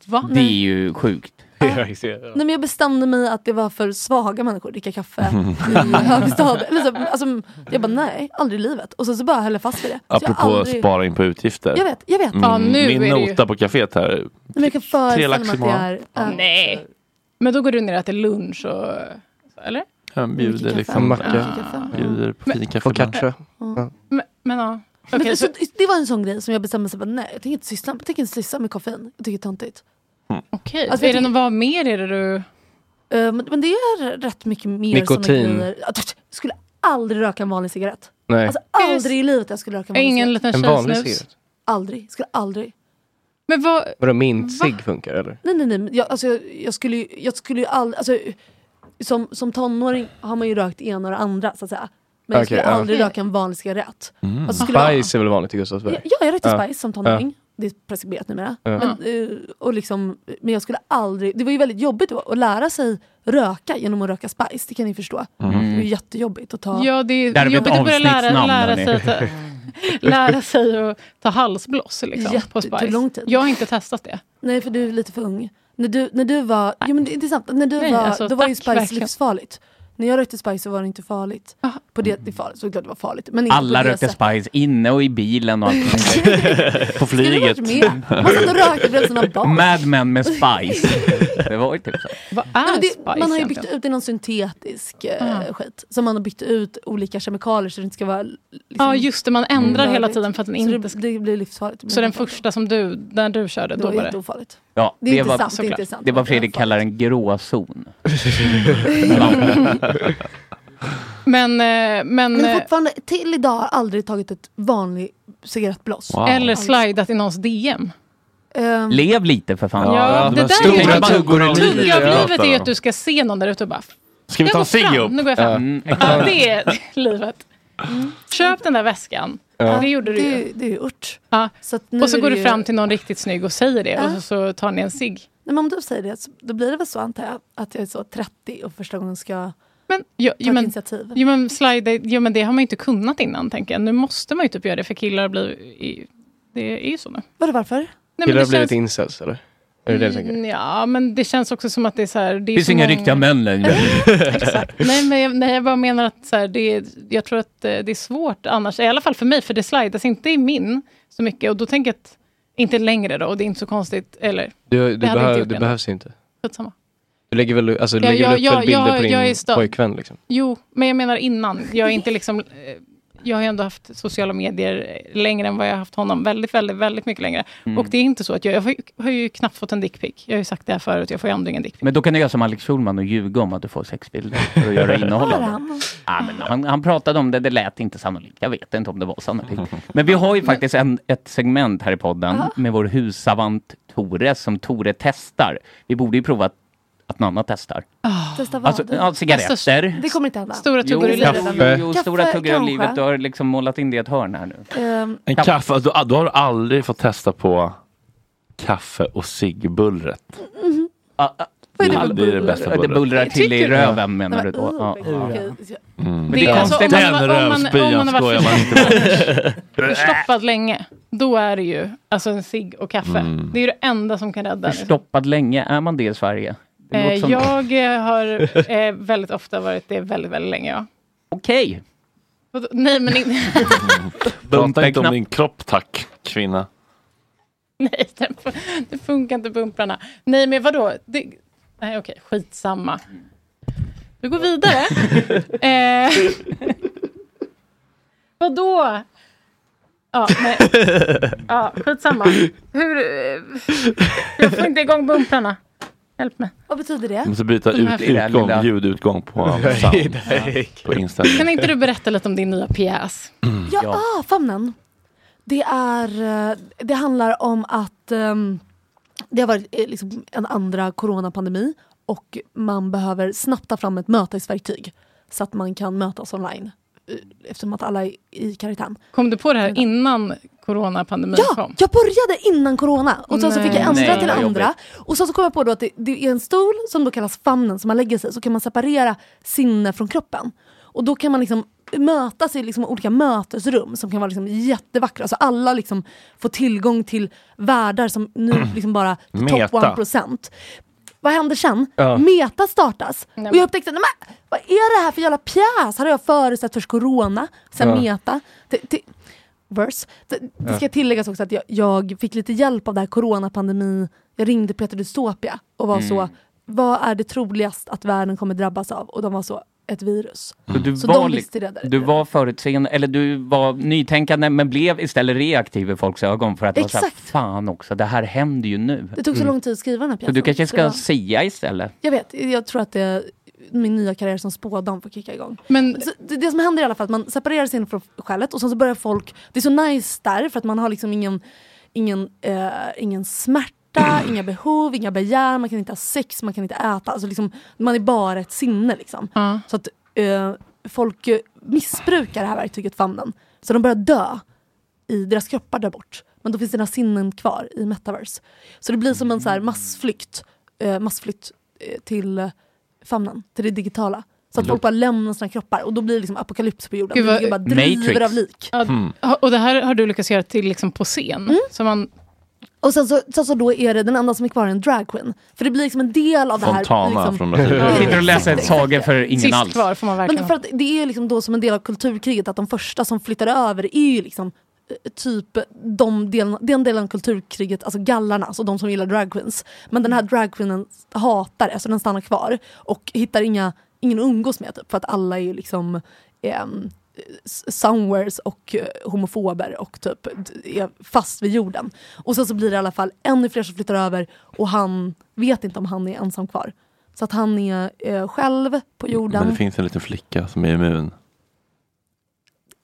[SPEAKER 2] Va?
[SPEAKER 7] Det är ju
[SPEAKER 2] (laughs)
[SPEAKER 7] sjukt.
[SPEAKER 12] Nej, men jag bestämde mig att det var för svaga människor att dricka kaffe i högstadiet. Eller så- Alltså, jag bara nej, aldrig i livet. Och sen så bara höll jag fast vid det. Så jag
[SPEAKER 1] Apropå
[SPEAKER 12] har aldrig...
[SPEAKER 1] spara in på utgifter.
[SPEAKER 12] Jag vet, jag vet.
[SPEAKER 1] Min,
[SPEAKER 12] Ja, nu
[SPEAKER 1] min
[SPEAKER 12] är det ju-
[SPEAKER 1] nota på kaféet här.
[SPEAKER 12] Nej, men jag kan
[SPEAKER 1] Tre
[SPEAKER 12] föreställa
[SPEAKER 1] lax
[SPEAKER 12] mig att det
[SPEAKER 1] imorgon.
[SPEAKER 12] är... äh,
[SPEAKER 2] Nej. Men då går du ner och äter lunch och... Eller?
[SPEAKER 1] Han bjuder
[SPEAKER 5] kaffe?
[SPEAKER 1] liksom.
[SPEAKER 5] Macka.
[SPEAKER 1] Bjuder på fin kaffe.
[SPEAKER 5] Focaccia.
[SPEAKER 12] ja.
[SPEAKER 2] Men, men ja.
[SPEAKER 12] Men
[SPEAKER 2] Okej,
[SPEAKER 12] så,
[SPEAKER 2] så-
[SPEAKER 12] det var en sån grej som jag bestämde mig för, nej jag tänker inte syssla, jag tänker inte syssla med koffein. Jag tycker det är töntigt.
[SPEAKER 7] Mm.
[SPEAKER 2] Okej,
[SPEAKER 12] Alltså,
[SPEAKER 2] är
[SPEAKER 12] jag
[SPEAKER 2] det
[SPEAKER 12] tycker-
[SPEAKER 2] något, vad mer är det du...
[SPEAKER 12] Eh, men, men det är rätt mycket mer
[SPEAKER 5] Nikotin.
[SPEAKER 12] såna grejer. Jag skulle aldrig röka en vanlig cigarett.
[SPEAKER 5] Nej.
[SPEAKER 12] Alltså aldrig i livet jag skulle röka en vanlig
[SPEAKER 2] Ingen
[SPEAKER 12] cigarett.
[SPEAKER 2] liten
[SPEAKER 5] En vanlig
[SPEAKER 2] tjejsnus?
[SPEAKER 5] cigarett.
[SPEAKER 12] Aldrig, skulle aldrig.
[SPEAKER 2] Men vad...
[SPEAKER 5] Vadå mintcigg funkar eller?
[SPEAKER 12] Nej, nej, nej. men Jag, alltså, jag, jag skulle ju, jag skulle ju aldrig... Alltså, som, som tonåring har man ju rökt ena och det andra, så att säga. Men jag
[SPEAKER 5] Okej,
[SPEAKER 12] skulle
[SPEAKER 5] ja.
[SPEAKER 12] aldrig
[SPEAKER 2] Mm.
[SPEAKER 12] röka en vanlig cigarett.
[SPEAKER 5] Mm.
[SPEAKER 12] Alltså, skulle jag-
[SPEAKER 5] Spice är väl vanligt i Gustavsberg?
[SPEAKER 12] Ja, ja, jag rökte
[SPEAKER 5] Ja.
[SPEAKER 12] Spice som tonåring. Det är preskriberat numera.
[SPEAKER 5] Ja.
[SPEAKER 12] Men, eh, och liksom, men jag skulle aldrig... Det var ju väldigt jobbigt att att lära sig röka genom att röka Spice, det kan ni förstå.
[SPEAKER 7] Mm.
[SPEAKER 12] Det var ju jättejobbigt att ta...
[SPEAKER 2] Ja, det
[SPEAKER 7] Där
[SPEAKER 2] är
[SPEAKER 7] har vi ett
[SPEAKER 2] jobbigt att börja lära,
[SPEAKER 7] avsnittsnamn,
[SPEAKER 2] lära,
[SPEAKER 7] hörni.
[SPEAKER 2] sig att, lära sig att ta halsbloss liksom,
[SPEAKER 12] Jätte-
[SPEAKER 2] på
[SPEAKER 12] det
[SPEAKER 2] Spice.
[SPEAKER 12] tog lång tid.
[SPEAKER 2] Jag har inte testat det.
[SPEAKER 12] Nej, för du är lite för ung. När du, när du var... Jo, men det, det är sant. När du
[SPEAKER 2] Nej,
[SPEAKER 12] var...
[SPEAKER 2] alltså,
[SPEAKER 12] då var ju
[SPEAKER 2] tack,
[SPEAKER 12] Spice
[SPEAKER 2] verkligen.
[SPEAKER 12] livsfarligt. När jag rökte Spice så var det inte farligt. På det, det är farligt, såklart det var farligt. Men inte
[SPEAKER 7] Alla
[SPEAKER 12] på det
[SPEAKER 7] rökte
[SPEAKER 12] sättet.
[SPEAKER 7] Spice inne och i bilen och allt. På flyget.
[SPEAKER 12] Skulle du varit med? Man satt och rökte bredvid sina barn.
[SPEAKER 7] Mad Men med Spice. Det var ju typ så.
[SPEAKER 2] Vad
[SPEAKER 12] Nej, men
[SPEAKER 2] är
[SPEAKER 12] det,
[SPEAKER 2] Spice
[SPEAKER 12] man har ju byggt
[SPEAKER 2] egentligen?
[SPEAKER 12] ut det i någon syntetisk eh, skit. Som man har byggt ut olika kemikalier så det inte ska vara... Liksom,
[SPEAKER 2] Ja, just det. Man ändrar
[SPEAKER 12] rörligt.
[SPEAKER 2] hela tiden för att den
[SPEAKER 12] så
[SPEAKER 2] inte...
[SPEAKER 12] det, det blir livsfarligt.
[SPEAKER 2] Så den första som du, när du körde,
[SPEAKER 12] Det
[SPEAKER 2] då
[SPEAKER 12] var
[SPEAKER 2] var det...
[SPEAKER 12] jätteofarligt.
[SPEAKER 7] Ja,
[SPEAKER 12] Det är inte sant, det är
[SPEAKER 7] såklart.
[SPEAKER 12] inte sant.
[SPEAKER 7] det var Fredrik kallar en gråzon.
[SPEAKER 2] Men, eh, men...
[SPEAKER 12] Men
[SPEAKER 2] eh,
[SPEAKER 12] fortfarande, till idag har jag aldrig tagit ett vanligt cigarettblås.
[SPEAKER 7] Wow.
[SPEAKER 2] Eller slidat i någons DM.
[SPEAKER 12] Ehm,
[SPEAKER 7] Lev lite för fan.
[SPEAKER 2] Ja, det där är ju-
[SPEAKER 7] Tänk på tuggor i livet.
[SPEAKER 2] Tugga av livet är ju att du ska se någon där ute och bara...
[SPEAKER 1] Ska vi
[SPEAKER 2] "Jag
[SPEAKER 1] ta
[SPEAKER 2] går
[SPEAKER 1] en cigg
[SPEAKER 2] fram,
[SPEAKER 1] ihop?"
[SPEAKER 2] Nu går jag fram.
[SPEAKER 1] Mm.
[SPEAKER 2] Ja, det är (laughs) livet. Köp den där väskan.
[SPEAKER 1] Ja.
[SPEAKER 2] Det gjorde du
[SPEAKER 12] det,
[SPEAKER 2] ju.
[SPEAKER 12] är- det är ju ört.
[SPEAKER 2] Ja.
[SPEAKER 12] nu
[SPEAKER 2] och så
[SPEAKER 12] är
[SPEAKER 2] går
[SPEAKER 12] det
[SPEAKER 2] du
[SPEAKER 12] ju-
[SPEAKER 2] fram till någon riktigt snygg och säger det
[SPEAKER 12] Ja.
[SPEAKER 2] och så, så tar ni en cigg.
[SPEAKER 12] Nej, men om du säger det, så- då blir det väl så antar jag. Att jag är så 30 och första gången ska
[SPEAKER 2] Men, jo,
[SPEAKER 12] ta
[SPEAKER 2] jo,
[SPEAKER 12] ett
[SPEAKER 2] men,
[SPEAKER 12] initiativ.
[SPEAKER 2] jo, men, slide, jo, men det har man ju inte kunnat innan, tänker jag. Nu måste man ju typ göra det, för killar blir... I, det är ju så nu.
[SPEAKER 12] Vadå varför? Nej,
[SPEAKER 2] men
[SPEAKER 5] Killar
[SPEAKER 2] det
[SPEAKER 5] har blivit
[SPEAKER 2] känns-
[SPEAKER 5] incels eller? Är det det du tänker?
[SPEAKER 2] Mm, Ja, men det känns också som att det är så här... Det är så många-
[SPEAKER 5] män längre.
[SPEAKER 2] Nej, men jag, nej, jag bara menar att så här, det är, jag tror att eh, det är svårt annars, i alla fall för mig, för det slidas inte i min så mycket. Och då tänker jag att, inte längre då, och det är inte så konstigt. Eller,
[SPEAKER 5] Du,
[SPEAKER 2] jag
[SPEAKER 5] du,
[SPEAKER 2] hade
[SPEAKER 5] behöv,
[SPEAKER 2] inte gjort
[SPEAKER 5] du
[SPEAKER 2] det.
[SPEAKER 5] behövs ju inte.
[SPEAKER 2] Skitsamma.
[SPEAKER 5] Du lägger väl, alltså, du
[SPEAKER 2] Ja,
[SPEAKER 5] lägger
[SPEAKER 2] jag-
[SPEAKER 5] upp
[SPEAKER 2] jag-
[SPEAKER 5] väl bilder
[SPEAKER 2] jag-
[SPEAKER 5] på
[SPEAKER 2] jag är
[SPEAKER 5] din
[SPEAKER 2] sta-
[SPEAKER 5] pojkvän liksom?
[SPEAKER 2] Jo, men jag menar innan. Jag är inte liksom... Eh, jag har ju ändå haft sociala medier eh, längre än vad jag har haft honom. Väldigt, väldigt, väldigt mycket längre.
[SPEAKER 4] Mm.
[SPEAKER 2] Och det är inte så att jag, jag har, ju, har ju knappt fått en dickpic. Jag har ju sagt det här förut, jag får ju ändå ingen dickpic.
[SPEAKER 4] Men då kan du göra som Alex Schulman och ljuga om att du får sexbilder för att
[SPEAKER 2] (laughs)
[SPEAKER 4] göra innehåll av
[SPEAKER 2] Har
[SPEAKER 4] det.
[SPEAKER 2] han?
[SPEAKER 4] Ja, men han, han pratade om det, det lät inte sannolikt. Jag vet inte om det var sannolikt. Men vi har ju faktiskt en, ett segment här i podden
[SPEAKER 7] Ja.
[SPEAKER 4] med vår hussavant Tore som Tore testar. Vi borde ju prova att, att någon annan testar.
[SPEAKER 12] Testa vad?
[SPEAKER 4] Alltså, ja, cigaretter.
[SPEAKER 12] Det kommer inte hända.
[SPEAKER 7] Eh,
[SPEAKER 4] Jo, jo, stora
[SPEAKER 12] Kaffe,
[SPEAKER 4] tuggor av
[SPEAKER 12] kanske.
[SPEAKER 4] livet. Du har liksom målat in det i ett hörn här nu.
[SPEAKER 12] Ehm,
[SPEAKER 1] En kaffe, då, då har du aldrig fått testa på kaffe och ciggbullret.
[SPEAKER 12] mhm.
[SPEAKER 1] Det är det bästa
[SPEAKER 4] Det
[SPEAKER 1] bullret.
[SPEAKER 4] bullrar till i
[SPEAKER 1] Tycker du?
[SPEAKER 4] röven menar du då?
[SPEAKER 1] Nej,
[SPEAKER 4] Ja.
[SPEAKER 1] men, uh,
[SPEAKER 4] Ja.
[SPEAKER 12] okej.
[SPEAKER 4] Men
[SPEAKER 1] Det
[SPEAKER 4] Mm. det
[SPEAKER 1] är
[SPEAKER 4] är
[SPEAKER 1] alltså,
[SPEAKER 4] konstigt.
[SPEAKER 1] om man- Den om man- rövspyan om man har varit alltså. skojar man inte
[SPEAKER 2] (laughs) Förstoppad länge, då är det ju alltså en cigg och kaffe.
[SPEAKER 4] Mm.
[SPEAKER 2] Det är ju det enda som kan rädda. liksom.
[SPEAKER 4] Förstoppad länge, är man det i Sverige? Det
[SPEAKER 2] Eh,
[SPEAKER 4] låter som-
[SPEAKER 2] jag eh, har eh, väldigt ofta varit det väldigt, väldigt länge. Ja.
[SPEAKER 4] Okej.
[SPEAKER 2] Vadå? Nej, men in-
[SPEAKER 1] Prata inte om din kropp tack, kvinna.
[SPEAKER 2] nej, den fu- (laughs) det funkar inte bumprarna. Nej, men vadå? Det, nej, okej, skitsamma. Vi går vidare. eh, (laughs) vadå? Ja, nej. ja, skitsamma. Hur... eh, Jag får inte igång bumprarna. Hjälp mig.
[SPEAKER 12] Vad betyder det?
[SPEAKER 1] Du måste byta
[SPEAKER 2] De här
[SPEAKER 1] ut,
[SPEAKER 2] fyra lilla-
[SPEAKER 1] utgång, ljudutgång på
[SPEAKER 5] Nej,
[SPEAKER 1] sound.
[SPEAKER 5] nej.
[SPEAKER 1] På Instagram.
[SPEAKER 2] Kan inte du berätta lite om din nya pjäs?
[SPEAKER 12] (clears throat) Ja, Ah, famnen. Det, är, eh, det handlar om att ehm, det har varit eh, liksom en andra coronapandemi och man behöver snabbt ta fram ett mötesverktyg så att man kan mötas online eh, eftersom att alla är i karantän.
[SPEAKER 2] Kom du på det här innan coronapandemin
[SPEAKER 12] Ja,
[SPEAKER 2] kom?
[SPEAKER 12] jag började innan corona och sen så fick jag
[SPEAKER 2] Nej.
[SPEAKER 12] ändra
[SPEAKER 2] Nej,
[SPEAKER 12] till
[SPEAKER 2] vad
[SPEAKER 12] andra.
[SPEAKER 2] jobbigt.
[SPEAKER 12] Och sen så kom jag på då att det, det är en stol som då kallas famnen som man lägger sig i, så kan man separera sinne från kroppen. Och då kan man liksom mötas i liksom olika mötesrum som kan vara liksom jättevackra. Så alla liksom får tillgång till världar som
[SPEAKER 5] (clears throat)
[SPEAKER 12] nu liksom bara
[SPEAKER 1] Meta.
[SPEAKER 12] top 1%. Vad händer sen?
[SPEAKER 1] Ja.
[SPEAKER 12] Meta startas. Och jag upptäckte, nej, men, vad är det här för jävla pjäs? Här har jag förutsett först corona, sen
[SPEAKER 15] Ja.
[SPEAKER 12] meta. Till, till, verse. Det, det
[SPEAKER 15] Ja.
[SPEAKER 12] ska tilläggas också att jag, jag fick lite hjälp av det här coronapandemi. Jag ringde Peter Dystopia och var
[SPEAKER 4] Mm.
[SPEAKER 12] så, vad är det troligast att världen kommer drabbas av? Och de var så, ett virus.
[SPEAKER 4] Så du,
[SPEAKER 12] Så
[SPEAKER 4] var,
[SPEAKER 12] de
[SPEAKER 4] li-
[SPEAKER 12] visste det där.
[SPEAKER 4] du var förutseende, eller du var nytänkande men blev istället reaktiv i folks ögon för att det var så här,
[SPEAKER 12] Exakt.
[SPEAKER 4] fan också, det här händer ju nu.
[SPEAKER 12] Det tog så lång tid att skriva den här
[SPEAKER 4] Så
[SPEAKER 12] pjäsen.
[SPEAKER 4] du kanske
[SPEAKER 12] det
[SPEAKER 4] ska
[SPEAKER 12] var-
[SPEAKER 4] sia istället?
[SPEAKER 12] Jag vet, jag tror att det, min nya karriär som spådam får kicka igång.
[SPEAKER 2] Men,
[SPEAKER 12] så det, det som händer i alla fall är att man separerar sig från själet och sen så börjar folk, det är så nice där för att man har liksom ingen, ingen, eh, ingen smärta, inga behov, inga begär, man kan inte ha sex, man kan inte äta. Alltså liksom, man är bara ett sinne liksom. Så att eh, folk eh, missbrukar det här verktyget, famnen. Så de börjar dö i deras kroppar där bort. Men då finns dina sinnen kvar i metaverse. Så det blir som en så
[SPEAKER 7] Mm.
[SPEAKER 12] här massflykt, eh, massflytt eh, till eh, famnen, till det digitala. Så att
[SPEAKER 2] Mm.
[SPEAKER 12] folk bara lämnar sina kroppar och då blir det liksom apokalyps på jorden.
[SPEAKER 2] Gud,
[SPEAKER 12] det
[SPEAKER 2] vad-
[SPEAKER 12] ligger bara driver
[SPEAKER 2] Matrix.
[SPEAKER 12] av lik. Mm.
[SPEAKER 2] Ja,
[SPEAKER 4] Hmm.
[SPEAKER 2] ha- Och det här har du lyckats göra till liksom på scen? Så man,
[SPEAKER 12] Och sen så, sen så då är det den enda som är kvar en drag queen. För det blir liksom en del av det här. liksom,
[SPEAKER 4] Sitter och läser ett sagor för ingen
[SPEAKER 12] Sist
[SPEAKER 4] alls.
[SPEAKER 12] kvar
[SPEAKER 2] får man
[SPEAKER 12] Men för att det är ju liksom då som en del av kulturkriget att de första som flyttar över är ju liksom eh, typ de delen, den delen av kulturkriget, alltså gallarna, alltså de som gillar dragqueens. Men den här dragqueenen hatar det, så den stannar kvar och hittar inga, ingen att umgås med typ, för att alla är ju liksom ehm, s- somewheres och eh, homofober och typ d- är fast vid jorden. Och sen så blir det i alla fall ännu fler som flyttar över och han vet inte om han är ensam kvar. Så att han är eh, själv på jorden.
[SPEAKER 1] Men det finns en liten flicka som är immun.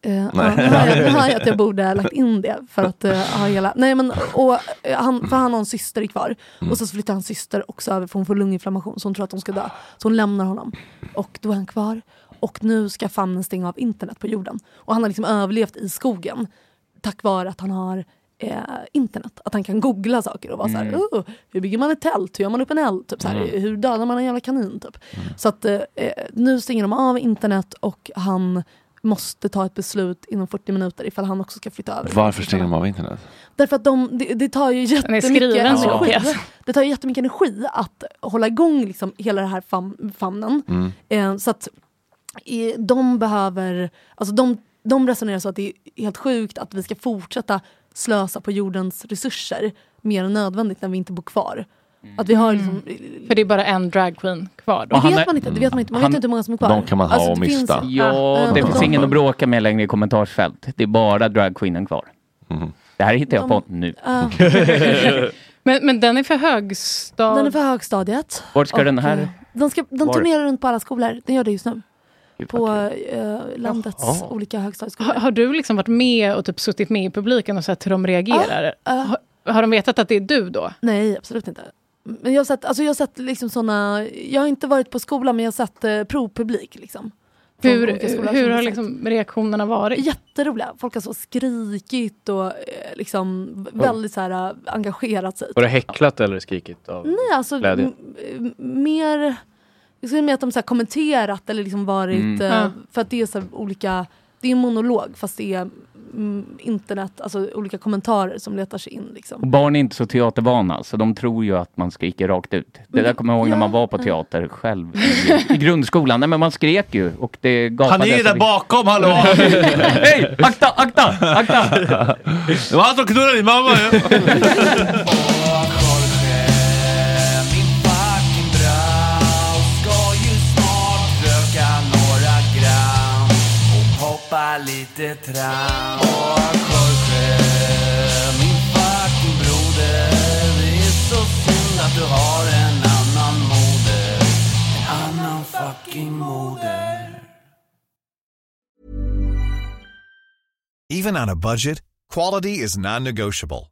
[SPEAKER 12] Eh, ja,
[SPEAKER 1] Nej.
[SPEAKER 12] nu hör jag- nu hör jag att jag borde ha lagt in det för att eh, ha hela... Nej men, och, eh, han, för han har en syster kvar. Och så flyttar hans syster
[SPEAKER 7] Mm.
[SPEAKER 12] också över för hon får lunginflammation så hon tror att hon ska dö. Så hon lämnar honom. Och då är han kvar. Och nu ska famnen stänga av internet på jorden. Och han har liksom överlevt i skogen tack vare att han har eh, internet. Att han kan googla saker och vara
[SPEAKER 15] Mm.
[SPEAKER 12] så här, "Oh, hur bygger man ett tält? Hur gör man upp en eld? Typ så här,
[SPEAKER 15] Mm.
[SPEAKER 12] Hur dödar man en jävla kanin? Typ. Så att eh, eh, nu stänger de av internet och han måste ta ett beslut inom 40 minuter ifall han också ska flytta över.
[SPEAKER 1] Varför stänger de av internet?
[SPEAKER 12] Därför att de, det, det tar ju
[SPEAKER 2] är
[SPEAKER 12] jättemycket
[SPEAKER 2] skriven så,
[SPEAKER 12] energi.
[SPEAKER 2] pjäsen.
[SPEAKER 12] Det tar ju jättemycket energi att hålla igång liksom hela den här fam, famnen.
[SPEAKER 15] Mm.
[SPEAKER 12] Eh, så att eh, de behöver, alltså de, de resonerar så att det är helt sjukt att vi ska fortsätta slösa på jordens resurser mer än nödvändigt när vi inte bor kvar. Att vi har liksom...
[SPEAKER 2] För det är bara en drag queen kvar då.
[SPEAKER 12] Det vet man inte, det vet man inte. Man
[SPEAKER 2] han-
[SPEAKER 12] vet inte hur många som är kvar.
[SPEAKER 2] de kan man ha
[SPEAKER 12] Alltså,
[SPEAKER 2] och
[SPEAKER 12] det finns-
[SPEAKER 2] mista.
[SPEAKER 12] Ah,
[SPEAKER 7] Ja,
[SPEAKER 12] eh,
[SPEAKER 7] det
[SPEAKER 12] de-
[SPEAKER 7] finns ingen att bråka med längre i kommentarsfält. Det är bara dragqueenen kvar. Det här hittar jag på nu.
[SPEAKER 12] Ja.
[SPEAKER 2] Men, men den är för högstad...
[SPEAKER 12] Den är för högstadiet.
[SPEAKER 7] Vart ska
[SPEAKER 12] Och,
[SPEAKER 7] den här-
[SPEAKER 12] eh, Den, ska, den
[SPEAKER 7] Var?
[SPEAKER 12] turnerar runt på alla skolor. Den gör det just nu.
[SPEAKER 7] Gud,
[SPEAKER 12] På eh, landets
[SPEAKER 2] Jaha.
[SPEAKER 12] olika högstadieskolor.
[SPEAKER 2] Har, har du liksom varit med och typ suttit med i publiken och sett hur de reagerar? Har, har de vetat att det är du då?
[SPEAKER 12] Nej, absolut inte. Men jag har sett, alltså jag har sett liksom såna, jag har inte varit på skolan men jag har sett eh, provpublik. Liksom, Från
[SPEAKER 2] Hur,
[SPEAKER 12] olika skolor
[SPEAKER 2] hur
[SPEAKER 12] som
[SPEAKER 2] har
[SPEAKER 12] sagt.
[SPEAKER 2] liksom reaktionerna varit?
[SPEAKER 12] Jätteroliga. Folk har så skrikit och eh, liksom v-
[SPEAKER 5] Oj.
[SPEAKER 12] väldigt så här, eh, engagerat sig.
[SPEAKER 5] Var det häcklat eller skrikit av
[SPEAKER 12] Nej, alltså
[SPEAKER 5] glädje?
[SPEAKER 12] m- m- mer... Jag skulle mer att de så här kommenterat eller liksom varit...
[SPEAKER 5] Mm.
[SPEAKER 12] eh,
[SPEAKER 5] Ja.
[SPEAKER 12] För att det är så här olika... Det är en monolog fast det är mm, internet, alltså olika kommentarer som letar sig in. Liksom.
[SPEAKER 7] Och barn är inte så teatervana, så de tror ju att man skriker rakt ut. Det där kommer jag ihåg när man var på teater själv i, i grundskolan. Nej, men man skrek ju och det gapade.
[SPEAKER 1] Han är ju
[SPEAKER 7] så
[SPEAKER 1] där
[SPEAKER 7] det-
[SPEAKER 1] bakom,
[SPEAKER 7] (laughs)
[SPEAKER 1] hallå!
[SPEAKER 7] Hej! Akta, akta, akta!
[SPEAKER 1] Det var han som knullade din mamma ju!
[SPEAKER 15] Hoppa lite tram Och Jorge, min fucking broder Det är så synd att du har en annan moder En annan fucking moder
[SPEAKER 16] Even on a budget, quality is non-negotiable.